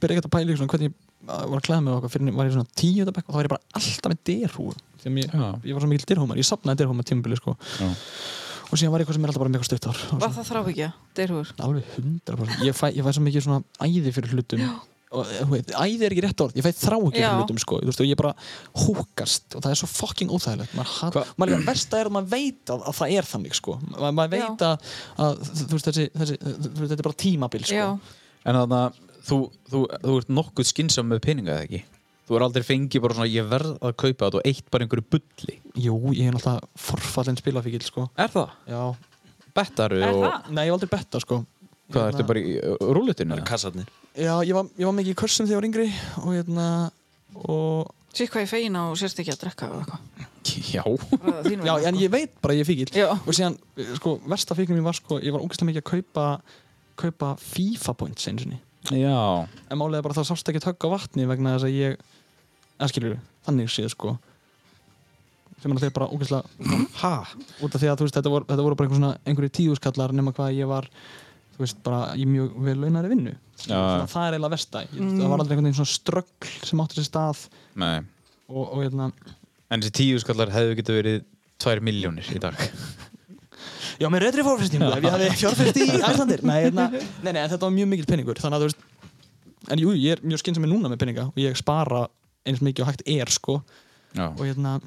Speaker 4: byrja ekkert að pæla í svona hvernig ég að- var að klæða mig og okkur fyrir var ég svona tíu þetta bekk og þá var ég bara alltaf með derhúu því að ég,
Speaker 1: Já.
Speaker 4: ég var svo mikil derhúmar, ég sapnaði derhúmar tímbili sko.
Speaker 1: Já.
Speaker 4: og síðan var ég eitthvað sem er alltaf bara með eitthvað stuttar
Speaker 3: Var það þrá ekki, Deirhúr?
Speaker 4: alveg 100% ég fæ, ég fæ svo mikið svona æði fyrir hlutum og, eh, þú veit, æði er ekki rétt orð, ég fæ þrá ekki
Speaker 3: Já.
Speaker 4: fyrir hlutum sko, þú veist, og ég bara húkast og það er svo fucking óþægilegt maður, hat, maður líka versta er að maður veit að, að það er þannig sko, Ma, maður
Speaker 3: Já.
Speaker 4: veit að, að þú veist, þessi, þessi þú veist, þetta er bara tímabil sko
Speaker 3: Já,
Speaker 1: En þannig að þú, þú, þú ert nokkuð skynsam með peninga eða ekki? Þú er aldrei fengið bara svona ég verð að kaupa þetta og eitt bara einhverju bulli.
Speaker 4: jú, ég er náttúrulega forfallin spilafíkil sko,
Speaker 1: Er það?
Speaker 4: já
Speaker 1: Bettaru
Speaker 3: Er
Speaker 1: og
Speaker 3: það?
Speaker 4: nei, ég var aldrei betta sko
Speaker 1: hvað ertu bara í rúlutinu?
Speaker 5: kassarnir
Speaker 4: já, ég var, ég var mikið í körsum þegar ég var yngri og hérna og,
Speaker 3: sér hvað ég fegin á og sérst ekki að drekka og eitthvað
Speaker 1: Já.
Speaker 3: Bara þín
Speaker 4: já,
Speaker 3: vegna,
Speaker 4: en
Speaker 3: sko.
Speaker 4: ég veit bara að ég er fíkil
Speaker 3: Já.
Speaker 4: og síðan, eh, sko, versta fíknum mín var sko, ég var ógeðslega mikið að kaupa kaupa FIFA points einu sinni
Speaker 1: Já.
Speaker 4: en málega bara það sást ekki högg á vatni vegna þess að ég eða skilur, þannig séð sko sem er alltaf bara ógeðslega ha, út af því að þú veist, þetta voru, þetta voru bara einhver svona, einhverju tíðuskallar nema hvað ég var þú veist, bara í mjög vel launari vinnu
Speaker 1: Já.
Speaker 4: Þannig að það er eiginlega versta ég, mm. það var aldrei einhvern veginn svona ströggl sem átti sér stað
Speaker 1: Nei.
Speaker 4: og, og hérna,
Speaker 1: En þessi tíu skallar hefðu getið verið tvær miljónir í dag.
Speaker 4: Já, með röðri fórfestingu, ef ég hafi fjárfest í Æslandir Nei, hérna, nei, nei, en þetta var mjög mikill penningur Þannig að þú veist En jú, ég er mjög skynsam með núna með penninga Og ég spara eins mikið og hægt er, sko
Speaker 1: Já.
Speaker 4: Og hérna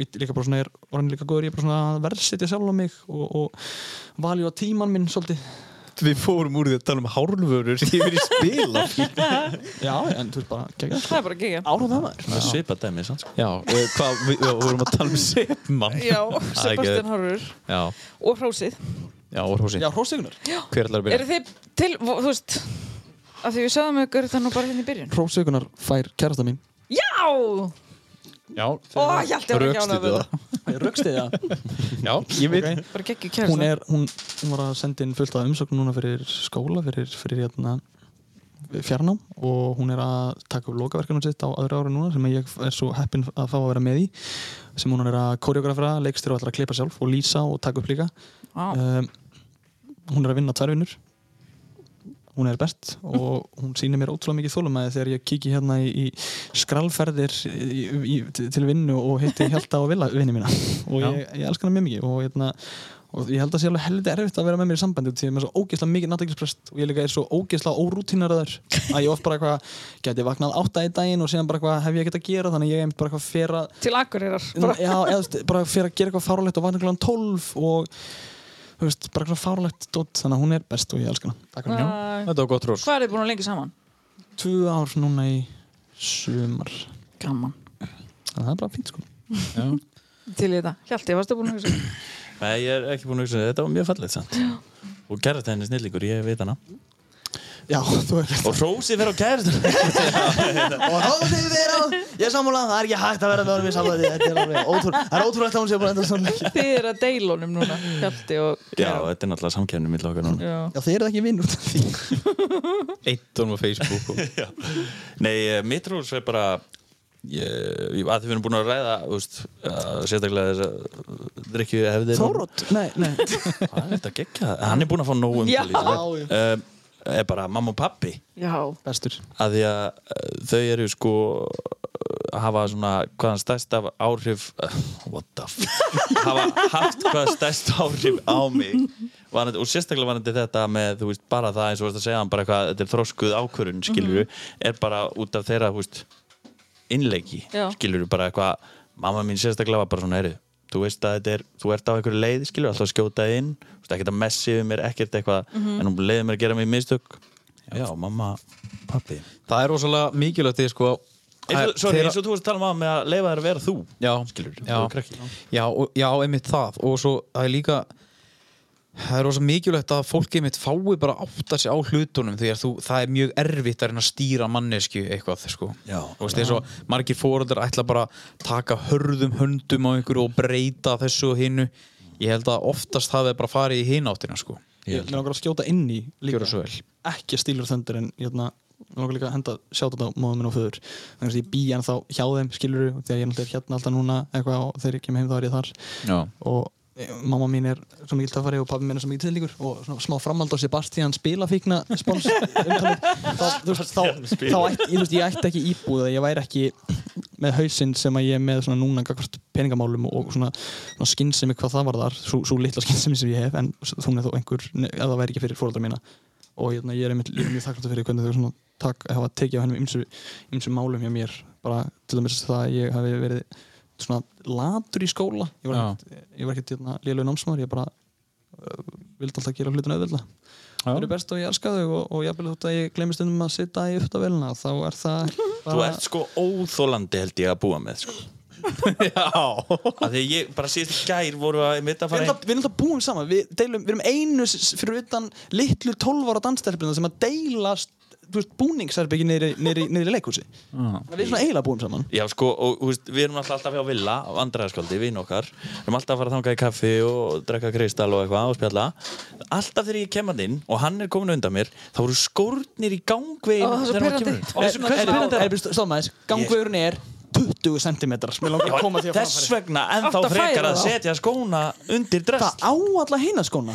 Speaker 4: ég Líka bara svona er orðin líka góður Ég er bara svona að verðsetja sjálf á mig Og, og valju á tíman minn svolítið
Speaker 1: Við fórum úr því að tala um hárlvörur yfir í spila.
Speaker 4: Já, en þú veist bara, gegja
Speaker 3: Það er bara ekki
Speaker 4: Árum það maður
Speaker 5: svipa dæmi sann sko
Speaker 1: Já, og hvað, við, við vorum að tala um sepmann.
Speaker 3: Já,
Speaker 1: Það er
Speaker 3: Sebastian
Speaker 1: ekki-
Speaker 3: Hárvörur
Speaker 1: Já,
Speaker 3: og Hrósið
Speaker 1: já, orðhósi.
Speaker 4: Já, hrósigunar
Speaker 1: Hver ætlar að byrja?
Speaker 3: Eru þið til, þú veist að því við sögðum ykkur þannig bara hérna í byrjun
Speaker 4: Hrósigunar fær kærasta mín
Speaker 3: Já! Ó,
Speaker 1: Já,
Speaker 3: ég held ég var ekki ánægð
Speaker 1: rökstuddu
Speaker 3: með
Speaker 1: það.
Speaker 3: það
Speaker 4: Röggstiða
Speaker 1: Já, ég veit.
Speaker 3: Bara sko. geggjur kæra
Speaker 4: hún er, hún, hún var að senda inn fullt af umsögnum núna fyrir skóla, fyrir, fyrir hérna fjarnám og hún er að taka upp lokaverkefnum sitt á öðru ári núna sem ég er svo heppinn að fá að vera með í sem hún er að koreografra, leikstur og allar að klippa sjálf og lýsa og taka upp líka
Speaker 1: eh,
Speaker 4: um, hún er að vinna tværvinnur hún er best og hún sýnir mér ótrúlega mikið þólumæði þegar ég kiki hérna í, í skralferðir í, í, til vinnu og hitti Hjelta og Villa vinni mína og ég, ég elska hana mjög mikið og, hérna, og ég held að sé alveg helviti erfitt að vera með mér í sambandi því að ég er með svo ógeðslega mikið nattaklisprest og ég líka er svo ógeðslega órútinaraður að ég oft bara eitthvað geti vaknað átta í daginn og síðan bara eitthvað hef ég ekkert að gera þannig að ég er bara eitthvað fyrir að
Speaker 3: Til Akureyrar
Speaker 4: Já,
Speaker 3: bara.
Speaker 4: eða, þú veist, bara fyrir að gera eitthvað fáralegt og vakna kláðan 12 og þú veist, bara eitthvað fáralegt dótt þannig að hún er best og ég elskar hana Takk fyrir hana.
Speaker 3: Æ,
Speaker 1: Þetta var gott rós.
Speaker 3: Hvað er þið búin að lengi saman?
Speaker 4: Tvö ár núna í sumar
Speaker 3: Gaman
Speaker 4: þannig að það er bara fínt sko
Speaker 3: Til í þetta Hjalti, varstu búin að hugsa? um-
Speaker 5: nei ég er ekki búin að hugsa um þetta var mjög fallið sann og kærasta henni er snillingur ég veit hana
Speaker 4: Já, þú er
Speaker 5: og Rósi fer á kærasta
Speaker 9: Og hóðið við á Ég er sammála, það er ekki hægt að vera með honum í sammála Þetta er alveg ótrúlega Það er ótrúlegt að hún sé búin að enda svona leikið.
Speaker 3: Þið er að deila honum núna Hjalti og
Speaker 5: já þetta er náttúrulega samkjæmni mitt okkar núna
Speaker 3: Já.
Speaker 4: Já, þið eruð ekki vinn út af því
Speaker 1: Eitt honum á Facebook og...
Speaker 5: Nei, eh, mitt rúls er bara ég, ég- að þið verðum búin að ræða úst, að sérstaklega þess að drikju hefðir
Speaker 4: Þórótt? Nei, nei
Speaker 5: hann er þetta gekkja, hann er búin að fá nóg um
Speaker 3: Já.
Speaker 5: um, er bara mamma og pappi
Speaker 3: Já
Speaker 4: Bestur
Speaker 5: að því að eh, þau eru sko eh, hafa svona hvaðan stærsta áhrif eh, what the fuck hafa haft hvaðan stærsta áhrif á mig varandi, og sérstaklega varandi þetta með þú veist bara það eins og þú veist að segja hann bara eitthvað þetta er þroskuð ákvörun skilur er bara út af þeirra þú veist innleiki
Speaker 3: Já.
Speaker 5: skilur bara eitthvað mamma mín sérstaklega var bara svona heyrðu þú veist að þetta er, þú ert á einhverju leið skilur, alltaf að skjóta þig inn, þú veist ekkert að messi við mér, ekkert eitthvað, en hún leiði mér að gera mig mistök, já, mamma pappi,
Speaker 1: Það er rosalega mikilvægt því sko
Speaker 5: eins og, sorry,
Speaker 1: þegar-
Speaker 5: eins og þú varst að tala um að með að leifa þér að vera þú
Speaker 1: já,
Speaker 5: skilur,
Speaker 1: já,
Speaker 5: þú krakki
Speaker 1: já, og- já, einmitt það og svo það er líka það er rosalega mikilvægt að fólk einmitt fái bara að átta sig á hlutunum því að þú, það er mjög erfitt að reyna að stýra mannesku eitthvað sko
Speaker 5: Já.
Speaker 1: og veist, eins og margir fóreldar ætla bara að taka hörðum höndum á einhverju og breyta þessu og hinnu ég held að oftast það er bara farið í hináttina sko
Speaker 4: Ég mér langar að skjóta inn í líka
Speaker 1: Gjörðu svo vel.
Speaker 4: ekki að stílur þöndur en ég hérna, mig langar líka að henda sjáta þetta á móðum minn og föður þannig að ég bý en þá hjá þeim skilur því að ég er náttúrulega hérna alltaf núna eitthvað og þegar ég kemur heim þá er ég þar
Speaker 1: já,
Speaker 4: og eh, mamma mín er svo mikil töffari og pabbi mín er svo mikil tilíkur og svona smá framhald á Sebastian spilafíkna spons umtalið. þá, þú veist, þá, þá ætti, ég, veist, ég ætti ekki íbúð að ég væri ekki með hausinn sem að ég er með svona núna gagvart peningamálum og svona, svona skinnsemi hvað það var þar, svo, svo litla skinnsemi sem ég hef en s- hún er þó einhver, ne- ef það væri ekki fyrir fóröldra mína og ég, ég er einmitt líka mjög þakklátt fyrir hvernig þau svona tak, hafa tekið á hennum ymsu, ymsu málum hjá mér bara til dæmis það að ég hafi verið svona latur í skóla ég var
Speaker 1: Já.
Speaker 4: ekkert- ég var ekkert hérna, lélög námsmaður ég bara uh, vildi alltaf gera hlutin auðvölda það eru best og ég elska þau og, og ég vil þótt að ég glemist um að sitta í upptafélina þá er það
Speaker 5: Þú ert sko óþólandi held ég að búa með sko. Já Af því að ég bara síðast í gær voru að mitt að
Speaker 4: Við
Speaker 5: fara
Speaker 4: erum, alltaf, við erum alltaf búin saman, við, deilum, við erum einu s- fyrir utan litlu 12 ára danstelpina sem að deila þú veist, búningsherbyggi niður, í- niður, í- niður í leikhúsi Við erum svona eiginlega búin saman
Speaker 5: Já sko, og þú veist, við erum alltaf alltaf hjá Villa á andræðarskvöldi, vinn okkar Við erum alltaf að fara að þanga í kaffi og drekka kristall og eitthvað og spjalla Alltaf þegar ég kem hann inn og hann er komin undan mér þá voru skórnir í gangvegin
Speaker 3: Ó, það er svo pirrandi.
Speaker 4: Stómaðis, gangvegurinn er 20 cm Mér langar að koma því að
Speaker 5: Þess vegna en þá
Speaker 3: Átt að
Speaker 5: frekar
Speaker 3: færa
Speaker 5: að
Speaker 3: þá.
Speaker 5: setja skóna undir dress
Speaker 4: Það á alla hina skóna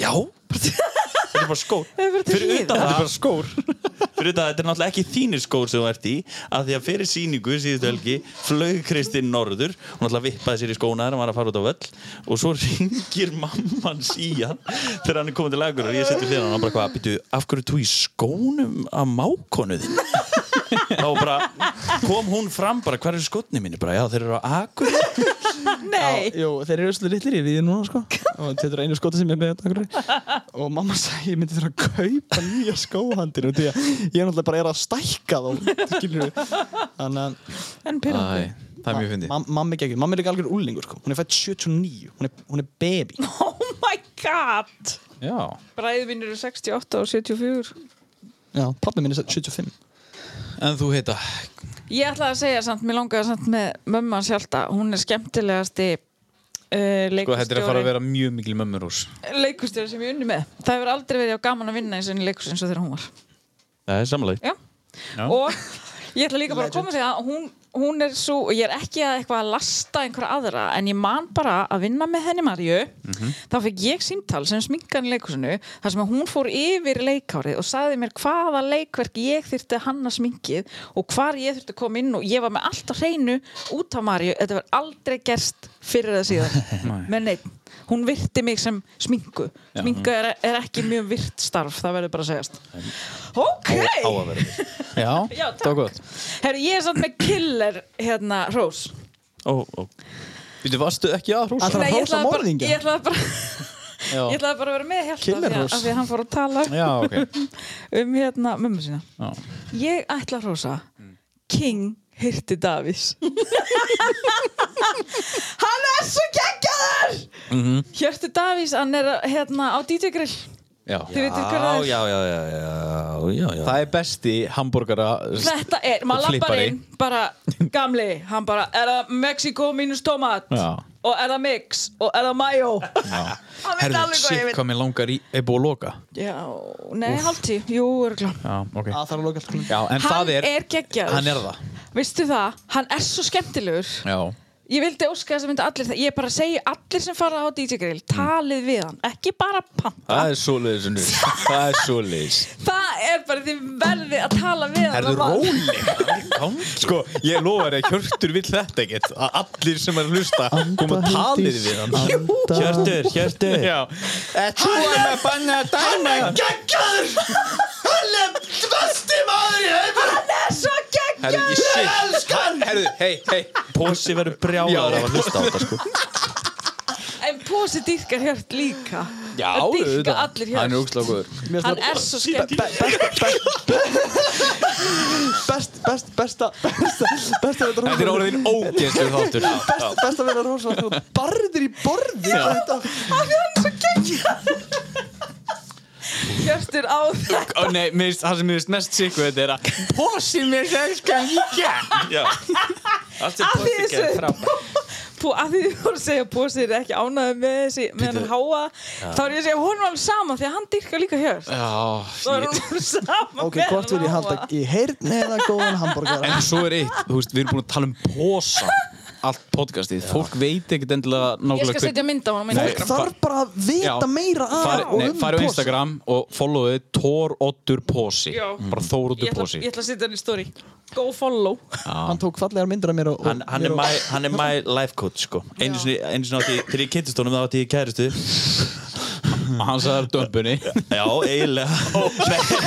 Speaker 5: Já Þetta er bara skór
Speaker 3: er bara til
Speaker 5: Fyrir
Speaker 3: hliðar.
Speaker 5: utan það Þetta er skór Fyrir utan það, þetta er náttúrulega ekki þínir skór sem þú ert í að því að fyrir síningu síðustu helgi flög Kristinn norður hún náttúrulega vippaði sér í skóna þegar hann var að fara út á völl og svo ringir mammans í hann þegar hann er komið til lagur og ég seti hlýðan og hann bara hvað, býtu, af hverju ert þú í skónum að mákonu þinn? þá bara kom hún fram bara, hver eru skotni mínu? Bara, já, þeir eru á akur
Speaker 3: Nei,
Speaker 4: Jú, þeir eru svolítið litlir í við núna sko og þetta er einu skóta sem ég er með þetta akkurri. og mamma sagði ég myndi þurfa að kaupa nýja skóhandir og því að ég er náttúrulega bara er að stækka þá skilurðu. þannig að
Speaker 3: en pyrrandi
Speaker 1: það er mjög fyndið
Speaker 4: Mam- Mamma ekki ekki, mamma er ekki algjör úlingur sko. Hún er fætt 79, hún er, hún er baby
Speaker 3: Oh my god
Speaker 1: já,
Speaker 3: Bræði mín eru 68 og 74
Speaker 4: Já, pappi minn er 75
Speaker 1: en þú heita
Speaker 3: Ég ætlaði að segja samt, mér langaði samt með mömmu hans hjálta, hún er skemmtilegasti uh,
Speaker 1: sko, þetta er að fara að
Speaker 3: leikustjóri
Speaker 1: vera mjög mikil mömmurús
Speaker 3: leikustjóri sem ég unni með það hefur aldrei verið á gaman að vinna eins og enn leikus eins og þegar hún var
Speaker 5: Það er samlega
Speaker 3: Já. og ég ætla líka bara að koma því að hún, hún er svo, og ég er ekki að eitthvað að lasta einhverja aðra, en ég man bara að vinna með henni Marju
Speaker 5: Mhm.
Speaker 3: þá fekk ég símtal sem sminkan í leikusinu þar sem að hún fór yfir leikárið og sagði mér hvaða leikverk ég þyrfti að hanna sminkið og hvar ég þyrfti að koma inn og ég var með allt á hreinu út af Marju, þetta var aldrei gerst fyrir það síðan, menn neitt hún virti mig sem sminku sminka er, er ekki mjög virt starf það verður bara að segjast ok
Speaker 5: Á að vera
Speaker 1: já,
Speaker 3: Já,
Speaker 1: það var gott
Speaker 3: Herru, ég er samt með killer hérna, Rós
Speaker 5: Ó, ó.
Speaker 1: Býtu, varstu ekki að hrósa?
Speaker 4: Ætlar að hrósa
Speaker 3: ætlaði bara,
Speaker 4: morðingja?
Speaker 3: ég ætlaði bara Ég ætlaði bara að vera með hjálta
Speaker 4: Killer
Speaker 3: af því að-
Speaker 4: Rós.
Speaker 3: af því að hann fór að tala
Speaker 1: Já, ok
Speaker 3: um hérna mömmu sína
Speaker 1: Já. Mm.
Speaker 3: Ég ætla að hrósa King Hirti Davís Hann er svo geggjaður
Speaker 1: Mhm.
Speaker 3: Hjörtu Davís, hann er hérna á DJ Grill
Speaker 1: Já.
Speaker 3: Þið veitir hver
Speaker 5: Já,
Speaker 3: það er
Speaker 5: já, já, já, já, já, já.
Speaker 1: Það er besti hambúrgara
Speaker 3: Þetta er, maður lappar
Speaker 1: Flippari.
Speaker 3: inn, bara gamli, hann bara, er það Mexiko mínus tomat?
Speaker 1: Já.
Speaker 3: Og er það mix? Og er það mayo? Hann veit
Speaker 1: Herðu,
Speaker 3: alveg hvað ég
Speaker 1: shit,
Speaker 3: veit.
Speaker 1: hvað mér langar í er búið að loka
Speaker 3: Já, nei, hálftí, jú, örgla.
Speaker 1: Já, ok
Speaker 4: Það þarf að loka alltaf
Speaker 1: Já, en
Speaker 3: sko. Hann
Speaker 1: það
Speaker 3: er,
Speaker 1: er,
Speaker 3: geggjaður.
Speaker 1: Hann er það
Speaker 3: Veistu það, hann er svo skemmtilegur.
Speaker 1: Já,
Speaker 3: Ég vildi óska þess að mynda allir það, ég bara segi allir sem fara á DJ
Speaker 1: Mm.
Speaker 3: Grill, talið við hann, ekki bara panta.
Speaker 1: það er svoleiðis nú. Það er svoleiðis
Speaker 3: Það er bara því verði að tala við hann.
Speaker 1: Herðu,
Speaker 3: að maður-
Speaker 1: róleg Sko, ég lofa þér að Hjörtur vill þetta ekkert að allir sem er að hlusta koma að talið við hann
Speaker 5: Hjörtur, hjörtur
Speaker 1: Já Þú er að banna að dæma
Speaker 3: Hann er svo geggjaður!
Speaker 1: Herðu, ég shit
Speaker 5: Elskan
Speaker 1: herðu, hei, hei
Speaker 5: Pósi verður brjálaður af að hlusta á þetta sko
Speaker 3: En Pósi dýrkar hjört líka
Speaker 1: Já,
Speaker 3: Það dýrka
Speaker 1: auðvitað.
Speaker 3: allir
Speaker 1: Hann er
Speaker 3: hjört
Speaker 1: ógslag góður
Speaker 3: Hann er svo skemmt
Speaker 4: Best, best, besta Besta, besta við
Speaker 1: Þetta er orðin ógeðslu þáttur
Speaker 4: Besta, besta við þetta rosa Þú barðir í borði Þetta
Speaker 3: Hjörtur á þetta
Speaker 1: Ó, Nei, minnst, það sem ég veist mest sikku þetta er að Pósi mér selskan líka
Speaker 5: Já Allt
Speaker 3: Af því þessu-
Speaker 5: gerir frábært.
Speaker 3: Pú, að því þú voru að segja að Pósi er ekki ánæði með þessi með hann háa þá er ég að segja hún var alveg sama því að hann dýrkar líka hjört þá er
Speaker 1: Já,
Speaker 3: hún alveg sama
Speaker 4: Ok,
Speaker 3: með
Speaker 4: hvort vil ég
Speaker 3: hann háa.
Speaker 4: halda í heyrn eða góðan hambúrgara
Speaker 1: en svo er eitt, þú veist, við erum búin að tala um Pósa Allt podcastið, fólk veit ekkert endilega
Speaker 3: Ég
Speaker 1: nákvæmlega
Speaker 3: skal setja mynd á hann
Speaker 1: Nei.
Speaker 4: Fólk þarf bara að vita
Speaker 1: Já.
Speaker 4: meira af
Speaker 1: Fari,
Speaker 4: og
Speaker 1: nei,
Speaker 4: um
Speaker 1: farið á
Speaker 4: posa.
Speaker 1: Instagram og followið Thor Otur Pósi
Speaker 3: Já.
Speaker 1: Bara Thor
Speaker 3: Ég
Speaker 1: Otur
Speaker 3: ætla,
Speaker 1: Pósi
Speaker 3: ég ætla að setja hann í story Go follow
Speaker 4: Hann tók fallegar myndir af mér og, og
Speaker 5: Hann, hann, er my, hann er my life coach sko Einu sinni, einu sinni átti, ég- þegar ég kynntist honum þá átti ég kæristu
Speaker 1: Og hann sagði það er dömbunni
Speaker 5: Já, eiginlega nei,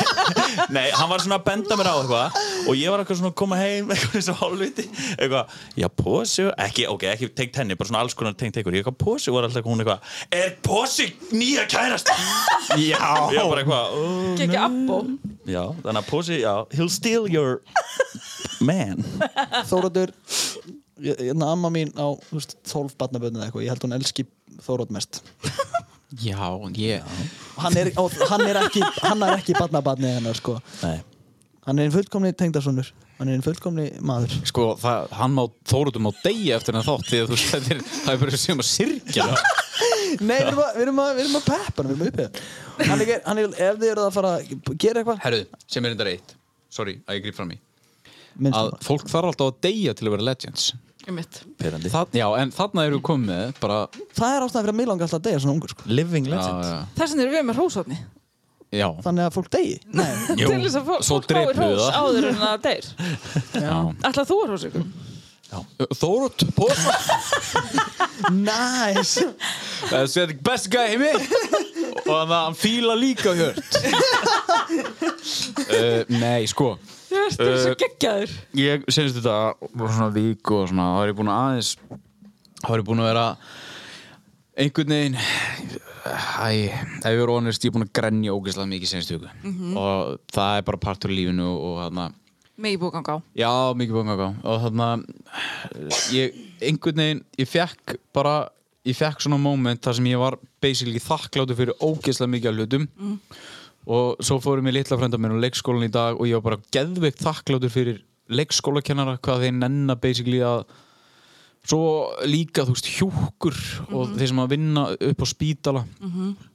Speaker 5: nei, hann var svona að benda mér á eitthvað Og ég var eitthvað svona að koma heim Eitthvað eins og hálfviti Eitthvað, já, posi Ekki, ok, ekki tengt henni, bara svona alls konar tengt eitthvað Ég eitthvað, posi var alltaf hún eitthvað Er posi nýja kærast? já Ég var bara eitthvað, ó
Speaker 3: Gekki Abbo
Speaker 5: Já, þannig að posi, já He'll steal your man
Speaker 4: Þóratur ég- hérna amma mín á þú veist, 12 barnaböðinu eða eitthvað, ég held hún elski Þórat mest
Speaker 1: Já, ég
Speaker 4: hann er, og, hann er ekki, hann er ekki barnabarni hennar sko,
Speaker 5: Nei,
Speaker 4: hann er einn fullkomni tengdarsonur, hann er einn fullkomni maður
Speaker 1: Sko, það, hann má, Þóruður má deyja eftir hann þátt því að þú veist, þetta er- það er bara sem að sirkja
Speaker 4: Nei, við erum að, við erum að, við erum að peppa hann, við erum að uppið hann er, hann er, ef þið eru að fara að gera eitthvað,
Speaker 1: Herðu, sem er enda reitt Sorry, að ég grýp fram í
Speaker 4: minnst
Speaker 1: Að
Speaker 4: hann
Speaker 1: fólk þarf alltaf að deyja til að vera legends
Speaker 5: perandi
Speaker 1: Það, Já, en þarna eru við komið með bara
Speaker 4: það er ástæðan fyrir að mig langa alltaf að deyja svona ungur sko,
Speaker 5: Living legend
Speaker 1: Já,
Speaker 3: Þess vegna erum við með hrósotni
Speaker 1: já, já.
Speaker 4: þannig að fólk deyji Nei,
Speaker 1: Jú,
Speaker 3: Til þess að fó-
Speaker 1: svo
Speaker 3: fólk fái
Speaker 1: drepum við
Speaker 3: hrós
Speaker 1: það
Speaker 3: áður en að deyr Ætla þú að hrósa ykkur
Speaker 1: Þórut, posa
Speaker 4: nice
Speaker 1: Þessi er best guy heimi Og þannig að hann fíla líka hjört uh, Nei, sko
Speaker 3: Hjörtur er svo geggjaður
Speaker 1: ég senast þetta var svona viku og svona, þá er ég búin að aðeins þá er ég búin að vera einhvern veginn æ, ef ég er honest, ég er búin að grenja ógeðslega mikið senast viku og það er bara partur í lífinu og þarna,
Speaker 3: Mikið búið ganga á
Speaker 1: já, mikið búin að gá og þarna, ég einhvern veginn, ég fekk bara ég fekk svona moment þar sem ég var basically þakkláttu fyrir ógeðslega mikið af hlutum og svo fórum við litla frænda minn á leikskólan í dag og ég var bara geðveikt þakkláttur fyrir leikskólakennara hvað þeir nenna basically að svo líka þú veist hjúkur og þeir sem að vinna upp á spítala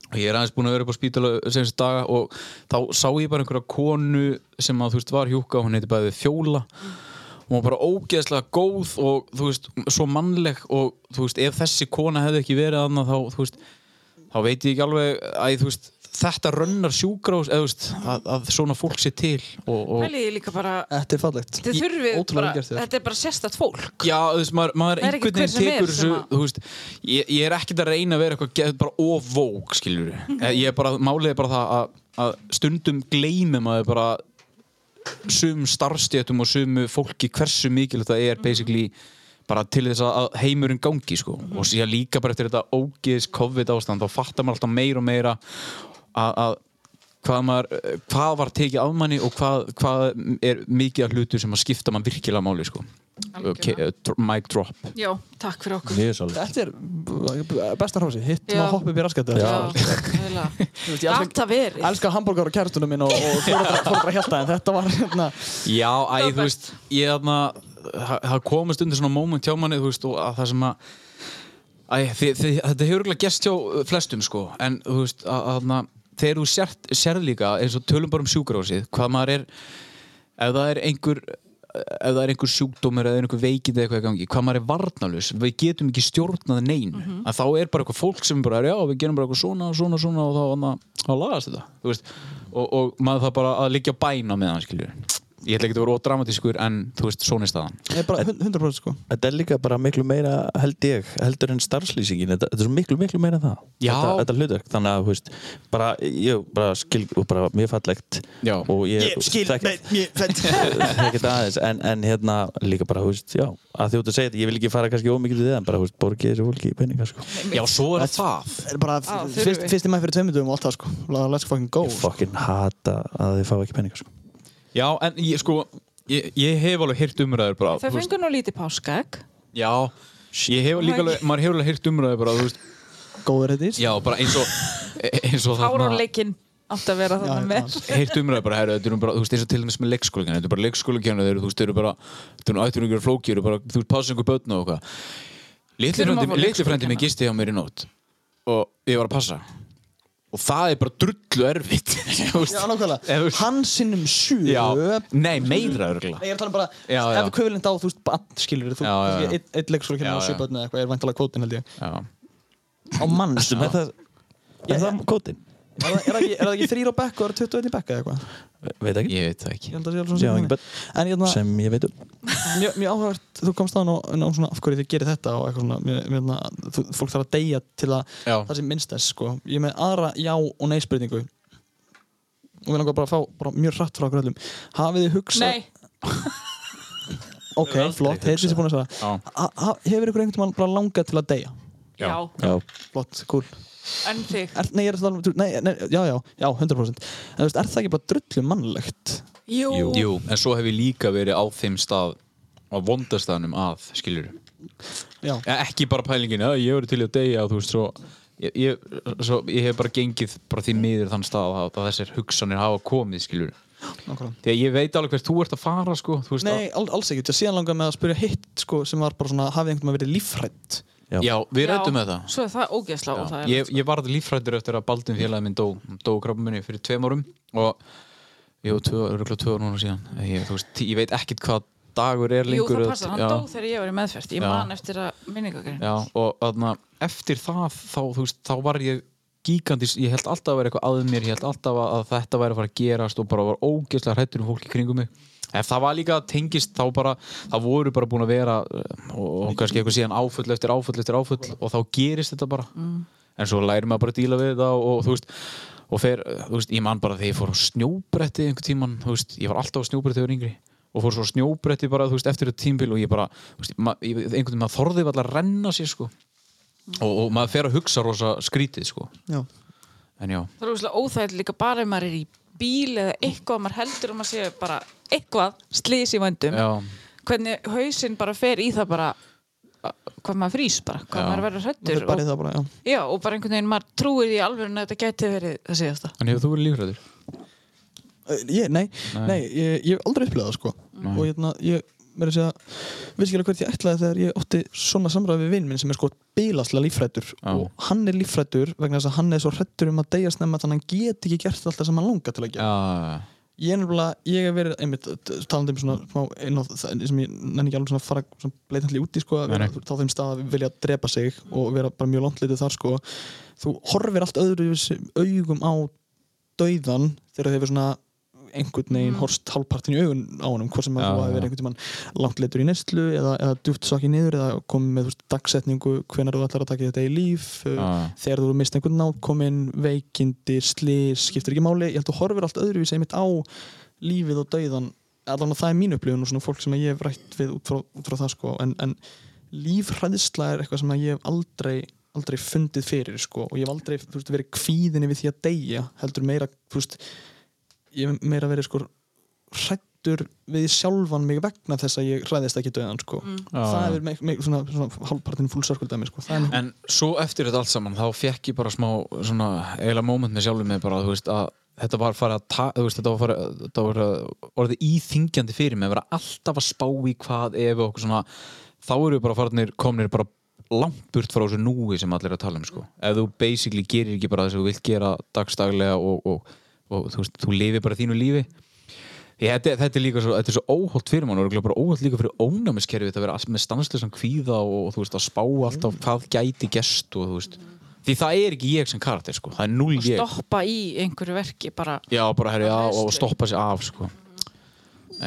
Speaker 1: og ég er aðeins búin að vera upp á spítala senst daga og þá sá ég bara einhverja konu sem að þú veist var hjúka hún heiti bæði Fjóla og hún var bara ógeðslega góð og þú veist svo mannleg og þú veist ef þessi kona hefði ekki verið annað þá þú veist þá veit ég ekki alveg að þú veist þetta rönnar sjúkrás eða, þú veist, að, að svona fólk sé til og, og
Speaker 3: Pæliði líka bara
Speaker 4: Þetta er fallegt
Speaker 3: Þið þurfið
Speaker 4: ótrúlega
Speaker 3: bara
Speaker 4: vel gert þér.
Speaker 3: Þetta er bara sérstætt fólk
Speaker 1: já, þú veist, maður, maður
Speaker 3: Það er ekki
Speaker 1: einhvern
Speaker 3: hver
Speaker 1: veginn
Speaker 3: sem er
Speaker 1: tekur þessu
Speaker 3: sem að-
Speaker 1: þú veist, ég, ég er ekkert að reyna að vera eitthvað geð, bara ofvók, skilur Eh, ég er bara, málið er bara það að, að stundum gleymi maður bara sum starfstjættum og sumu fólki hversu mikilvægt það
Speaker 3: Mhm.
Speaker 1: er basically bara til þess að að heimurinn gangi sko.
Speaker 3: Mhm.
Speaker 1: og síðan líka bara eftir þetta ógeðis COVID ástand þá fattar maður alltaf meira og meira að, að hvað, maður, hvað var tekið af manni og hvað, hvað er mikið af hlutu sem að skipta mann virkilega máli sko. okay,
Speaker 3: Algjörlega.
Speaker 1: eh, dr- mic drop
Speaker 3: Já, takk fyrir okkur
Speaker 5: Mjög svolít
Speaker 4: Þetta er b- b- besta hrósi, hitt
Speaker 3: Já.
Speaker 4: maður hoppið upp í raskættu
Speaker 3: eiginlega.
Speaker 4: veist, ég elska-
Speaker 3: Gata verið
Speaker 4: elskar hambúrgar og kærastunum minn og, og fóruðra, fóruðra hjarta en þetta var hérna
Speaker 1: Já, æ,
Speaker 3: var
Speaker 1: þú veist, ég þarna það það komast undir svona moment hjá manni þú veist, og að það sem að æ, þi, þi, þetta hefur ekki gest hjá uh, flestum sko, en þú veist, að, að, þarna, þegar þú sért, sér líka eins og tölum bara um sjúkrahúsið, hvað maður er ef það er einhver ef það er einhver sjúkdómur eða einhver veikið eða eitthvað í gangi, hvað maður er varnalus við getum ekki stjórnað nein að þá er bara eitthvað fólk sem bara er já, við gerum bara eitthvað svona, svona, svona og þá, annað, þá lagast þetta þú veist, og, og maður það bara að liggja á bæna með hann skilur ég ætla ekki að vera ódramatískur en þú veist, svona er staðan
Speaker 10: Ég er bara hun- 100% sko
Speaker 5: Þetta er líka bara miklu meira held ég, heldur en starfslýsingin þetta, þetta er svo miklu, miklu meira en það
Speaker 1: Já.
Speaker 5: þetta, þetta hlutverk, þannig að, þú veist bara, ég bara skil, og bara mjög fallegt
Speaker 1: Já.
Speaker 5: og ég,
Speaker 4: Ég skil,
Speaker 5: þekki-
Speaker 4: nei, ég fætt
Speaker 5: ekkert aðeins en, en hérna líka bara, þú veist, já að þjóttu að segja þetta, ég vil ekki fara kannski ómikið við það en bara, þú veist, borgið þessu fólki í peninga sko.
Speaker 1: Já, svo er það
Speaker 4: Bara
Speaker 3: Á, þurfum
Speaker 4: fyrst,
Speaker 3: við.
Speaker 4: fyrst í maður fyrir tveimur dögum og allt það sko Lá- Let's fucking go
Speaker 5: ég fokkin hata að þið fá ekki peninga sko.
Speaker 1: Já, en ég sko, ég, ég hef alveg heyrt umræður bara
Speaker 3: Það
Speaker 1: þú veist,
Speaker 3: fengur nú lítið páskag
Speaker 1: Já, ég hef líka alveg, maður hefur alveg heyrt umræður bara, þú veist
Speaker 4: Góður þetta ís
Speaker 1: Já, bara eins og, eins og
Speaker 3: Áránleikinn átt að vera
Speaker 4: Já,
Speaker 3: þarna með
Speaker 1: heyrt umræðu bara, herru, þetta eru bara, þú veist, eins og til dæmis með leikskólingan, þetta eru bara leikskólingan, þeir eru, þú veist, þeir eru bara, þetta eru ættur ykkur flóki, eru bara, þú veist, passa ykkur börn og eitthvað. Litli
Speaker 3: Þurfum
Speaker 1: frændi-
Speaker 3: að fá
Speaker 1: Litli frendi minn
Speaker 3: leikskólakennara.
Speaker 1: gisti hjá mér í nótt og ég var að passa og það er bara drullu erfitt, þú veist.
Speaker 4: Já,
Speaker 1: Ef þú-
Speaker 4: nákvæmlega Hann sinnum sjö
Speaker 1: Já, nei, meira
Speaker 4: Nei,
Speaker 1: örgulega.
Speaker 4: Ég er talað bara,
Speaker 1: Já, já.
Speaker 4: ef kvöfilend á, þú veist, bann, skilur
Speaker 1: Já, já,
Speaker 4: þú,
Speaker 1: já.
Speaker 4: kannski einn- einn leikskóla kemur á
Speaker 1: Já, já.
Speaker 4: sjöbötni eða eitthvað, er væntalega kvótin held ég
Speaker 1: Já.
Speaker 4: á mann, er
Speaker 5: er það, er það kótin?
Speaker 4: það er það ekki, er það ekki þrýr á bekk og það eru 21 í bekk eða eitthvað
Speaker 5: veit ekki,
Speaker 1: Ég veit það
Speaker 4: ég
Speaker 1: ekki.
Speaker 4: held að það sé alveg svona
Speaker 5: Já, ekki
Speaker 4: sem
Speaker 5: börn.
Speaker 4: þannig. en ég held
Speaker 5: sem ég veit um
Speaker 4: að mjög mjög áhugavert þú komst þaðan og inn á svona af hverju þið gerir þetta og eitthvað svona mjög, mjög, mjög, þú, fólk þarf að deyja til að
Speaker 1: Já.
Speaker 4: það sem minnst þess sko ég er með aðra já og nei spurningu og við langar bara að fá bara mjög hratt frá okkur öllum hafið þið hugsað
Speaker 3: Nei,
Speaker 4: ok, flott, heyrðu þessi búin að svara
Speaker 1: Já.
Speaker 4: Ha- ha- hefur ykkur einhvern tímann bara langað til að deyja
Speaker 3: já,
Speaker 5: já,
Speaker 4: flott, cool
Speaker 3: en þig
Speaker 4: er, nei, ég er að tala um, nei, nei, já, já, já, 100% en þú veist, er það ekki bara drullu mannlegt
Speaker 3: Jú,
Speaker 1: Jú, en svo hef ég líka verið á þeim stað, á vondastaðnum að, skilur.
Speaker 4: já,
Speaker 1: Eh, Ekki bara pælingin, að ég verið til í að deyja, þú veist, svo... Ég, ég, svo, ég hef bara gengið bara því miður þann stað að, að þessar hugsanir hafa komið skilur
Speaker 4: nákvæmlega
Speaker 1: Því að ég veit alveg hvert þú ert að fara sko, þú veist
Speaker 4: nei, al, alls ekki, það síðan langar með að spyrja hitt sko, sem var bara svona, hafið einhvern veginn verið lífrætt
Speaker 1: að, Já, við
Speaker 3: Já,
Speaker 1: rættum með það
Speaker 3: Svo er það ógeðslega og
Speaker 1: Já,
Speaker 3: það er sko.
Speaker 1: Ég, ég varð líffrættur eftir að Baldin félagi minn dó, dó krabba minni fyrir tveim árum og ég var tvö, örugglega tvö ár núna síðan ég, þú veist, ég veit ekkit hvað dagur er
Speaker 3: Jú,
Speaker 1: lengur eða-
Speaker 3: það passar, hann
Speaker 1: já,
Speaker 3: dó þegar ég var í meðferð Ég
Speaker 1: Já.
Speaker 3: man eftir að minningagrein
Speaker 1: Já, og þarna, eftir það þá, þú veist, þá var ég gíkandis, ég held alltaf að vera eitthvað að mér ég held alltaf að, að þetta væri að fara að gerast og bara var ógeðslega hrættur um fólki kringum mig en það var líka tengist þá bara það voru bara búin að vera eh, og, og kannski eitthvað síðan áfull eftir áfull eftir áfull og þá gerist þetta bara en svo læri maður bara að díla við þetta og, og þú veist og fer, eh, þú veist, ég man bara þegar ég fór á snjóbretti einhver tíman, þú veist, ég var alltaf á snjóbretti þegar ég var yngri og fór svo á snjóbretti bara, þú veist, eftir þetta tímbil og ég bara, þú veist, ma, ég, einhvern veginn maður þorði alltaf að renna sér, sko og, og maður fer að hugsa rosa skrítið, sko
Speaker 4: já,
Speaker 1: en já,
Speaker 3: Það er ógeðslega óþægilega líka bara ef maður er í bíl eða eitthvað, maður heldur um að maður sé bara eitthvað slís í vöndum
Speaker 1: já,
Speaker 3: hvernig hausinn bara fer í það bara hvað maður frýs bara, hvað
Speaker 1: Já.
Speaker 3: maður verður hrættur
Speaker 4: það er bara í það bara, já
Speaker 3: Já, og bara einhvern veginn maður trúir í alveg að þetta gæti verið það síðasta
Speaker 1: en hefur þú verið lífræður?
Speaker 4: Uh, ég, nei, nei. ég, ég hef aldrei upplegað það sko og hérna, ég verið að segja vissi ekki alveg hvert ég ætlaði þegar ég ótti svona samræði við vinn minn sem er sko bílaslega lífrættur
Speaker 1: Já.
Speaker 4: og hann er lífrættur vegna þess að hann er svo hrættur um að deyja snemma þannig að hann get ekki gert alltaf sem hann langar til að gera
Speaker 1: já,
Speaker 4: ég er nefnilega, ég hef verið einmitt t- talandi um svona smá inn á það sem ég nenni ekki alveg svona að fara svona bleitandi út í sko, að vera
Speaker 1: Nei, nei.
Speaker 4: þá þeim stað að vilja drepa sig og vera bara mjög langt litið þar sko þú horfir allt öðru augum á dauðan þegar þið hefur svona einhvern veginn horst hálfpartin í augun á honum hvort sem að
Speaker 1: Já,
Speaker 4: þú hafi
Speaker 1: já.
Speaker 4: verið einhvern tímann langt leitur í neslu eða, eða djúpt sokið niður eða komið með þú veist, dagsetningu hvenær þú ætlar að taka þetta í líf já
Speaker 1: já,
Speaker 4: þegar þú mist einhvern nákominn veikindi, slis, skiptir ekki máli ég held að horfir allt öðruvísi einmitt á lífið og dauðan, allan að það er mín upplifun og svona fólk sem ég hef rætt við út frá, út frá það sko, en, en lífræðisla er eitthvað sem ég hef aldrei aldrei fundið fyrir sko og ég hef aldrei þú veist, verið kvíðin yfir því að deyja heldur meira, þú veist ég hef meira verið sko hrættur við sjálfan mig vegna þess að ég hræðist ekki dauðan sko það
Speaker 1: Já, já.
Speaker 4: er með, með svona, svona hálfpartin fúlsörkuldæmi sko, það er
Speaker 1: En svo eftir þetta allt saman þá fekk ég bara smá svona eiginlega moment með sjálfum mig bara þú veist að þetta var farið að ta, þú veist, þetta var farið þetta var uh, orðið íþingjandi fyrir mig að vera alltaf að spá í hvað ef og okkur svona þá eru við bara farinir komnir bara langt burt frá þessu núi sem allir er að tala um sko ef þú basically gerir ekki bara það sem þú vilt gera dagstaglega og, og, og, þú veist þú lifir bara þínu lífi Ég, þetta, þetta er líka svo, þetta er svo óholt fyrir mann og örugglega bara óholt líka fyrir ónæmiskerfið þetta að vera allt með stanslösan kvíða og, og þú veist að spá alltaf
Speaker 3: Mm.
Speaker 1: hvað gæti gest og þú veist því það er ekki ég sem karakter sko, það er null ég
Speaker 3: stoppa í einhverju verki bara
Speaker 1: já bara herri já, og
Speaker 3: hræðslu.
Speaker 1: stoppa sér af sko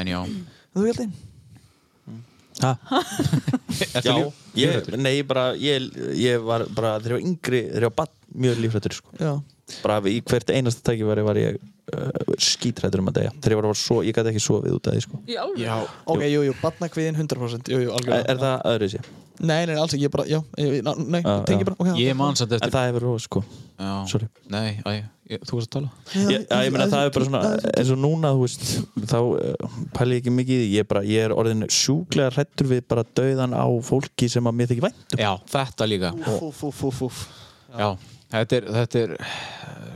Speaker 1: en já
Speaker 4: Þú held einn?
Speaker 5: Já,
Speaker 1: líf-
Speaker 5: ég, nei, bara, ég, ég var bara þegar ég var yngri, þegar ég var bann mjög lífrættur sko.
Speaker 4: Já,
Speaker 5: bara í hvert einasta tækifæri var ég uh, skítrættur um að degja þegar ég var að svo, ég gæti ekki sofið út af því sko.
Speaker 3: Í alveg?
Speaker 1: já,
Speaker 4: ok, jú, jú, barnakviðin 100% Jú, jú,
Speaker 5: er,
Speaker 4: algjörlega
Speaker 5: er það öðru sé?
Speaker 4: Nei, nei, alls ekki, ég bara, já, ég, na, nei,
Speaker 5: Já,
Speaker 4: tengi
Speaker 5: já.
Speaker 4: bara okay,
Speaker 1: ég man samt
Speaker 5: en
Speaker 1: eftir
Speaker 5: það hefur róð sko.
Speaker 1: já,
Speaker 5: sorry.
Speaker 1: nei, æ, ég, þú varst að tala
Speaker 5: ég, já, ég meina það er bara svona eins og núna þú veist þá uh, pæli ég ekki mikið í því ég, er bara, ég er orðin sjúklega hrættur við bara döðan á fólki sem að mér þykir vænt um.
Speaker 1: já, þetta líka
Speaker 4: Fúf, fúf, fúf, fúf
Speaker 1: já, þetta er, þetta er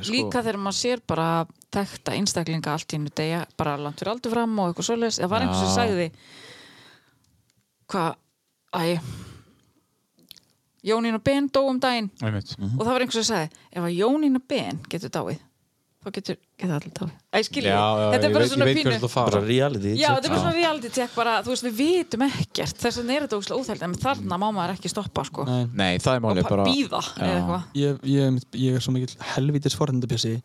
Speaker 1: sko.
Speaker 3: Líka þegar maður sér bara tekta einstaklinga allt í einu degja, bara langt fyrir aldur fram og eitthvað svoleiðis. Það var einhver sem
Speaker 1: Já.
Speaker 3: sagði hvað, æ, Jónín og Ben dó um daginn
Speaker 1: einmitt
Speaker 5: Mm.
Speaker 3: og það var einhver sem sagði, ef að Jónín og Ben getur dáið, þá getur, getur allir dáið. Æ,
Speaker 1: já,
Speaker 3: skilji,
Speaker 1: já,
Speaker 3: þetta
Speaker 1: ég
Speaker 3: er
Speaker 1: veit,
Speaker 3: bara
Speaker 1: ég
Speaker 3: svona
Speaker 1: veit hvernig
Speaker 3: pínu.
Speaker 1: þú sko. fara
Speaker 5: bara reality
Speaker 3: Já, þetta er bara svona reality check bara, þú veist, við vitum ekkert þess að neyra þetta óslega óþæld, en þarna má maður ekki stoppa, sko,
Speaker 4: Nei,
Speaker 1: nei, það er
Speaker 3: og
Speaker 1: málið
Speaker 3: pa-
Speaker 1: bara
Speaker 3: bíða eða
Speaker 1: Já.
Speaker 3: eitthvað.
Speaker 4: ég, ég, ég er svo mikill helvítis forhendabjössi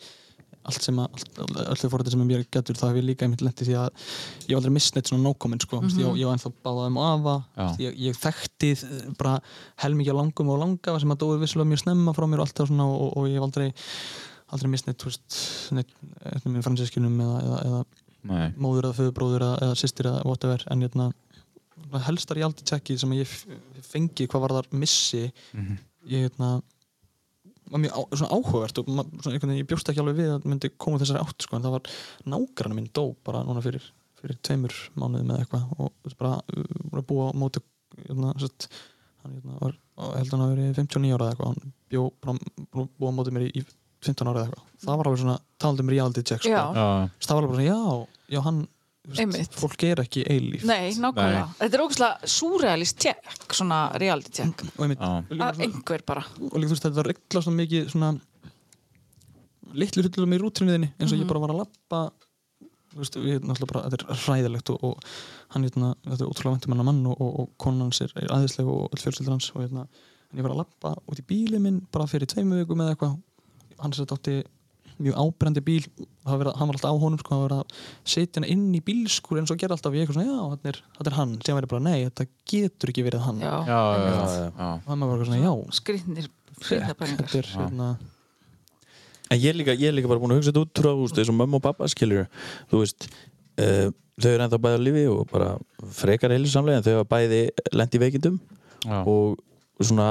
Speaker 4: allt sem að, allt, allt þau forhendar sem mér getur það hef ég líka einmitt lent í því að ég hef aldrei misnætt svona nókominn sko, mm ég,
Speaker 5: Mhm.
Speaker 4: ég var ennþá báða um afa
Speaker 1: Já.
Speaker 4: Þú veist, ég, ég þekkti eh, bara helmingi á langum og langa sem að dói vissulega mjög snemma frá mér og alltaf svona og, og ég hef aldrei aldrei misnætt, þú veist, neitt, eftir mér fransískinum eða, eða, eða
Speaker 1: Nei.
Speaker 4: móður eða föðurbróður eða, eða sýstir eða whatever en hérna svona helstar ég aldrei tjekki sem ég f- fengi hvað var þar missi ég hérna var mjög á, svona áhugavert og ma- svona, einhvern veginn, ég bjóst ekki alveg við að myndi koma úr þessari átt sko, en það var nágrann minn dó bara núna fyrir, fyrir tveimur mánuðum eða eitthvað og þú veist, bara uh, voru að búa á móti hérna, sett, hann hérna, var, á- held hann að verið 59 ára eða eitthvað hann bjó bara búið að búa á móti mér í, í 15 ára eða eitthvað það var alveg svona talandi mér í aldrei tjekk sko.
Speaker 3: Já.
Speaker 1: Já.
Speaker 4: Þú veist, það var alveg bara svona, já, já, hann þú veist,
Speaker 3: Einmitt.
Speaker 4: fólk er ekki eilíf
Speaker 3: Nei, nákvæmlega.
Speaker 1: Nei.
Speaker 3: Þetta er ógustlega surrealist tjekk, svona reality
Speaker 1: Mm.
Speaker 3: tjekk.
Speaker 4: og, einmitt,
Speaker 1: Já.
Speaker 4: og, líka,
Speaker 3: Að
Speaker 4: svona,
Speaker 3: einhver bara.
Speaker 4: og líka þú veist þetta regla svona mikið svona litlu hlutlum í rútrinuðinni eins og ég bara var að lappa þú veist, við náttúrulega bara, þetta er hræðilegt og, og hann, hérna, þetta er ótrúlega vantum hennar mann og, og, og konan hans er, er aðeinslega og öll fjölskyldur hans og hérna, en ég var að lappa út í bílið minn bara fyrir tveimu vikum eða eitthvað hann sér átti mjög ábrendi bíl það var verið, að- hann var alltaf á honum sko, hann var verið að setja hann inn í bílskur eins og gera alltaf ég eitthvað svona, já, þetta er, þetta er hann sem verið bara, nei, þetta getur ekki verið hann
Speaker 3: Já,
Speaker 1: já, já, já, já.
Speaker 4: og hann var bara svona, já,
Speaker 3: Skrýtnir, skrýtnabæringar.
Speaker 4: þetta er hérna,
Speaker 5: en ég er líka, ég er líka bara búin að hugsa þetta út frá þú veist, eins og mömmu og pappa skilur þú veist uh, þau eru ennþá bæði á lífi og bara frekar heilsamlega en þau hafa bæði lent í veikindum
Speaker 1: Já.
Speaker 5: og svona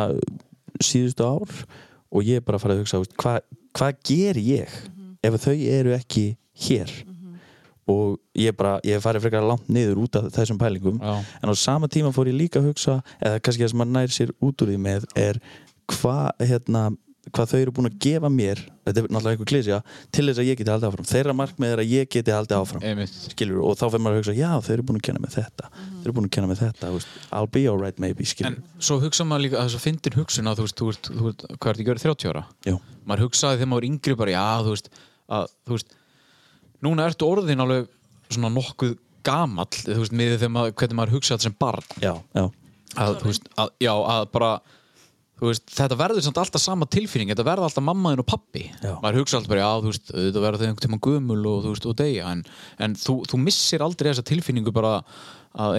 Speaker 5: síðustu ár og ég er bara að fara að hugsa þú veist, hvað hva ger ég ef þau eru ekki hér og ég bara, ég hef farið frekar langt niður út af þessum pælingum
Speaker 1: Já.
Speaker 5: en á sama tíma fór ég líka að hugsa eða kannski það sem maður nær sér út úr því með er hvað hérna hvað þau eru búin að gefa mér þetta er náttúrulega einhver klísja, til þess að ég geti haldið áfram þeirra markmið er að ég geti haldið áfram
Speaker 1: einmitt
Speaker 5: skilur, og þá fyrir maður að hugsa, já, þau eru búin að kenna með þetta þau eru búin að kenna með þetta, þú veist, I'll be alright maybe, skilur,
Speaker 1: En svo hugsa maður líka, þess að fyndin hugsun að þú veist, þú ert, þú ert, hvað ert ekki verið 30 ára?
Speaker 5: Jú.
Speaker 1: Maður hugsaði þegar maður var yngri bara, já, þú veist, að, þú veist, núna ertu orðin alveg svona nokkuð gamall, þú veist, miðið þegar maður, hvernig maður hugsaði sem barn,
Speaker 5: já, já
Speaker 1: að, þú veist, að, já, að bara, þú veist, þetta verður samt alltaf sama tilfinning, þetta verður alltaf mammaðin og pappi.
Speaker 5: Já.
Speaker 1: Maður hugsa alltaf bara, já, þú veist, þetta verður þau einhvern tímann gömul og, þú veist, og deyja, en, en þú, þú missir aldrei þessa tilfinningu bara að,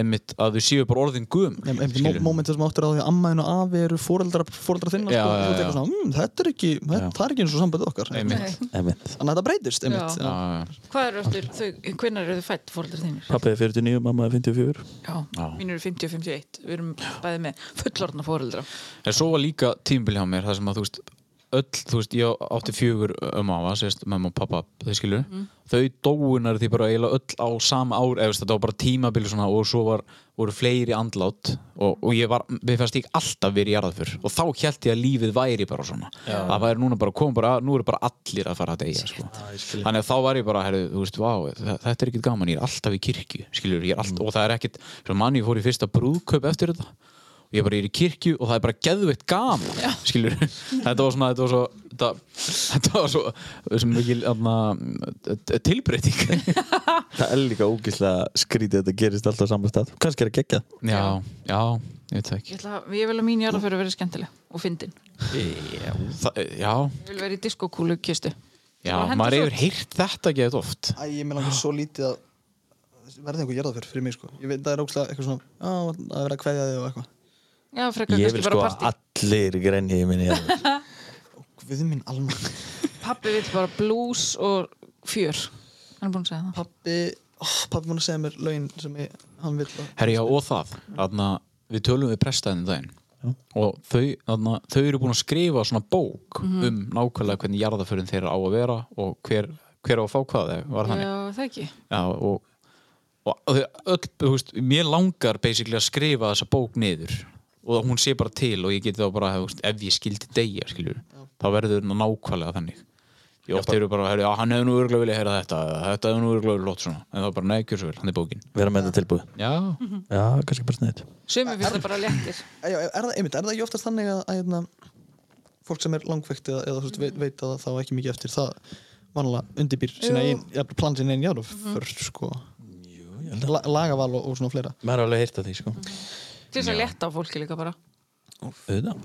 Speaker 1: einmitt, að þú séu bara orðin gömul.
Speaker 4: Nei, einmitt
Speaker 1: skilurðu.
Speaker 4: mó- mómentið sem áttur á því að ammaðin og afi eru fóreldra, fóreldra þinna
Speaker 1: Já,
Speaker 4: sko,
Speaker 1: já,
Speaker 4: og þú
Speaker 1: já.
Speaker 4: tekur svona, mm, þetta er ekki, þetta, það er ekki eins og samböðu okkar
Speaker 1: Einmitt.
Speaker 5: Einmitt.
Speaker 4: þannig að þetta breytist einmitt,
Speaker 3: Já.
Speaker 1: Já,
Speaker 4: já.
Speaker 1: já, já.
Speaker 3: Hvað eru eftir, þau, hvenær eru þau fætt fóreldur þínir?
Speaker 5: Pappi er 49, mamma er 54
Speaker 3: Já, mín eru 50 og 51. Við erum bæði með fullorna fóreldra.
Speaker 1: En svo var líka tímbil hjá mér þar sem að þú veist öll, þú veist, ég átti fjögur um afa, sérst, mamma og pappa, þau skilur þau dóunar því bara eiginlega öll á sama ár, eða þú veist, þetta var bara tímabil svona, og svo var, voru fleiri andlát og, og ég var, við fannst ég alltaf verið í jarðafur og þá held ég að lífið væri bara svona, það væri núna bara kom bara, nú eru bara allir að fara að deyja sko. þannig að þá var ég bara, herri, þú veist, vá þa- þetta er ekkit gaman, ég er alltaf í kirkju skilur, ég er alltaf, og það er ekkit, svo manni ég fór í fyrsta brúðkaup eftir þetta og ég bara er í kirkju og það er bara geðveitt gaman skilur, þetta var svona þetta var svo, þetta, þetta var svo sem mikil aðna, tilbreyting
Speaker 5: Það er líka ógislega skrítið að þetta gerist alltaf á saman stað Kannski er að gegja
Speaker 1: já, já, ég veit það ekki
Speaker 3: Ég, ætla, að- ég vil að mín jarðaföru verið skemmtileg og fyndin.
Speaker 1: það, já,
Speaker 3: Ég vil verið í diskokúlu kistu.
Speaker 1: já,
Speaker 3: Bara henda
Speaker 1: maður
Speaker 3: svo.
Speaker 1: hefur heyrt þetta geðveitt oft
Speaker 4: Æ, ég meina ekki svo lítið að verði einhver jarðaför fyrir mig sko ég veit það er ógslag eitthvað svona á, að vera að kveðja þig og eitthvað
Speaker 3: Já, frekar
Speaker 5: Ég
Speaker 3: kannski
Speaker 5: vil
Speaker 3: bara
Speaker 5: sko
Speaker 3: partí
Speaker 5: allir grenni í minni jarðarför.
Speaker 4: við minn alma
Speaker 3: Pappi vill bara blues og fjör Hann er búin að segja það
Speaker 4: pappi oh, pappi múin að segja mér lögin sem ég, hann vil að
Speaker 1: Herri, já, og það Þarna, Við tölum við prestaðinu daginn og þau, þarna, þau eru búin að skrifa svona bók um nákvæmlega hvernig jarðaförin þeirra á að vera og hver, hver á að fá hvað eða var þannig
Speaker 3: Já, það ekki
Speaker 1: Já, og, og þau öll, þú veist, mér langar basically að skrifa þessa bók niður og að hún sé bara til og ég geti þá bara þú veist, ef ég skildi degja, skiljur þá verður hún nákvæmlega þannig ég oft eru bara, herri, já, hann hefur nú örgulega vilja heyra þetta eða þetta hefur nú örgulega vilja lótt svona en þá bara, nei, gjör svo vel, hann er bókin
Speaker 5: Vera með þetta tilbúið
Speaker 1: Já,
Speaker 3: Mhm.
Speaker 5: Já, kannski bara sniðið
Speaker 3: Sumi finnst það bara léttir
Speaker 4: Já, er það, einmitt, er það ekki oftast þannig að, að hérna, fólk sem er langveikt eða, eða þú veist, veit, veit að það á ekki mikið eftir það vanlega undirbýr sína einn jafnvel plan sína einn járu fyrr sko La, lagaval og, og svona fleira
Speaker 5: Maður er alveg heyrt að því sko
Speaker 3: Til þess að létta á fólki líka bara
Speaker 5: Auðvitað.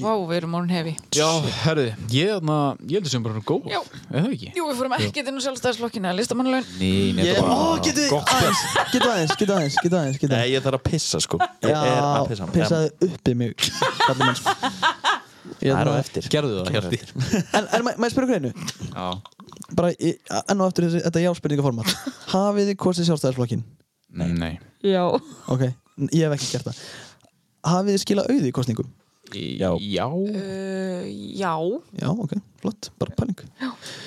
Speaker 3: Vá, við erum orðin hefi
Speaker 1: já herri, ég, þarna, ég heldur sem bara hún er góð
Speaker 3: Já.
Speaker 1: Er það ekki?
Speaker 3: Jú, við fórum ekkert inn á sjálfstæðisflokkina Listamannlaun
Speaker 1: Nei, nei,
Speaker 4: Ég-
Speaker 1: þetta var
Speaker 4: Ó, getur þið aðeins, getur aðeins, getur aðeins, getur aðeins, getur aðeins
Speaker 5: Nei, ég þarf að pissa sko Ég er
Speaker 4: Já,
Speaker 5: að pissa
Speaker 4: pissaði upp í mig kallar mann sko
Speaker 5: Já, Það er á
Speaker 4: Hérna,
Speaker 5: eftir
Speaker 1: Gerðu það,
Speaker 5: Kemur á
Speaker 1: Hjalti.
Speaker 5: eftir.
Speaker 4: En, en ma- maður spyrir greinu
Speaker 1: Já,
Speaker 4: bara í- enn og eftir þessi, þetta jáspurningaformat hafið þið kosið sjálfstæðisflokkin
Speaker 1: nei, nei.
Speaker 3: Já
Speaker 4: ok, n- ég hef ekki gert það hafið þið skilað auði í kosningum
Speaker 1: Já, já.
Speaker 3: uh, Já
Speaker 4: já, ok, flott, bara pæling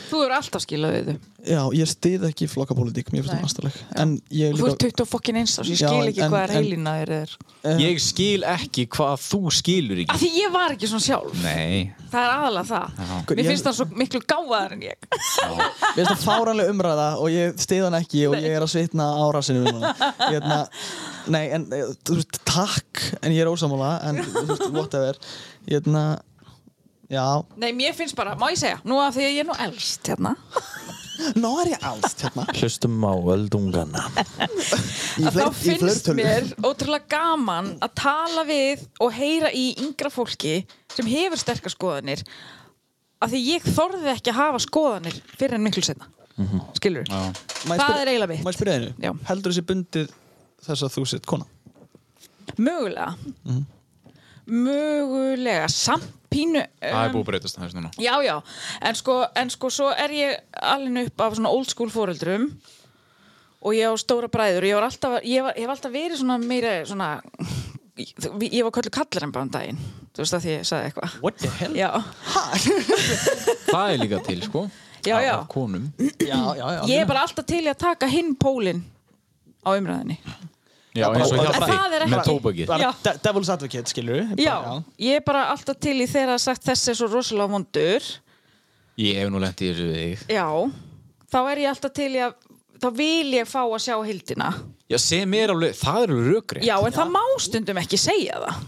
Speaker 3: Þú eru alltaf skilað við þau
Speaker 4: já, ég stið ekki flokkapólitík, mér finnst
Speaker 3: Nei.
Speaker 4: það astaleg en ég
Speaker 3: Þú ert
Speaker 4: líka,
Speaker 3: 20 fokkin eins og ég
Speaker 4: Já,
Speaker 3: skil
Speaker 4: en-
Speaker 3: ekki
Speaker 4: en-
Speaker 3: hvað er
Speaker 4: en-
Speaker 3: heilina þér er
Speaker 1: Ég skil ekki hvað þú skilur
Speaker 3: Af
Speaker 1: ekki
Speaker 3: því ég var ekki svona sjálf
Speaker 1: Nei
Speaker 3: Það er aðalega það Mér
Speaker 4: Ég-
Speaker 3: finnst það svo miklu gáðar en ég
Speaker 4: mér finnst það fáranlega umræða og ég stið hann ekki og ég er að svitna árasinu um hana hérna, nei, en eh, þú veist, takk en ég er ósamála, en þú veist, whatever hérna, já
Speaker 3: Nei, mér finnst bara, má ég segja, nú af því að ég er nú elst hérna
Speaker 4: nú er ég alls, hérna
Speaker 5: Hlustum á öldungana
Speaker 4: í
Speaker 3: að
Speaker 4: fleir-
Speaker 3: þá
Speaker 4: í
Speaker 3: finnst
Speaker 4: fleirtölu.
Speaker 3: mér ótrúlega gaman að tala við og heyra í yngra fólki sem hefur sterkar skoðanir af því ég þorði ekki að hafa skoðanir fyrir en miklu setna
Speaker 4: Mhm.
Speaker 3: skilur,
Speaker 4: Má ég
Speaker 3: það
Speaker 4: spyrja-
Speaker 3: er eiginlega
Speaker 4: Má ég
Speaker 3: mitt
Speaker 4: spyrja einu?
Speaker 3: Já.
Speaker 4: Heldur þessi bundið þess að þú sett kona?
Speaker 3: mögulega
Speaker 4: Mhm.
Speaker 3: mögulega samt pínu
Speaker 1: Það
Speaker 3: um,
Speaker 1: er búið að breytast aðeins núna
Speaker 3: Já, já, en sko, en sko svo er ég alveg upp af svona old school foreldrum og ég á stóra bræður og ég var alltaf, ég var, ég var alltaf verið svona meira svona ég, ég var köllu kallar en bara um daginn þú veist að því ég sagði eitthvað
Speaker 4: What the hell?
Speaker 3: Já,
Speaker 1: Það er líka til, sko
Speaker 3: Já,
Speaker 1: Af-
Speaker 3: já.
Speaker 1: af Konum
Speaker 4: Já, já, já.
Speaker 3: ég er bara alltaf til í að taka hinn pólinn á umræðinni
Speaker 1: Já, eins og
Speaker 4: og-
Speaker 3: en það er
Speaker 1: Hjalti
Speaker 3: ekki-
Speaker 1: Með tóbakið
Speaker 4: Bara
Speaker 3: Já.
Speaker 4: de- devil's advocate, skilur við?
Speaker 3: Já, ég er bara alltaf til í þegar að sagt þessi er svo rosalega vondur
Speaker 1: Ég hef nú lent í þessu við þig
Speaker 3: Já, þá er ég alltaf til í að þá vil ég fá að sjá hildina
Speaker 1: Já, sem er alveg, það eru rökri
Speaker 3: Já, en það má stundum ekki segja það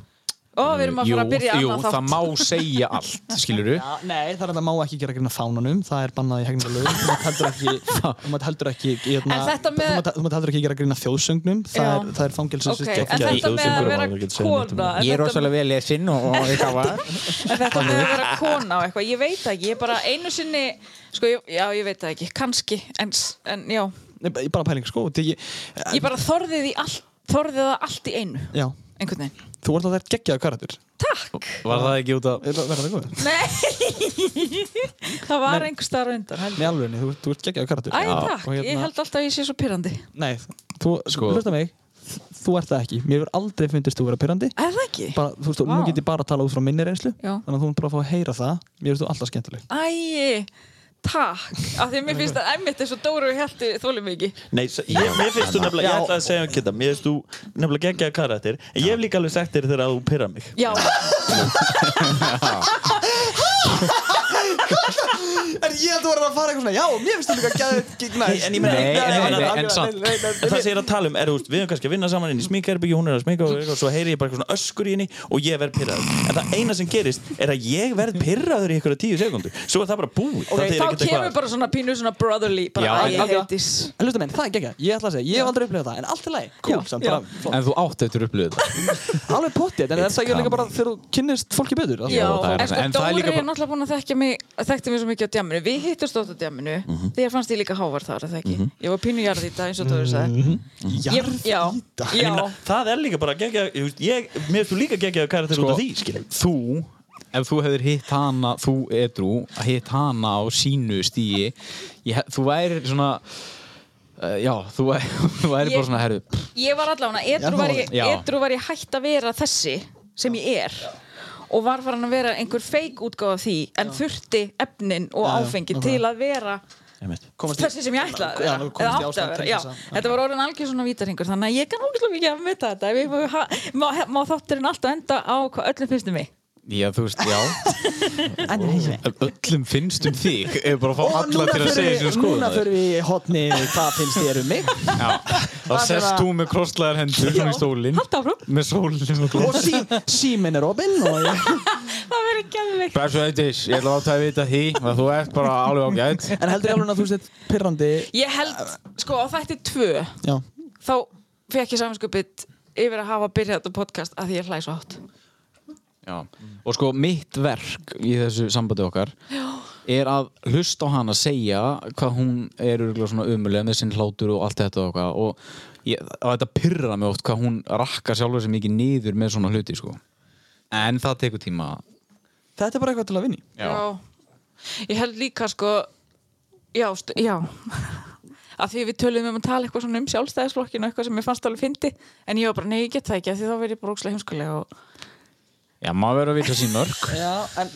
Speaker 3: Og við erum að
Speaker 1: jú,
Speaker 3: fara að byrja
Speaker 1: jú,
Speaker 3: annað
Speaker 1: það má segja allt, skilur
Speaker 4: Já, nei, það er að það má ekki gera greina fánanum, það er bannað í hegningalögum, þú mátt heldur ekki, þú mátt heldur ekki, hérna,
Speaker 3: En þetta með-
Speaker 4: þú mátt- þú mátt heldur ekki gera greina þjóðsöngnum, það
Speaker 3: Já.
Speaker 4: er, það er fangelsins
Speaker 3: Ok, en þetta með að vera kona en þetta-
Speaker 1: vel lesinn og eitthvað var
Speaker 3: En þetta með að vera kona og eitthvað Ég veit það ekki, ég bara einu sinni Sko, ég- já, ég veit það ekki, kannski En, s- en já,
Speaker 4: Nei, bara- bara pæling, sko, því ég,
Speaker 3: ég bara þorði því allt Þorði það allt í einu
Speaker 4: já,
Speaker 3: Einhvern veginn
Speaker 4: þú ert að það er geggjaðu karakter,
Speaker 5: Var það ekki út af
Speaker 4: Er það- verður það góð?
Speaker 3: Það var einhver starf undan held ég.
Speaker 4: Nei, alveg, þú, þú ert geggjaðu karakter.
Speaker 3: Æ,
Speaker 4: Já.
Speaker 3: takk,
Speaker 4: Og hérna-
Speaker 3: ég held alltaf að ég sé svo pyrrandi
Speaker 4: Nei, þú,
Speaker 1: Sko-
Speaker 4: sko, hlusta mig, þú ert það ekki, mér hefur aldrei fundist þú vera pyrrandi,
Speaker 3: Er það ekki?
Speaker 4: bara, þú veist, og nú
Speaker 3: Vá.
Speaker 4: get ég bara að tala út frá minni reynslu
Speaker 3: Já.
Speaker 4: þannig að þú ert bara að fá að heyra það mér finnst þú alltaf skemmtileg
Speaker 3: Æ, takk Af því að mér finnst að emmitt er svo dóru og hjalti Þólum ekki
Speaker 5: Nei, s- ég, mér finnst þú nefnilega, ég ætla að segja um þetta Mér finnst þú nefnilega geggjaða karakter En ég hef líka alveg sagt þér þegar að þú pyrra mig
Speaker 3: Já,
Speaker 4: en ég ætla að vera að fara eitthvað svona já, mér finnst þú líka gæðið næs
Speaker 5: En
Speaker 1: Nei,
Speaker 5: ég meina,
Speaker 1: nei, nei, nei, en samt
Speaker 5: En það sem ég er að tala um, er, þú veist, við erum kannski að vinna saman inn í smíkherbyggju, hún er að smíka og, eitthvað, og svo heyri ég bara eitthvað svona öskur í henni og ég verð pyrraður. En það eina sem gerist er að ég verð pyrraður í einhverja tíu sekundur. Svo er það bara búið. það þýðir
Speaker 3: þá
Speaker 5: ekkert
Speaker 3: kemur
Speaker 5: eitthvað-
Speaker 3: bara svona pínu svona brotherly bara
Speaker 1: Já,
Speaker 3: að
Speaker 1: en-
Speaker 3: ég heitis
Speaker 4: en hlusta menn, það er geggja, ég ætla að segja, ég hef aldrei upplifað það en allt er læg, cool, samt bara flott.
Speaker 1: En þú átt eftir upplöðu þetta
Speaker 4: alveg pottið, en það er líka bara þegar þú kynnist fólki betur
Speaker 3: Já,
Speaker 1: það er það.
Speaker 3: en sko
Speaker 1: En það er
Speaker 3: Dóri
Speaker 1: líka
Speaker 3: er
Speaker 1: bara-
Speaker 3: náttúrulega búin að þekkja mig þekkti mig svo mikið á djamminu, við hittumst oft á djamminu
Speaker 1: Mhm.
Speaker 3: þegar fannst ég líka hávar þar, er það ekki ég var pínu jarðýta eins og Tóri sagði
Speaker 1: Mhm.
Speaker 3: mm -hmm. já, já,
Speaker 5: það er líka bara gegja, ég, mér finnst þú líka gegja
Speaker 1: Sko,
Speaker 5: karakter út af því, skilur
Speaker 1: Þú, ef þú hefur hitt hana þú, Edru, hitt hana á sínu stíi ég, hef- þú væri svona uh, já, þú væri, þú væri
Speaker 3: Ég-
Speaker 1: bara svona herru, pff,
Speaker 3: ég var allavega edru var, ég,
Speaker 1: Já.
Speaker 3: edru var ég hætt að vera þessi sem ég er og var farin að vera einhver feik útgáð af því en þurfti efnin og áfengi til að vera þessi sem ég ætlaði
Speaker 4: Já,
Speaker 3: að
Speaker 4: nú
Speaker 3: vera,
Speaker 4: komst
Speaker 3: eða
Speaker 4: í
Speaker 3: átti
Speaker 4: ástand
Speaker 3: að vera
Speaker 4: til
Speaker 3: já,
Speaker 4: þess að-
Speaker 3: þetta var orðin algjör svona vítarhingur þannig að ég kann ógæslega mikið að mynda þetta ef ég má, ha, má, má þátturinn alltaf enda á hvað öllum finnst um mig
Speaker 1: já, þú veist, já Ef öllum finnst um þig ef bara að fá alla til að segja sér
Speaker 4: núna
Speaker 1: skoðun
Speaker 4: fyrir við í hotni hvað finnst þér um mig
Speaker 1: þá sest þú með krosslaðar hendur svona í stólinn,
Speaker 3: halda áfram,
Speaker 1: með sólinn og
Speaker 4: og
Speaker 1: glóð
Speaker 4: sí, símin er opinn og ég,
Speaker 3: það verður gæðveikt
Speaker 1: Bæsum eitthvað, ég ætla að láta að vita því að þú ert bara alveg ágætt
Speaker 4: en heldur ég alveg að þú sett pirrandi
Speaker 3: ég held, sko á þætti tvö
Speaker 4: já,
Speaker 3: þá fekk ég saminskupið yfir að hafa byrjað þetta podcast að því ég hlæ svo átt
Speaker 1: Já. Og sko mitt verk í þessu sambandi okkar er að hlusta á hana að segja hvað hún er örugglega svona umulega með sinn hlátur og allt þetta og hvað og, ég, og þetta pyrra mig oft hvað hún rakkar sjálfur sem mikið niður með svona hluti sko. En það tekur tíma
Speaker 4: þetta er bara eitthvað til að vinni
Speaker 3: já. Ég held líka sko Já, stu, já að því við töluðum um að tala eitthvað svona um sjálfstæðisflokkinu eitthvað sem ég fannst alveg fyndi en ég var bara, nei, ég get það ekki af því þá verð ég bara ókslega heimskulega og
Speaker 1: Já, maður verður að vita sín mörg
Speaker 4: já, en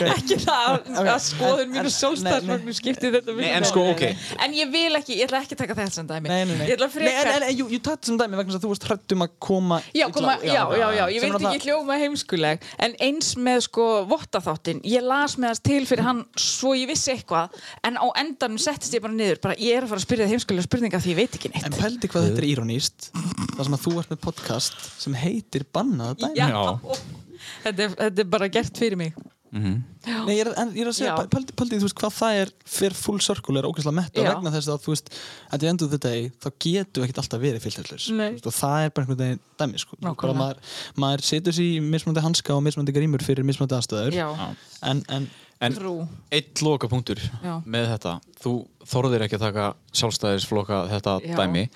Speaker 3: ekki það að skoðun mínu sjálfstæðisflokkinu skipti þetta
Speaker 1: Nei,
Speaker 3: miklu
Speaker 1: en sko,
Speaker 3: máli.
Speaker 1: ok.
Speaker 3: En ég vil ekki, ég ætla ekki að taka þetta sem dæmi
Speaker 4: Nei, nei, nei.
Speaker 3: Ég ætla
Speaker 4: nei en,
Speaker 3: frekar
Speaker 4: en, en jú, jú tætt sem dæmi vegna þess að þú varst hrætt um að koma
Speaker 3: Já,
Speaker 4: illa-
Speaker 3: koma, já, já, já, ég
Speaker 4: Sem
Speaker 3: veit
Speaker 4: er
Speaker 3: ekki hljóma heimskuleg en eins með sko vottaþáttin ég las með hans til fyrir hann svo ég vissi eitthvað, en á endanum settist ég bara niður, bara ég er að fara að spyrja það heimskulega spurninga því ég veit ekki neitt
Speaker 4: En pældi hvað þetta er íróníst Það sem að þú ert með podcast sem heitir Bannaða dæmi
Speaker 3: Já,
Speaker 1: Já.
Speaker 3: Þetta, er, þetta er bara gert fyrir mig
Speaker 4: Nei, ég er, en, ég er að segja,
Speaker 3: Já.
Speaker 4: pældi, pældi þú veist hvað það er fyrir full circle er ógæslega metta
Speaker 3: Já.
Speaker 4: vegna þess að þú veist að þið endur þetta í þá getum við ekkert alltaf verið fylgtællis
Speaker 3: Nei.
Speaker 4: og það er bara einhvern veginn dæmi sko. Þú veist, bara
Speaker 3: Nákvæmlega.
Speaker 4: maður, maður setur sér í mismöndi hanska og mismöndi grímur fyrir mismöndi aðstöður
Speaker 3: Já,
Speaker 4: en, en
Speaker 1: En
Speaker 3: trú
Speaker 1: eitt lokapunktur
Speaker 3: Já.
Speaker 1: með þetta þú þorðir ekki að taka sjálfstæðisfloka þetta
Speaker 3: Já.
Speaker 1: dæmi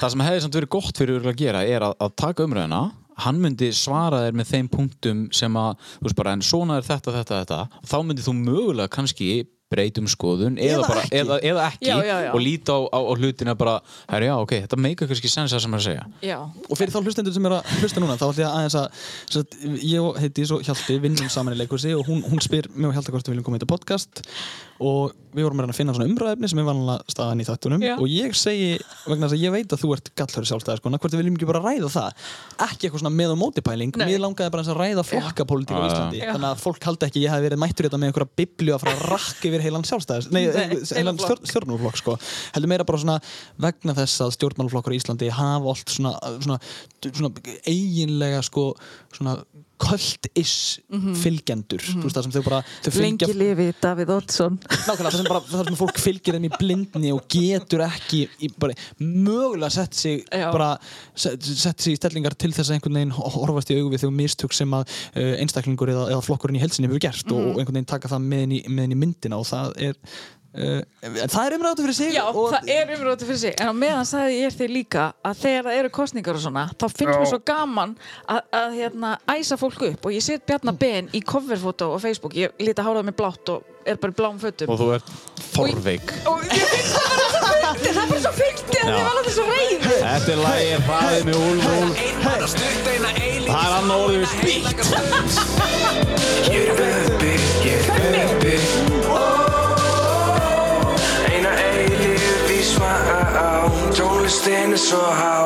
Speaker 1: það sem hefði samt verið gott fyrir örugglega að gera er að, að taka umræðina hann myndi svara þér með þeim punktum sem að, þú veist bara, en svona er þetta, þetta, þetta og þá myndi þú mögulega kannski breytum skoðun eða,
Speaker 4: Eða
Speaker 1: bara,
Speaker 4: ekki.
Speaker 1: Eða, eða ekki
Speaker 3: Já, já, já.
Speaker 1: og líta á, á, á hlutina bara, herri já, ok, þetta meika kannski sens það sem hann er að segja
Speaker 3: Já,
Speaker 4: og fyrir þá hlustendur sem er að hlusta núna þá ætlum ég að aðeins að sem sagt, ég og heiti svo Hjalti vinnum saman í leikursi og hún, hún spyr mjög Hjalti hvort við viljum koma í þetta podcast og við vorum að reyna að finna svona umræðefni sem er vanlega staðan í þáttunum
Speaker 3: Já.
Speaker 4: og ég segi vegna þess að ég veit að þú ert sko, gallhöru sjálfstæðiskona hvort við viljum ekki bara ræða það ekki eitthvað svona með og mótipæling
Speaker 3: Nei.
Speaker 4: mér langaði bara aðeins að ræða flokkapolítík á
Speaker 1: Já.
Speaker 4: Íslandi þannig að fólk haldi ekki að ég hafi verið mættur í þetta með einhverja biblju að fara að rakka yfir heilan sjálfstæðis nei,
Speaker 3: Nei, heilan
Speaker 4: heilan
Speaker 3: flokk.
Speaker 4: stjórn, stjórnmálflokk sko. heldur meira bara svona vegna þess að stjórnmálflokkar í Íslandi hafa allt svona, svona, svona eiginlega sko, svona kvöld-iss fylgjendur þú veist það sem þau bara þau fylgja,
Speaker 3: lengi lifi Davíð Oddsson
Speaker 4: nákvæmlega það sem, bara, það sem fólk fylgir þeim í blindni og getur ekki í, bara, mögulega sett sig
Speaker 3: Já.
Speaker 4: bara sett, sett sig í stellingar til þess að einhvern veginn horfast í augu við þau mistök sem að uh, einstaklingur eða, eða flokkurinn í helsinni hefur gert
Speaker 3: Mm.
Speaker 4: og, og einhvern veginn taka það með inn í, með inn í myndina og það er Uh, en það er umræðu fyrir sig
Speaker 3: Já,
Speaker 4: og
Speaker 3: það er umróti fyrir sig En á meðan sagði ég þér líka að þegar það eru kostningar og svona þá finnst mér svo gaman að, að hérna, æsa fólk upp og ég set Bjarnar Ben í coverfótó á Facebook ég lita hárað mér blátt og er bara í bláum fötum
Speaker 1: og þú ert forveik
Speaker 3: og ég finnst það bara svo fyndi það er bara svo fyndi að
Speaker 1: Já.
Speaker 3: þið var alltaf svo reyð
Speaker 1: Þetta er lagið hraðið með Úlf Úlf Það er annað orðið spýtt
Speaker 11: Eina eilíf í svara á Tónlistin er svo há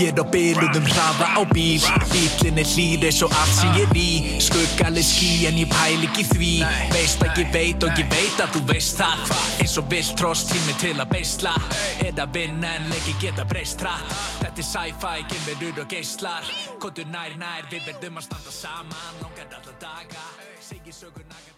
Speaker 12: Ég er á byluðum hraða á bíl Bílinn er hlýr eins og allt sem ég er í Skuggaleg ský en ég pæl ekki því Veist að ég veit og ég veit að þú veist það Eins og vilt tross tími til að beisla Eða vinna en leiki geta breyst hratt Þetta er sci-fi, gilverur og geislar Kontur nær nær, við verðum að standa saman Longar alla daga Segir sögur naga